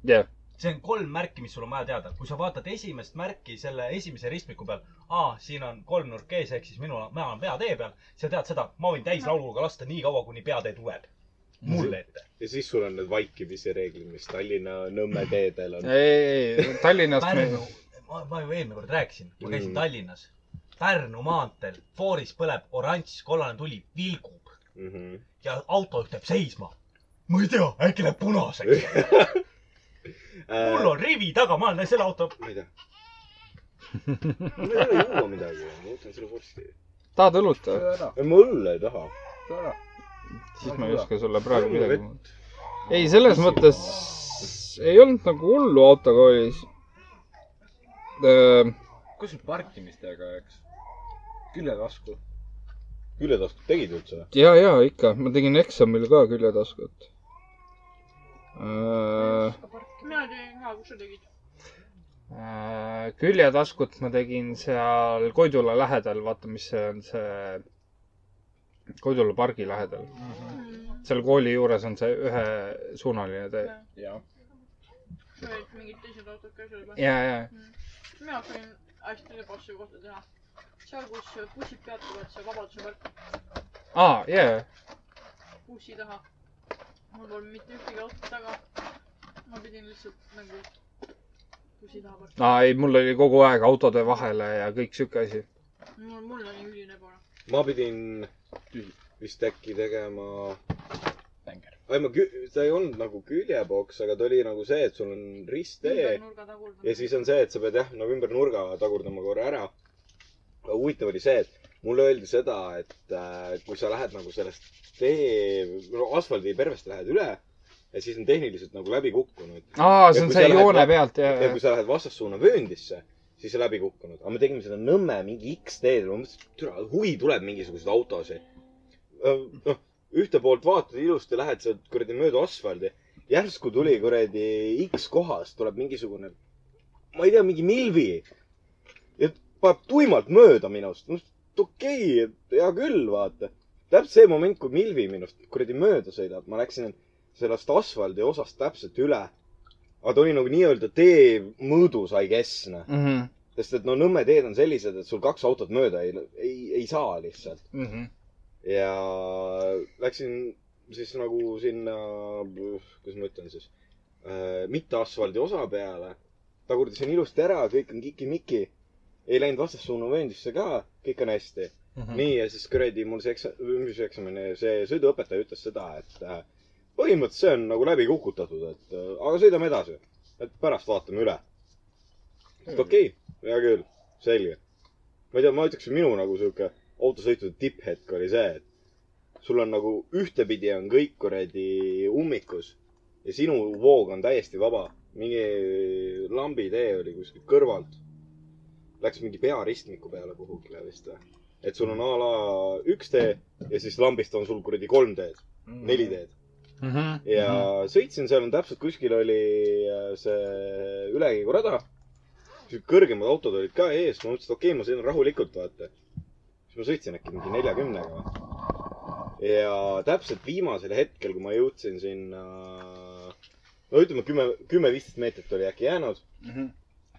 jah ,
see on kolm märki , mis sul on vaja teada . kui sa vaatad esimest märki selle esimese ristmiku peal , aa , siin on kolmnurk ees , ehk siis minu , mina olen peatee peal , sa tead seda , ma võin täislauluga lasta nii kaua , kuni peatee tuleb . mulle ette .
ja siis sul on need vaikimise reeglid , mis Tallinna Nõmme teedel on .
ei , ei , Tallinnast me
Pärnu , ma , ma ju eelmine kord rääkisin , ma käisin
Mm.
mm. Tallinnas . Pärnu maanteel fooris põleb oranž , kollane tuli , vilgub
Mhm.
ja autojuht jääb seisma . ma ei tea , äkki läheb punaseks . mul on rivi taga , ma olen selle auto .
Äh, ma ei tea . mul ei ole juua midagi , ma võtan selle vorsti .
tahad õlut või ?
ei , ma õlle ei taha .
siis ma ei oska sulle praegu midagi . ei , selles mõttes ei olnud nagu hullu Äh, autoga oli .
kus sul parkimistega läks ? küljetasku .
küljetasku tegid üldse või ?
ja , ja ikka , ma tegin eksamil ka küljetaskut . Äh,
mina tegin ka , kus sa tegid ?
Äh, küljetaskut ma tegin seal Koidula lähedal , vaata , mis see on , see Koidula pargi lähedal .
Mm.
seal kooli juures on see ühesuunaline tee .
jah .
sa olid mingid teised autod ka seal peal .
ja , ja ,
mina hakkasin hästi ebasse kohta teha . seal , kus bussid peatuvad , see Vabaduse park ,
aa , ja , ja ,
bussi taha . mul polnud mitte ühtegi autot taga . ma pidin lihtsalt nagu bussi taha parkima .
aa ei , mul oli kogu aeg autode vahele ja kõik sihuke asi .
mul , mul oli üline ebaõnn .
ma pidin vist äkki tegema . ei , ma kü- , ta ei olnud nagu küljepoks , aga ta oli nagu see , et sul on risttee
nurga tagurdamine .
ja siis on see , et sa pead jah , nagu ümber nurga tagurdama korra ära . aga huvitav oli see , et mulle öeldi seda , et äh, kui sa lähed nagu sellest tee , no asfaldi pervest lähed üle ja siis on tehniliselt nagu läbi kukkunud .
Aa, see on see joone pealt, jah,
ja
jah.
kui sa lähed vastassuuna vööndisse , siis sa läbi kukkunud . aga me tegime seda Nõmme mingi X-teed , ma mõtlesin , et türa , huvi tuleb mingisuguseid autosid . noh , ühte poolt vaatad ilusti , lähed sealt kuradi mööda asfaldi . järsku tuli kuradi X kohast tuleb mingisugune , ma ei tea , mingi Milvi . ja paneb tuimalt mööda minust . okei okay, , hea küll , vaata . täpselt see moment , kui Milvi minust kuradi mööda sõidab , ma läksin sellest asfaldi osast täpselt üle . aga ta oli nagu nii-öelda tee mõõdus , I guess , noh .
Mhm.
sest et no Nõmme teed on sellised , et sul kaks autot mööda ei , ei , ei saa lihtsalt .
Mhm.
ja läksin siis nagu sinna , kuidas ma ütlen siis , mitteasfaldi osa peale . tagurdasin ilusti ära , kõik on kiki-miki . ei läinud vastassuunavööndisse ka , kõik on hästi mm .
Mhm.
-hmm. nii , ja siis kuradi mul see eksa- , mis eksamine , see sõiduõpetaja ütles seda , et äh, põhimõtteliselt see on nagu läbi kukutatud , et äh, aga sõidame edasi . et pärast vaatame üle . et okei okay, , hea küll , selge . ma ei tea , ma ütleks , minu nagu sihuke autosõitude tipphetk oli see , et sul on nagu ühtepidi on kõik kuradi ummikus ja sinu voog on täiesti vaba . mingi lambitee oli kuskilt kõrvalt . Läks mingi pearistmiku peale kuhugile vist või ? et sul on a la üks tee ja siis lambist on sul kuradi kolm teed , neli teed .
mhm.
ja sõitsin , seal on täpselt kuskil oli äh, see ülekäigurada . kõrgemad autod olid ka ees , ma mõtlesin , et okei okay, , ma sõidan rahulikult , vaata . siis ma sõitsin äkki mingi neljakümnega . ja täpselt viimasel hetkel , kui ma jõudsin sinna , no ütleme kümme , kümme-viisteist meetrit oli äkki jäänud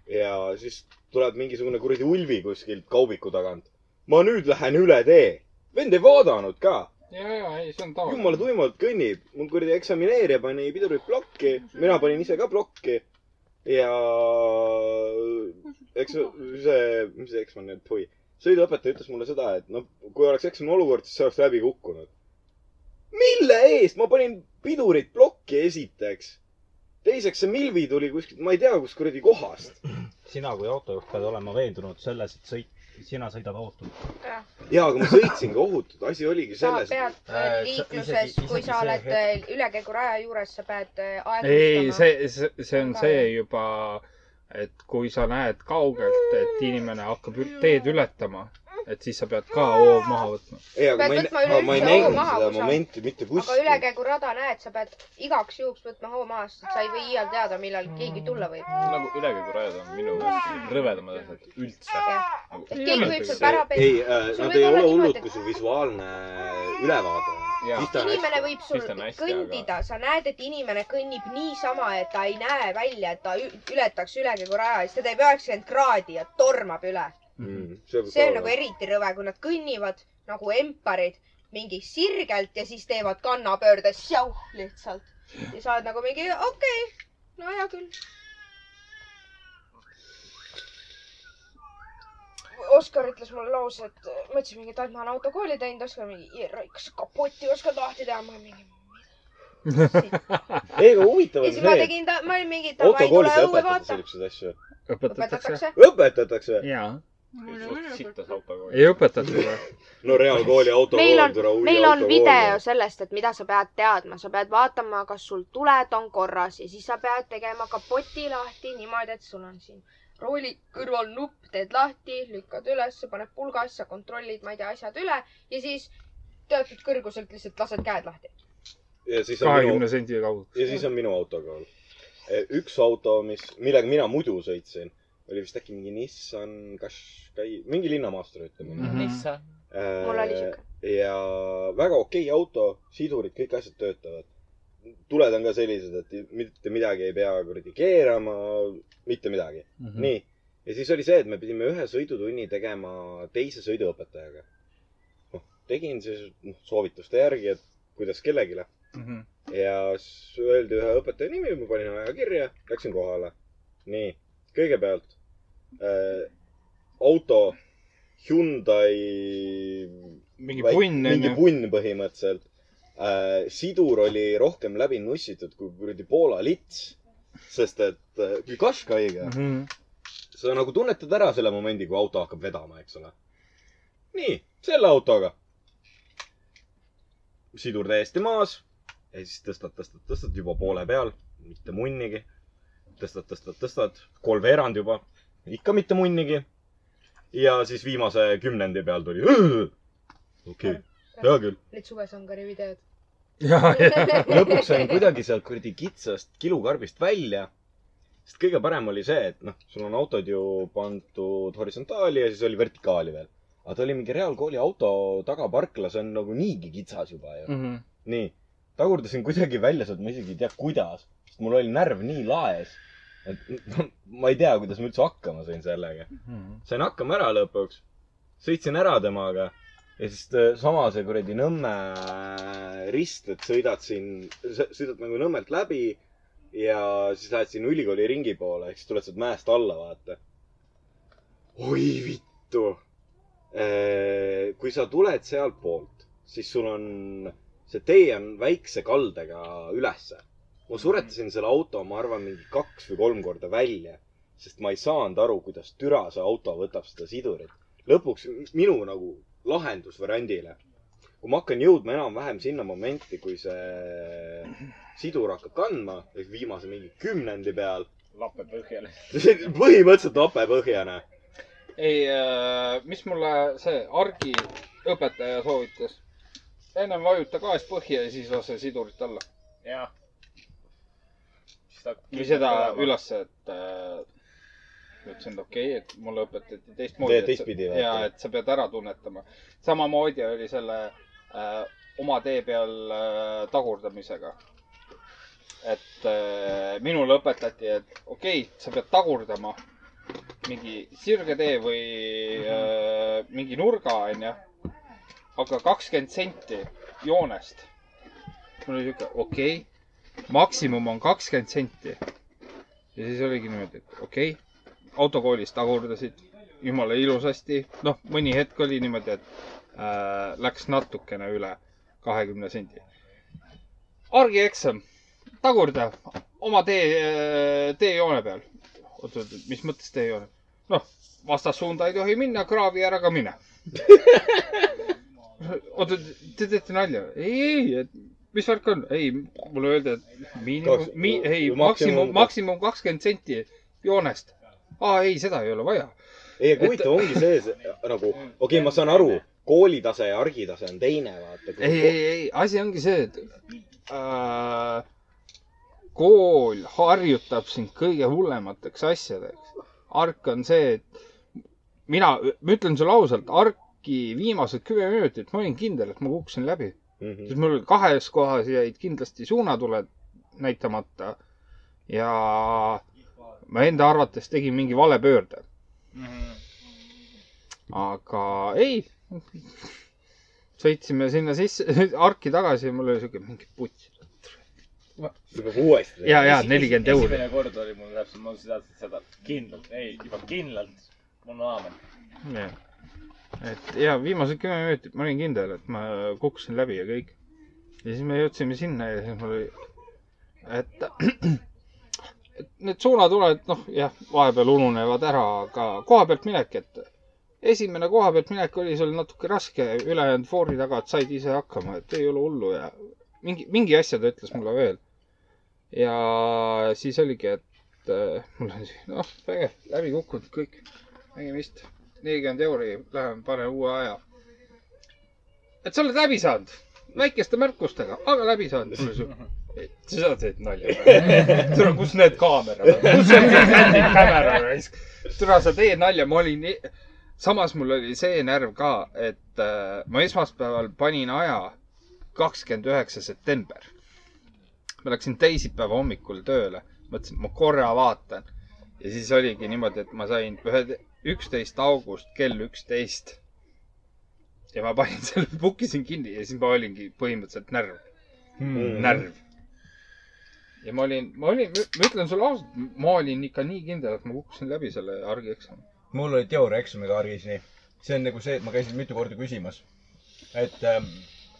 ja siis tuleb mingisugune kuradi ulvi kuskilt kaubiku tagant . ma nüüd lähen üle tee . vend ei vaadanud ka
ja , ja , ei , see on tavaline .
jumala tuimalt kõnnib , mul kuradi eksamineerija pani pidurid plokki , mina panin ise ka plokki . ja äh, eks see , mis see eksam on , oi , sõiduõpetaja ütles mulle seda , et noh , kui oleks eksami olukord , siis see oleks läbi kukkunud . mille eest , ma panin pidurid plokki esiteks . teiseks , see Milvi tuli kuskilt , ma ei tea , kust kuradi kohast .
sina kui autojuht pead olema veendunud selles , et sõit , sina sõidad autot .
ja , aga ma sõitsin ka ohutult , asi oligi
sa
selles .
pead äh, liikluses , kui sa oled äh, ülekäiguraja juures , sa pead äh,
ei ,
aeglustama .
see , see , see on see juba , et kui sa näed kaugelt , et inimene hakkab ül- teed ületama , et siis sa pead ka hoo maha võtma .
ei ,
Pead
aga ma ei
võtma ,
aga ma ei
üleüldse
näinud
hoo maha,
seda
kui sa-
momenti mitte
aga
kuskil .
ülekäigurada näed , sa pead igaks juhuks võtma hoo maast , et sa ei või iial teada , millal keegi tulla võib .
nagu ülekäigurajad on minu meelest rõvedamad asjad üldse .
keegi võib sul ära
ei
pesta .
äh, ,
sul
nad
võib
ei ole
olla
hullud ,
niimoodi ,
kui su visuaalne äh, ülevaade on .
et inimene võib sul kõndida , sa näed , et inimene kõnnib niisama , et ta ei näe välja , et ta ü- ületaks ülekäiguraja ja siis ta teeb üheksakümmend kraadi ja tormab üle . Mhm.
Mm,
see on nagu . eriti rõve , kui nad kõnnivad nagu emparid mingi sirgelt ja siis teevad kannapöörde sjau lihtsalt . ja sa oled nagu mingi okei okay, , no hea küll . Oskar ütles mulle lause , et ma ütlesin mingi , et ah, ma olen autokooli teinud , Oskar mingi , kas kapotti oskad lahti teha ? ma olin mingi .
ei , aga huvitav
ja
on
siis ma
see ,
tegin ta , ma olin mingi , et davai , tule
autokoolis ei
õue
õpetata
vaata .
selliseid asju .
Õpetatakse. ?
õpetatakse .
jaa .
ei õpetata
või ?
no reaalkooli
meil on
autokool ,
meil on video . sellest , et mida sa pead teadma , sa pead vaatama , kas sul tuled on korras ja siis sa pead tegema kapoti lahti niimoodi , et sul on siin rooli kõrval nupp , teed lahti , lükkad üles , paned pulgasse , kontrollid , ma ei tea , asjad üle ja siis teatud kõrguselt lihtsalt lased käed lahti .
ja siis on minu
kahekümne , sendi kaugus .
ja siis on minu autokool . üks auto , mis , millega mina muidu sõitsin , oli vist äkki mingi Nissan Qashqai , mingi linnamaastur ütleme Äh,
Mhm. Nissan.
Mul oli sihuke. .
ja väga okei auto , sidurid , kõik asjad töötavad . tuled on ka sellised , et mitte midagi ei pea kuradi keerama , mitte midagi mm .
Mhm.
-hmm. nii , ja siis oli see , et me pidime ühe sõidutunni tegema teise sõiduõpetajaga . noh , tegin siis noh, soovituste järgi , et kuidas kellelegi ja siis öeldi ühe õpetaja nimi , ma panin aja kirja , läksin kohale . nii , kõigepealt äh, auto Hyundai . mingi
punn, on
mingi
ju?
punn põhimõtteliselt äh, . sidur oli rohkem läbi nussitud kui kuradi Poola lits , sest et äh, kui Qashqai'ga mm ,
Mhm.
-hmm. sa nagu tunnetad ära selle momendi , kui auto hakkab vedama , eks ole . nii , selle autoga . sidur täiesti maas ja siis tõstad , tõstad , tõstad juba poole peal , mitte munnigi . tõstad , tõstad , tõstad , kolmveerand juba , ikka mitte munnigi . ja siis viimase kümnendi peal tuli . okei , hea küll .
Need suvesangari videod .
lõpuks sain kuidagi sealt kuradi kitsast kilukarbist välja . sest kõige parem oli see , et noh , sul on autod ju pandud horisontaali ja siis oli vertikaali veel . aga ta oli mingi reaalkooli auto tagaparkla , see on nagu niigi kitsas juba ju mm .
Mhm.
-hmm. nii , tagurdasin kuidagi välja sealt , ma isegi ei tea , kuidas , sest mul oli närv nii laes , et ma ei tea , kuidas ma üldse hakkama sain sellega . sain hakkama ära lõpuks , sõitsin ära temaga ja siis äh, sama see kuradi Nõmme äh, rist , et sõidad siin , sõidad nagu Nõmmelt läbi ja siis lähed sinna ülikooli ringi poole , ehk siis tuled sealt mäest alla , vaata . oi vittu . kui sa tuled sealtpoolt , siis sul on , see tee on väikse kaldega ülesse . ma
Mhm.
suretasin selle auto , ma arvan , mingi kaks või kolm korda välja , sest ma ei saanud aru , kuidas türa see auto võtab seda sidurit . lõpuks minu nagu lahendus variandile , kui ma hakkan jõudma enam-vähem sinna momenti , kui see sidur hakkab kandma , ehk viimase mingi kümnendi peal ,
lappe põhjale .
põhimõtteliselt lapepõhjane .
ei , mis mulle see argi õpetaja soovitas ? ennem vajuta gaas põhja ja siis lase sidurit alla .
jah .
või seda ülesse , et äh, ma ütlesin , et okei okay, , et mulle õpetati teistmoodi .
Teed teistpidi või?
ja , et sa pead ära tunnetama . samamoodi oli selle äh, oma tee peal äh, tagurdamisega . et äh, minule õpetati , et okei okay, , sa pead tagurdama mingi sirge tee või äh, mingi nurga , onju . aga kakskümmend senti joonest . mul oli siuke , okei okay, maksimum on kakskümmend senti . ja siis oligi niimoodi , et okei okay, , autokoolis tagurdasid jumala ilusasti , noh , mõni hetk oli niimoodi , et äh, läks natukene üle kahekümne sendi . argieksam , tagurda oma tee , teejoone peal . oot , oot , mis mõttes teejoone ? noh , vastassuunda ei tohi minna , kraavi ära ka mine . oota , te teete nalja ? ei , ei , et mis värk on ? ei , mulle öeldi , et miinimum
Kaks- ,
mi- , ei ,
maksimum-
maksimum , maksimum kakskümmend senti joonest . aa , ei , seda ei ole vaja .
ei , aga huvitav ongi see, see nagu , okei okay, , ma saan aru , koolitase ja argitase on teine , vaata .
ei , ei , ei , asi ongi see , et äh, kool harjutab sind kõige hullemateks asjadeks . ark on see , et mina , ma ütlen sulle ausalt , arki viimased kümme minutit ma olin kindel , et ma kukkusin läbi
mm .
-hmm. sest mul kahes kohas jäid kindlasti suunatuled näitamata ja ma enda arvates tegin mingi vale pöörde . aga ei , sõitsime sinna sisse , arki tagasi ja mul oli siuke mingi putš .
juba uuesti .
ja , ja nelikümmend euri .
esimene kord oli mul täpselt , ma teadsin seda kindlalt , ei juba kindlalt , mul on aamen .
et ja viimased kümme minutit ma olin kindel , et ma kukkusin läbi ja kõik . ja siis me jõudsime sinna ja siis mul oli , et need suunatuled , noh jah , vahepeal ununevad ära , aga koha pealt minek , et esimene koha pealt minek oli sul natuke raske , ülejäänud foori tagant said ise hakkama , et ei ole hullu ja mingi , mingi asja ta ütles mulle veel . ja siis oligi , et äh, mul oli , noh , vägev , läbi kukkunud kõik , nägemist , nelikümmend euri , lähen panen uue aja . et sa oled läbi saanud , väikeste märkustega , aga läbi saanud . mul oli siuke , et sa teed nalja või ? tule , kus need kaamerad on , kus on see Matic kamera raisk ? tule , sa teed nalja , ma olin nii... , samas mul oli see närv ka , et äh, ma esmaspäeval panin aja kakskümmend üheksa september . ma läksin teisipäeva hommikul tööle , mõtlesin , et ma korra vaatan ja siis oligi niimoodi , et ma sain ühe , üksteist august kell üksteist . ja ma panin selle , book isin kinni ja siis ma olingi põhimõtteliselt närv
Hmm.
mm. , närv . ja ma olin , ma olin , ma ütlen sulle ausalt , ma olin ikka nii kindel , et ma kukkusin läbi selle argieksami .
mul oli teooriaeksamiga argis nii . see on nagu see , et ma käisin mitu korda küsimas . et ,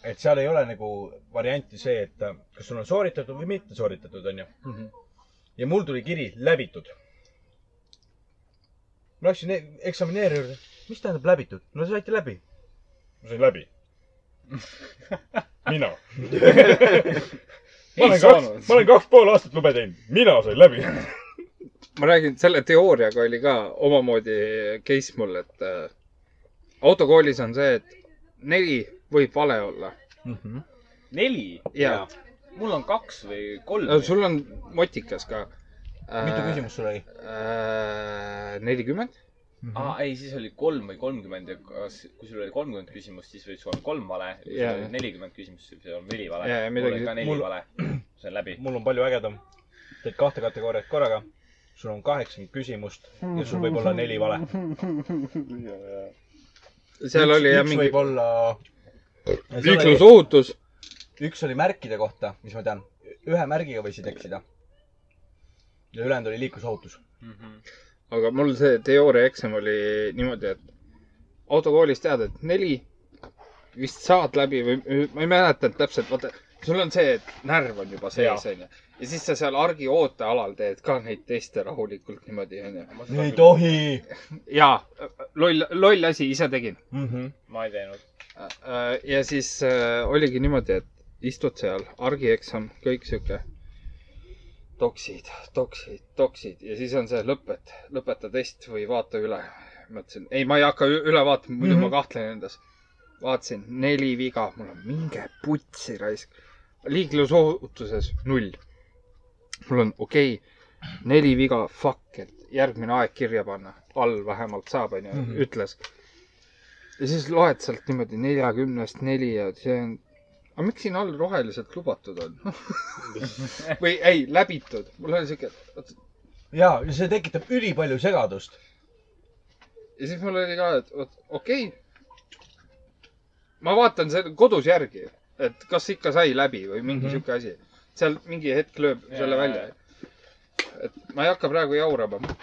et seal ei ole nagu varianti see , et ähm, kas sul on sooritatud või mitte sooritatud , onju .
Mhm.
ja mul tuli kiri läbitud . ma läksin e- eksamineeri juurde , mis tähendab läbitud ? no saite läbi . ma sain läbi .
mina .
Ei
ma olen
saanud.
kaks , ma olen kaks pool aastat lube teinud , mina sain läbi .
ma räägin , selle teooriaga oli ka omamoodi case mul , et äh, autokoolis on see , et neli võib vale olla .
Mhm.
neli ?
Jaa. .
mul on kaks või kolm .
sul on motikas ka .
Mitu küsimust sul oli?
äh, nelikümmend .
Mhm.
aa , ei , siis oli kolm või kolmkümmend ja kas , kui sul oli kolmkümmend küsimust , siis võis olla kolm vale . kui sul
Jaa.
oli nelikümmend küsimust , siis võis olla neli vale .
Jaa, jaa, midagi-
mul oli ka neli
mul-
vale . see on läbi .
mul on palju ägedam . teed kahte kategooriat korraga . sul on kaheksakümmend küsimust ja sul võib olla neli vale .
seal
Üks-
oli jah
üks
mingi
võib olla .
liiklusohutus .
üks oli märkide kohta , mis ma tean . ühe märgiga võisid eksida . ja ülejäänud oli liiklusohutus .
Mhm. aga mul see teooriaeksam oli niimoodi , et autokoolis tead , et neli vist saad läbi või ma ei mäletanud täpselt , vaata , sul on see , et närv on juba sees , onju . ja siis sa seal argi ootealal teed ka neid teste rahulikult niimoodi , onju .
ei tohi .
jaa , loll , loll asi , ise tegin .
Mhm.
ma ei teinud .
äh, ja siis äh, oligi niimoodi , et istud seal , argieksam , kõik sihuke . toksid , toksid , toksid ja siis on see lõpet , lõpeta test või vaata üle . mõtlesin , ei , ma ei hakka ü- üle vaatama , muidu mm
Mhm.
-hmm. ma kahtlen endas . vaatasin , neli viga , mul on minge putsi raisk . liiklusohutuses null . mul on okei okay, , neli viga , fuck , et järgmine aeg kirja panna , all vähemalt saab , onju
Mhm. ,
ütles . ja siis loed sealt niimoodi neljakümnest neli ja see on , aga miks siin all roheliselt lubatud on ? või ei , läbitud , mul oli siuke ,
ja see tekitab ülipalju segadust .
ja siis mul oli ka , et vot okei okay. . ma vaatan selle kodus järgi , et kas ikka sai läbi või mingi mm -hmm. sihuke asi . seal mingi hetk lööb yeah. selle välja . et ma ei hakka praegu jaurama .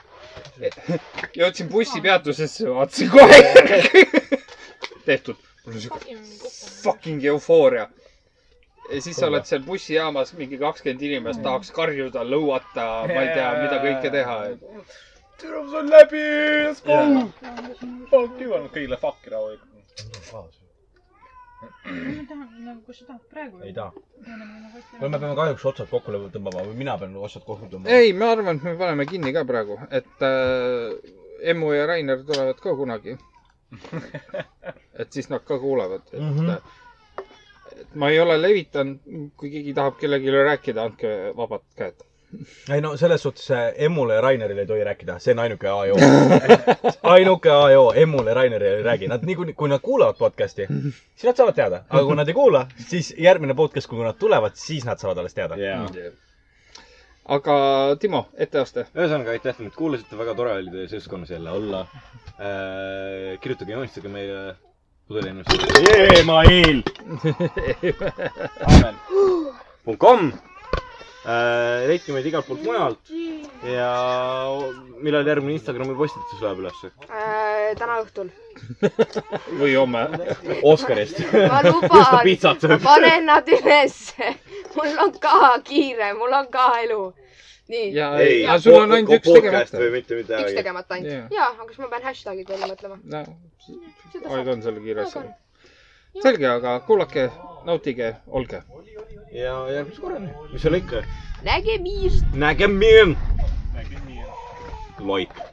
jõudsin bussipeatusesse , vaatasin kohe järgi . tehtud . mul on sihuke fucking eufooria . ja siis sa oled seal bussijaamas , mingi kakskümmend inimest tahaks karjuda , lõuata , ma ei tea , mida kõike teha .
türa , see on läbi , let's go
Jaa. .
fuck you , annab kõigile fuck'i rahulikult .
ma tahan , nagu , kas sa tahad praegu ? nagu,
Ei taha. või me peame kahjuks otsad kokku lõ- tõmbama või mina pean otsad kokku tõmbama .
ei , ma arvan , et me paneme kinni ka praegu , et äh, Emmu ja Rainer tulevad ka kunagi . et siis nad ka kuulevad , et mm ,
Mhm.
-hmm. et ma ei ole levitanud , kui keegi tahab kellelegi rääkida , andke vabad käed .
ei no selles suhtes eh, Emmule ja Rainerile ei tohi rääkida , see on ainuke A ja O . ainuke A ja O , Emmule ja Rainerile ei räägi , nad niikuinii , kui nad kuulavad podcast'i , siis nad saavad teada , aga kui nad ei kuula , siis järgmine podcast , kui nad tulevad , siis nad saavad alles teada
Jaa.
aga Timo , etteaste .
ühesõnaga , aitäh , et meid kuulasite , väga tore oli teie seltskonnas jälle olla äh, . kirjutage , joonistage meile pudeliennustuse . email .
Amen .
.com äh, . leidke meid igalt poolt mujalt ja millal järgmine Instagrami postitus läheb ülesse ?
Äh,
täna õhtul .
või homme .
Oscarist .
ma
kus ta
luban ,
pitsat
ma
sööb .
panen nad ülesse . mul on ka kiire , mul on ka elu . nii .
ei
aga sul on ainult
po-
üks
podcast
tegemata.
või mitte
üks
midagi .
tegemata
Jaa.
ainult . jaa , aga kas ma pean hashtagid välja mõtlema ?
no
Seda saab.
aeg on selle kiires
Aeg on. .
selge , aga kuulake , nautige , olge .
ja järgmise korrani , mis seal ikka .
nägemist .
nägemine . loik .